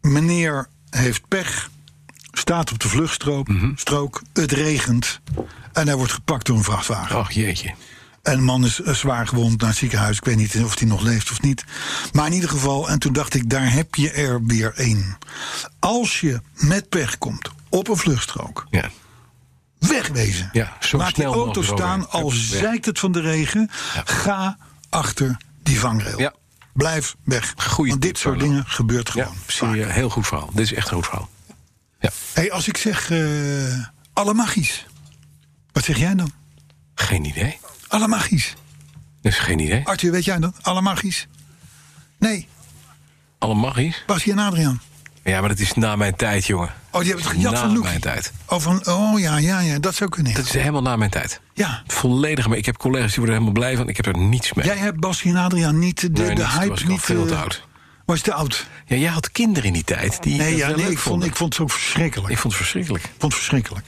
[SPEAKER 2] Meneer heeft pech, staat op de vluchtstrook,
[SPEAKER 3] Mhm.
[SPEAKER 2] strook, het regent. En hij wordt gepakt door een vrachtwagen.
[SPEAKER 3] Ach, jeetje.
[SPEAKER 2] En de man is eh, zwaar gewond naar het ziekenhuis. Ik weet niet of hij nog leeft of niet. Maar in ieder geval, en toen dacht ik, daar heb je er weer één. Als je met pech komt op een vluchtstrook,
[SPEAKER 3] Ja.
[SPEAKER 2] wegwezen.
[SPEAKER 3] Ja, zo
[SPEAKER 2] Laat
[SPEAKER 3] snel
[SPEAKER 2] die
[SPEAKER 3] mogelijk
[SPEAKER 2] auto staan,
[SPEAKER 3] eroverheen.
[SPEAKER 2] al
[SPEAKER 3] Hup, weg.
[SPEAKER 2] zeikt het van de regen. Ga achter die vangrail.
[SPEAKER 3] Ja.
[SPEAKER 2] Blijf weg.
[SPEAKER 3] Goeie
[SPEAKER 2] Want dit
[SPEAKER 3] tip,
[SPEAKER 2] soort
[SPEAKER 3] Carlo.
[SPEAKER 2] dingen gebeurt
[SPEAKER 3] Ja,
[SPEAKER 2] gewoon. vaak.
[SPEAKER 3] serieus. Heel goed verhaal. Dit is echt een goed verhaal. Ja.
[SPEAKER 2] Hey, als ik zeg eh alle magisch, wat zeg jij dan?
[SPEAKER 3] Geen idee.
[SPEAKER 2] Alle magisch.
[SPEAKER 3] Dat is geen idee.
[SPEAKER 2] Arthur, weet jij dat? Alle magisch? Nee,
[SPEAKER 3] Alle magisch.
[SPEAKER 2] Basie en Adriaan.
[SPEAKER 3] Ja, maar dat is na mijn tijd, jongen.
[SPEAKER 2] Oh, die hebben het gejat
[SPEAKER 3] Na
[SPEAKER 2] van Loekie.
[SPEAKER 3] mijn tijd.
[SPEAKER 2] Oh, van, oh ja, ja, ja, dat zou kunnen.
[SPEAKER 3] Dat is helemaal na mijn tijd.
[SPEAKER 2] Ja.
[SPEAKER 3] Volledig. Maar ik heb collega's die worden er helemaal blij van. Ik heb er niets mee.
[SPEAKER 2] Jij hebt Basie en Adriaan niet eh, de, de
[SPEAKER 3] Nee, niet. Toen
[SPEAKER 2] hype.
[SPEAKER 3] was ik al
[SPEAKER 2] niet,
[SPEAKER 3] veel
[SPEAKER 2] eh,
[SPEAKER 3] te oud.
[SPEAKER 2] Was je te oud?
[SPEAKER 3] Ja, jij had kinderen in die tijd. Die
[SPEAKER 2] Nee,
[SPEAKER 3] dat
[SPEAKER 2] ja,
[SPEAKER 3] wel
[SPEAKER 2] nee
[SPEAKER 3] leuk
[SPEAKER 2] ik, vond,
[SPEAKER 3] vonden.
[SPEAKER 2] ik vond het ook verschrikkelijk.
[SPEAKER 3] Ik vond het verschrikkelijk.
[SPEAKER 2] Ik vond het verschrikkelijk.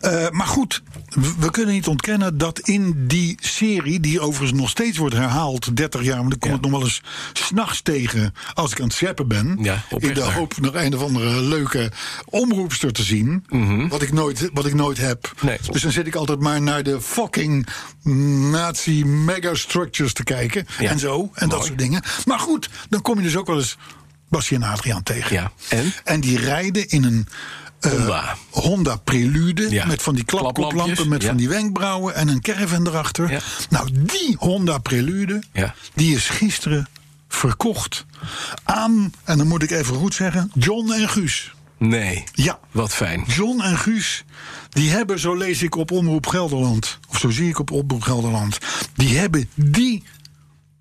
[SPEAKER 2] Eh, maar goed, we- we kunnen niet ontkennen dat in die serie, die overigens nog steeds wordt herhaald, 30 jaar, maar ik kom
[SPEAKER 3] Ja.
[SPEAKER 2] het nog wel eens s'nachts tegen als ik aan het scheppen ben.
[SPEAKER 3] Ja, op
[SPEAKER 2] in
[SPEAKER 3] weg
[SPEAKER 2] de
[SPEAKER 3] naar.
[SPEAKER 2] hoop nog een of andere leuke omroepster te zien. wat, ik nooit, wat ik nooit heb.
[SPEAKER 3] Mhm. Nee.
[SPEAKER 2] Dus dan zit ik altijd maar naar de fucking nazi megastructures te kijken.
[SPEAKER 3] Ja.
[SPEAKER 2] En zo, en dat
[SPEAKER 3] Mooi.
[SPEAKER 2] soort dingen. Maar goed, dan kom je dus ook wel eens Bassie en Adriaan tegen.
[SPEAKER 3] Ja, en?
[SPEAKER 2] en die rijden in een Eh,
[SPEAKER 3] Honda.
[SPEAKER 2] Honda Prelude.
[SPEAKER 3] Ja.
[SPEAKER 2] Met van die klapkoplampen,
[SPEAKER 3] Klaplampjes,
[SPEAKER 2] met
[SPEAKER 3] ja.
[SPEAKER 2] van die wenkbrauwen en een caravan erachter.
[SPEAKER 3] Ja.
[SPEAKER 2] Nou, die Honda Prelude,
[SPEAKER 3] Ja.
[SPEAKER 2] die is gisteren verkocht aan, en dan moet ik even goed zeggen, John en Guus.
[SPEAKER 3] Nee.
[SPEAKER 2] Ja.
[SPEAKER 3] Wat fijn.
[SPEAKER 2] John en Guus, die hebben, zo lees ik op Omroep Gelderland, of zo zie ik op Omroep Gelderland, die hebben die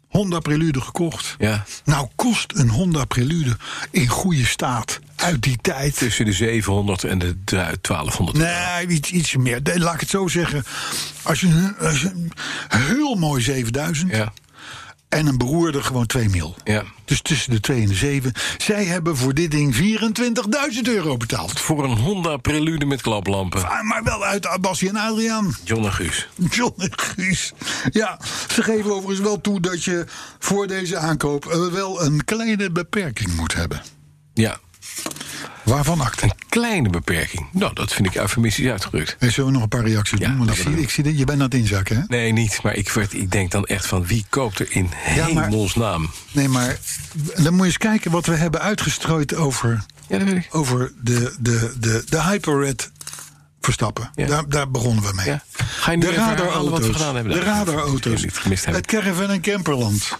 [SPEAKER 2] Honda Prelude gekocht.
[SPEAKER 3] Ja.
[SPEAKER 2] Nou kost een Honda Prelude in goede staat uit die tijd.
[SPEAKER 3] Tussen de 700 en de 1200.
[SPEAKER 2] Nee, iets, iets meer. Nee, Laat ik het zo zeggen. Als je, als je- heel mooi 7000.
[SPEAKER 3] Ja.
[SPEAKER 2] En een beroerde gewoon 2 mil.
[SPEAKER 3] Ja.
[SPEAKER 2] Dus tussen de 2 en de 7. Zij hebben voor dit ding 24.000 euro betaald.
[SPEAKER 3] Voor een Honda Prelude met klaplampen.
[SPEAKER 2] Ah, Maar wel uit Abassi en Adriaan.
[SPEAKER 3] John en Guus.
[SPEAKER 2] John en Guus. Ja, ze geven overigens wel toe dat je voor deze aankoop eh, wel een kleine beperking moet hebben.
[SPEAKER 3] Ja.
[SPEAKER 2] Waarvan acte?
[SPEAKER 3] Een kleine beperking. Nou, dat vind ik eufemistisch uitgedrukt.
[SPEAKER 2] Hey, zullen we nog een paar reacties
[SPEAKER 3] Ja,
[SPEAKER 2] doen? Want ik
[SPEAKER 3] dat
[SPEAKER 2] zie,
[SPEAKER 3] doen we.
[SPEAKER 2] ik zie dat je bent aan het inzakken, hè?
[SPEAKER 3] Nee, niet. Maar ik, werd, ik denk dan echt van wie koopt er in
[SPEAKER 2] maar-
[SPEAKER 3] hemelsnaam?
[SPEAKER 2] Nee, maar dan moet je eens kijken wat we hebben uitgestrooid over,
[SPEAKER 3] Ja, dat weet ik.
[SPEAKER 2] over de, de, de, de Hyperred Verstappen.
[SPEAKER 3] Ja.
[SPEAKER 2] Daar, daar begonnen we mee.
[SPEAKER 3] Ja. Ga je nu
[SPEAKER 2] de
[SPEAKER 3] even herhalen
[SPEAKER 2] radarauto's.
[SPEAKER 3] wat we gedaan hebben?
[SPEAKER 2] De
[SPEAKER 3] Nou, dat
[SPEAKER 2] radarauto's.
[SPEAKER 3] jullie het gemist hebben.
[SPEAKER 2] Het caravan en camperland.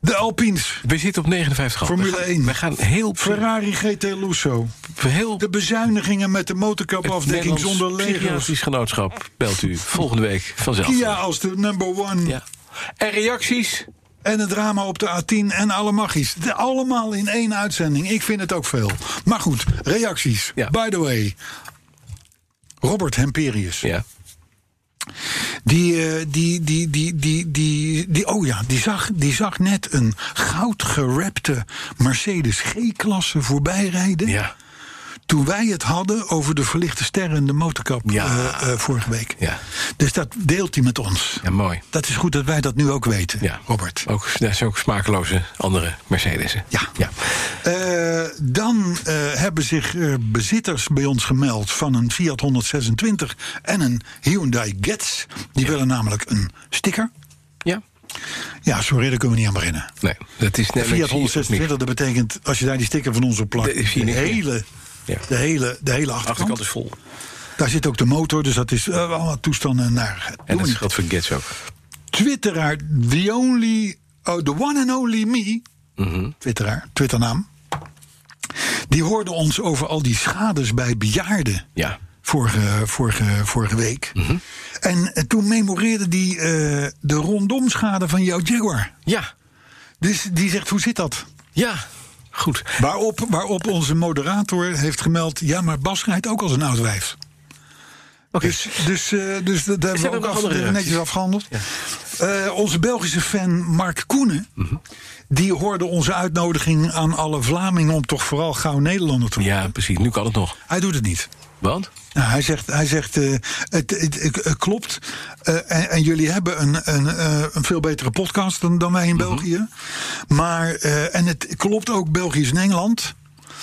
[SPEAKER 2] De Alpines.
[SPEAKER 3] We zitten op 59 graden.
[SPEAKER 2] Formule
[SPEAKER 3] We gaan-
[SPEAKER 2] 1.
[SPEAKER 3] We gaan heel...
[SPEAKER 2] Ferrari GT Lusso.
[SPEAKER 3] heel
[SPEAKER 2] De bezuinigingen met de
[SPEAKER 3] het
[SPEAKER 2] motorkapafdekking
[SPEAKER 3] Nederlands
[SPEAKER 2] zonder Lego's.
[SPEAKER 3] Psychiatrisch Genootschap belt u volgende week vanzelf.
[SPEAKER 2] Kia als de number one.
[SPEAKER 3] Ja. En reacties?
[SPEAKER 2] En het drama op de A10 en alle magies. De- allemaal in één uitzending. Ik vind het ook veel. Maar goed, reacties.
[SPEAKER 3] Ja.
[SPEAKER 2] By the way. Robert Hemperius.
[SPEAKER 3] Ja.
[SPEAKER 2] Die, eh, die, die, die, die, die, die, oh ja, die zag, die zag net een goudgerapte Mercedes G-klasse voorbij rijden.
[SPEAKER 3] Ja.
[SPEAKER 2] Toen wij het hadden over de verlichte sterren in de motorkap
[SPEAKER 3] Ja.
[SPEAKER 2] eh, eh, vorige week.
[SPEAKER 3] Ja.
[SPEAKER 2] Dus dat deelt hij met ons.
[SPEAKER 3] Ja, mooi.
[SPEAKER 2] Dat is goed dat wij dat nu ook weten,
[SPEAKER 3] Ja.
[SPEAKER 2] Robert.
[SPEAKER 3] Ook, dat zijn ook smakeloze andere Mercedes'en.
[SPEAKER 2] Ja.
[SPEAKER 3] ja.
[SPEAKER 2] Eh, dan eh, hebben zich eh, bezitters bij ons gemeld van een Fiat 126 en een Hyundai Getz. Die willen namelijk een sticker.
[SPEAKER 3] Ja?
[SPEAKER 2] Ja, sorry, daar kunnen we niet aan beginnen.
[SPEAKER 3] Nee, dat is net...
[SPEAKER 2] Fiat 126, dat betekent als je daar die sticker van ons op plakt,
[SPEAKER 3] Dat
[SPEAKER 2] de,
[SPEAKER 3] is hier niks meer.
[SPEAKER 2] hele,
[SPEAKER 3] Ja.
[SPEAKER 2] de, hele, de hele achterkant.
[SPEAKER 3] Achterkant is vol.
[SPEAKER 2] Daar zit ook de motor, dus dat is eh, allemaal toestanden en narigheid.
[SPEAKER 3] En
[SPEAKER 2] Doen
[SPEAKER 3] dat
[SPEAKER 2] we niet.
[SPEAKER 3] geldt voor Gets ook.
[SPEAKER 2] Twitteraar, the only, oh, the one and only me, twitteraar, twitternaam, die hoorde ons over al die schades bij bejaarden
[SPEAKER 3] Ja.
[SPEAKER 2] vorige, vorige, vorige week. En eh, toen memoreerde die eh, de rondomschade van jouw Jaguar.
[SPEAKER 3] Ja.
[SPEAKER 2] Dus die zegt, hoe zit dat?
[SPEAKER 3] Ja. Goed.
[SPEAKER 2] Waarop, waarop onze moderator heeft gemeld, ja, maar Bas rijdt ook als een oud wijf. Dus, dus, eh, dus dat hebben we
[SPEAKER 3] er
[SPEAKER 2] ook
[SPEAKER 3] nog
[SPEAKER 2] af-
[SPEAKER 3] andere reacties?
[SPEAKER 2] netjes afgehandeld. Eh, onze Belgische fan Mark Koenen...
[SPEAKER 3] Mhm.
[SPEAKER 2] die hoorde onze uitnodiging aan alle Vlamingen... om toch vooral gauw Nederlander te worden.
[SPEAKER 3] Ja, precies. Nu kan het nog.
[SPEAKER 2] Hij doet het niet.
[SPEAKER 3] Want?
[SPEAKER 2] Nou, hij zegt, hij zegt eh, het, het- het- het klopt. Eh, en, en jullie hebben een, een, eh, een veel betere podcast dan, dan
[SPEAKER 3] Mhm.
[SPEAKER 2] wij in België. Maar, eh, en het klopt ook Belgisch en Engeland.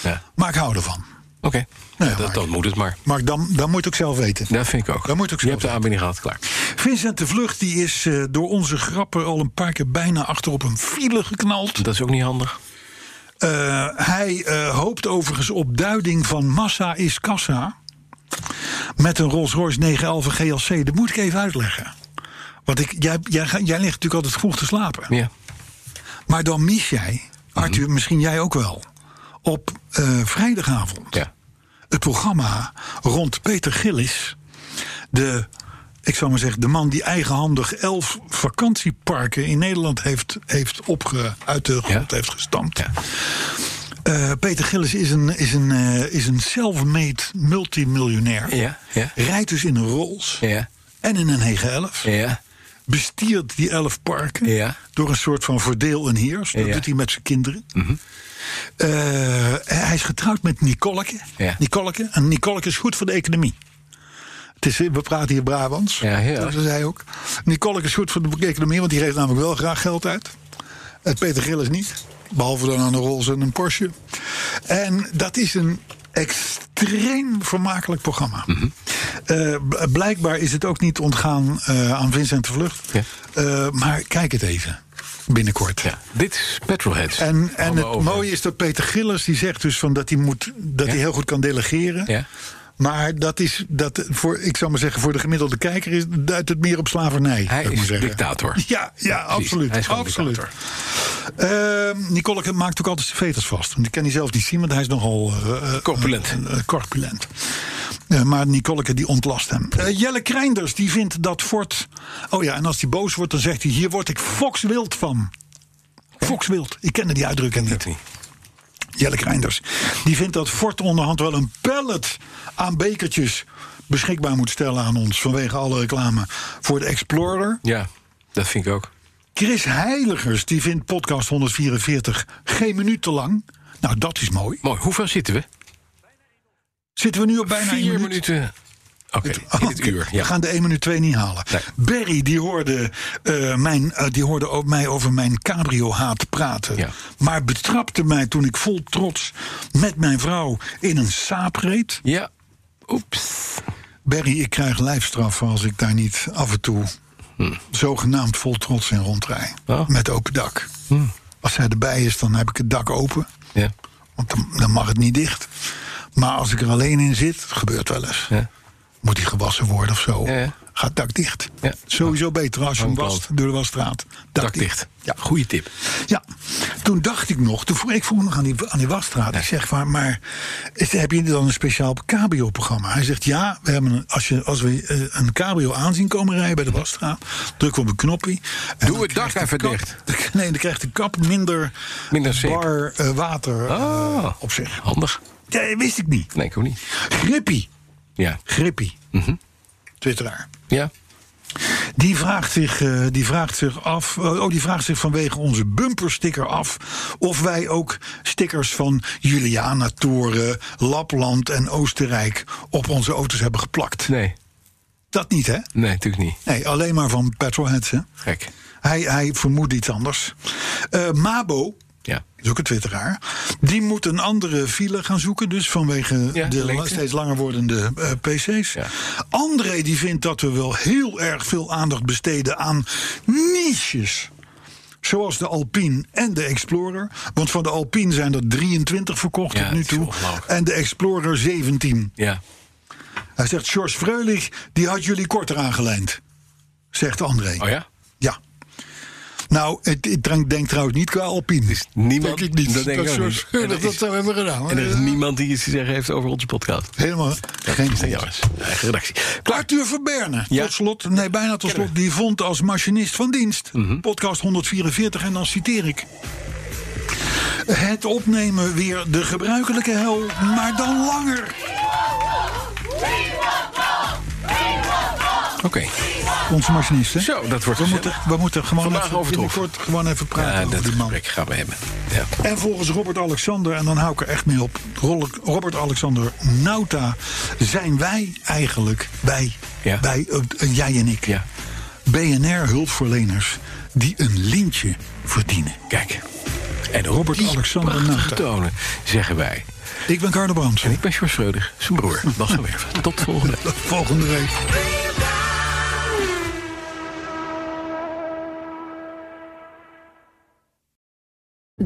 [SPEAKER 3] Ja.
[SPEAKER 2] Maar ik hou ervan.
[SPEAKER 3] Oké.
[SPEAKER 2] Nou ja,
[SPEAKER 3] dat,
[SPEAKER 2] maar-
[SPEAKER 3] dan moet het maar.
[SPEAKER 2] Maar dan, dan moet ik zelf weten.
[SPEAKER 3] Dat vind ik ook.
[SPEAKER 2] Dat moet ook zo
[SPEAKER 3] je hebt de
[SPEAKER 2] zijn.
[SPEAKER 3] aanbieding gehad, klaar.
[SPEAKER 2] Vincent de Vlucht die is eh, door onze grappen al een paar keer bijna achter op een file geknald.
[SPEAKER 3] Dat is ook niet handig.
[SPEAKER 2] Eh, hij eh, hoopt overigens op duiding van massa is kassa. Met een Rolls-Royce 911 GLC. Dat moet ik even uitleggen. Want ik, jij, jij, ga- jij ligt natuurlijk altijd vroeg te slapen.
[SPEAKER 3] Ja. Mhm.
[SPEAKER 2] Maar dan mis jij, Arthur, misschien jij ook wel... op eh, vrijdagavond
[SPEAKER 3] Ja.
[SPEAKER 2] het programma rond Peter Gillis... de, ik zou maar zeggen, de man die eigenhandig elf vakantieparken... in Nederland heeft, heeft opge, uit de grond heeft gestampt...
[SPEAKER 3] Ja.
[SPEAKER 2] Eh, Peter Gillis is een, is een, eh, is een self-made multimiljonair.
[SPEAKER 3] Ja. Ja.
[SPEAKER 2] Rijdt dus in een Rolls
[SPEAKER 3] Ja.
[SPEAKER 2] en in een Hege 11.
[SPEAKER 3] Ja.
[SPEAKER 2] Bestiert die elf parken
[SPEAKER 3] Ja.
[SPEAKER 2] door een soort van verdeel en heers. Dat
[SPEAKER 3] Ja. Mhm.
[SPEAKER 2] doet hij met zijn kinderen. Eh, hij is getrouwd met Nicoleke.
[SPEAKER 3] Ja.
[SPEAKER 2] Nicoleke. En Nicoleke is goed voor de economie. Het is, we praten hier Brabants.
[SPEAKER 3] Ja, heel
[SPEAKER 2] Dat
[SPEAKER 3] erg.
[SPEAKER 2] zei hij ook. Nicoleke is goed voor de economie, want die geeft namelijk wel graag geld uit. Het Peter Gillis niet. Behalve dan aan een Rolls en een Porsche. En dat is een extreem vermakelijk programma.
[SPEAKER 3] Mhm.
[SPEAKER 2] Eh, b- blijkbaar is het ook niet ontgaan eh, aan Vincent de Vlucht.
[SPEAKER 3] Ja.
[SPEAKER 2] Eh, maar kijk het even. Binnenkort.
[SPEAKER 3] Ja. Dit is Petrolheads.
[SPEAKER 2] En, en
[SPEAKER 3] Allemaal
[SPEAKER 2] het
[SPEAKER 3] over.
[SPEAKER 2] mooie is dat Peter Gillis die zegt dus van dat hij moet dat hij heel goed kan delegeren.
[SPEAKER 3] Ja.
[SPEAKER 2] Maar dat is dat voor, ik zou maar zeggen, voor de gemiddelde kijker is, duidt het meer op slavernij. zou
[SPEAKER 3] Hij
[SPEAKER 2] ik maar
[SPEAKER 3] is
[SPEAKER 2] zeggen.
[SPEAKER 3] dictator.
[SPEAKER 2] Ja, ja
[SPEAKER 3] Precies,
[SPEAKER 2] absoluut.
[SPEAKER 3] hij is gewoon
[SPEAKER 2] absoluut.
[SPEAKER 3] dictator.
[SPEAKER 2] Ehm, Nicoleke maakt ook altijd zijn veters vast. Want die kan hij zelf niet zien, want hij is nogal... eh, eh,
[SPEAKER 3] Corpulent.
[SPEAKER 2] eh, eh, corpulent. Eh, maar Nicoleke die ontlast hem. Eh, Jelle Kreinders die vindt dat Ford... Oh ja, en als hij boos wordt, dan zegt hij... hier word ik fokswild van. Fokswild. Ik kende die uitdrukking niet.
[SPEAKER 3] Dat niet.
[SPEAKER 2] Jelle Kreinders. Die vindt dat Fort onderhand wel een pallet aan bekertjes beschikbaar moet stellen aan ons. Vanwege alle reclame voor de Explorer.
[SPEAKER 3] Ja. Dat vind ik ook.
[SPEAKER 2] Chris Heiligers die vindt podcast 144 geen minuut te lang. Nou, dat is mooi.
[SPEAKER 3] Mooi. Hoeveel zitten we?
[SPEAKER 2] Zitten we nu op bijna een
[SPEAKER 3] Vier
[SPEAKER 2] minuut?
[SPEAKER 3] minuten. Oké, in het oh,
[SPEAKER 2] Oké,
[SPEAKER 3] uur.
[SPEAKER 2] We
[SPEAKER 3] Ja.
[SPEAKER 2] gaan de 1 minuut 2 niet halen.
[SPEAKER 3] Nee.
[SPEAKER 2] Barry die hoorde, eh, mijn, eh, die hoorde ook mij over mijn cabrio-haat praten.
[SPEAKER 3] Ja.
[SPEAKER 2] Maar betrapte mij toen ik vol trots met mijn vrouw in een saap reed.
[SPEAKER 3] ja. Oeps.
[SPEAKER 2] Barry, ik krijg lijfstraf als ik daar niet af en toe zogenaamd vol trots in rondrij.
[SPEAKER 3] Hmm. Oh. Hmm.
[SPEAKER 2] Met open dak. Als zij erbij is, dan heb ik het dak open.
[SPEAKER 3] Ja.
[SPEAKER 2] Want dan, dan mag het niet dicht. Maar als ik er alleen in zit, het gebeurt wel eens.
[SPEAKER 3] Ja.
[SPEAKER 2] Moet die gewassen worden of zo.
[SPEAKER 3] Ja, ja.
[SPEAKER 2] Gaat het dak dicht.
[SPEAKER 3] Ja.
[SPEAKER 2] Sowieso beter als je hem
[SPEAKER 3] Hangplant.
[SPEAKER 2] wast door de wasstraat. Dak,
[SPEAKER 3] Dak dicht.
[SPEAKER 2] Ja.
[SPEAKER 3] Goeie tip.
[SPEAKER 2] Ja, toen dacht ik nog, toen vroeg, ik vroeg nog aan die, aan die wasstraat. Ik zeg, maar, maar is- heb je dan een speciaal cabrio-programma? Hij zegt, ja, we hebben een, als, je, als we eh, een cabrio aanzien komen rijden bij de wasstraat... drukken we op een knopje. en
[SPEAKER 3] Doe
[SPEAKER 2] dan
[SPEAKER 3] het dak
[SPEAKER 2] krijgt de
[SPEAKER 3] even
[SPEAKER 2] kap-
[SPEAKER 3] dicht.
[SPEAKER 2] Nee, dan krijgt de kap minder,
[SPEAKER 3] Minder zeep.
[SPEAKER 2] bar eh, water eh,
[SPEAKER 3] Ah.
[SPEAKER 2] op zich.
[SPEAKER 3] Handig.
[SPEAKER 2] Ja, dat wist ik niet.
[SPEAKER 3] Nee, ik ook niet.
[SPEAKER 2] Grippie,
[SPEAKER 3] Ja.
[SPEAKER 2] Grippie,
[SPEAKER 3] Mhm.
[SPEAKER 2] twitteraar.
[SPEAKER 3] Ja.
[SPEAKER 2] Die vraagt zich, eh, die vraagt zich af. eh, oh, die vraagt zich vanwege onze bumpersticker af. Of wij ook stickers van Juliana Toren, Lapland en Oostenrijk op onze auto's hebben geplakt.
[SPEAKER 3] Nee.
[SPEAKER 2] Dat niet, hè?
[SPEAKER 3] Nee, natuurlijk niet.
[SPEAKER 2] Nee, alleen maar van petrolheads, hè?
[SPEAKER 3] Gek.
[SPEAKER 2] Hij, hij vermoedt iets anders. Eh, Mabo.
[SPEAKER 3] Ja.
[SPEAKER 2] Is ook een twitteraar. Die moet een andere file gaan zoeken. Dus vanwege
[SPEAKER 3] Ja,
[SPEAKER 2] de
[SPEAKER 3] lengte.
[SPEAKER 2] steeds langer wordende eh, PC's.
[SPEAKER 3] Ja.
[SPEAKER 2] André die vindt dat we wel heel erg veel aandacht besteden aan niches. Zoals de Alpine en de Explorer. Want van de Alpine zijn er 23 verkocht
[SPEAKER 3] Ja,
[SPEAKER 2] tot nu
[SPEAKER 3] het is
[SPEAKER 2] toe.
[SPEAKER 3] ongelooflijk.
[SPEAKER 2] En de Explorer 17.
[SPEAKER 3] Ja.
[SPEAKER 2] Hij zegt, George Freulich, die had jullie korter aangelijnd. Zegt André.
[SPEAKER 3] Oh ja?
[SPEAKER 2] Ja. Nou, ik, ik denk, denk trouwens niet qua Alpine.
[SPEAKER 3] niemand-
[SPEAKER 2] denk ik niet.
[SPEAKER 3] dat denk ik ook
[SPEAKER 2] soort-
[SPEAKER 3] niet.
[SPEAKER 2] dat,
[SPEAKER 3] En er
[SPEAKER 2] dat
[SPEAKER 3] is-
[SPEAKER 2] zouden we hebben gedaan.
[SPEAKER 3] En er is niemand die iets te zeggen heeft over onze podcast.
[SPEAKER 2] Helemaal geen
[SPEAKER 3] Is dat
[SPEAKER 2] goed.
[SPEAKER 3] jammer? Eigen redactie. Klaar.
[SPEAKER 2] Arthur Verberne,
[SPEAKER 3] Ja.
[SPEAKER 2] tot slot, nee, bijna tot slot, die vond als machinist van dienst.
[SPEAKER 3] Mhm.
[SPEAKER 2] Podcast 144, en dan citeer ik. Het opnemen weer de gebruikelijke hel, maar dan langer.
[SPEAKER 3] Oké.
[SPEAKER 2] Onze machinist, hè?
[SPEAKER 3] Zo, dat wordt
[SPEAKER 2] we,
[SPEAKER 3] gezellig.
[SPEAKER 2] moeten, we moeten gewoon
[SPEAKER 3] Vandaag
[SPEAKER 2] even
[SPEAKER 3] over het hof.
[SPEAKER 2] binnenkort gewoon even praten
[SPEAKER 3] Ja,
[SPEAKER 2] over
[SPEAKER 3] dat
[SPEAKER 2] die man.
[SPEAKER 3] gesprek gaan we hebben. Ja.
[SPEAKER 2] En volgens Robert Alexander, en dan hou ik er echt mee op. Rol- Robert Alexander Nauta zijn wij eigenlijk, wij,
[SPEAKER 3] Ja.
[SPEAKER 2] wij eh, eh, jij en ik,
[SPEAKER 3] Ja.
[SPEAKER 2] BNR-hulpverleners die een lintje verdienen.
[SPEAKER 3] Kijk. En
[SPEAKER 2] Robert
[SPEAKER 3] die
[SPEAKER 2] Alexander
[SPEAKER 3] prachtige
[SPEAKER 2] Nauta.
[SPEAKER 3] tonen, zeggen wij.
[SPEAKER 2] Ik ben Carlo Brands.
[SPEAKER 3] En ik ben George Schreuder, zijn broer, Bas van Werven. Tot volgende week.
[SPEAKER 2] Volgende week.
[SPEAKER 8] Op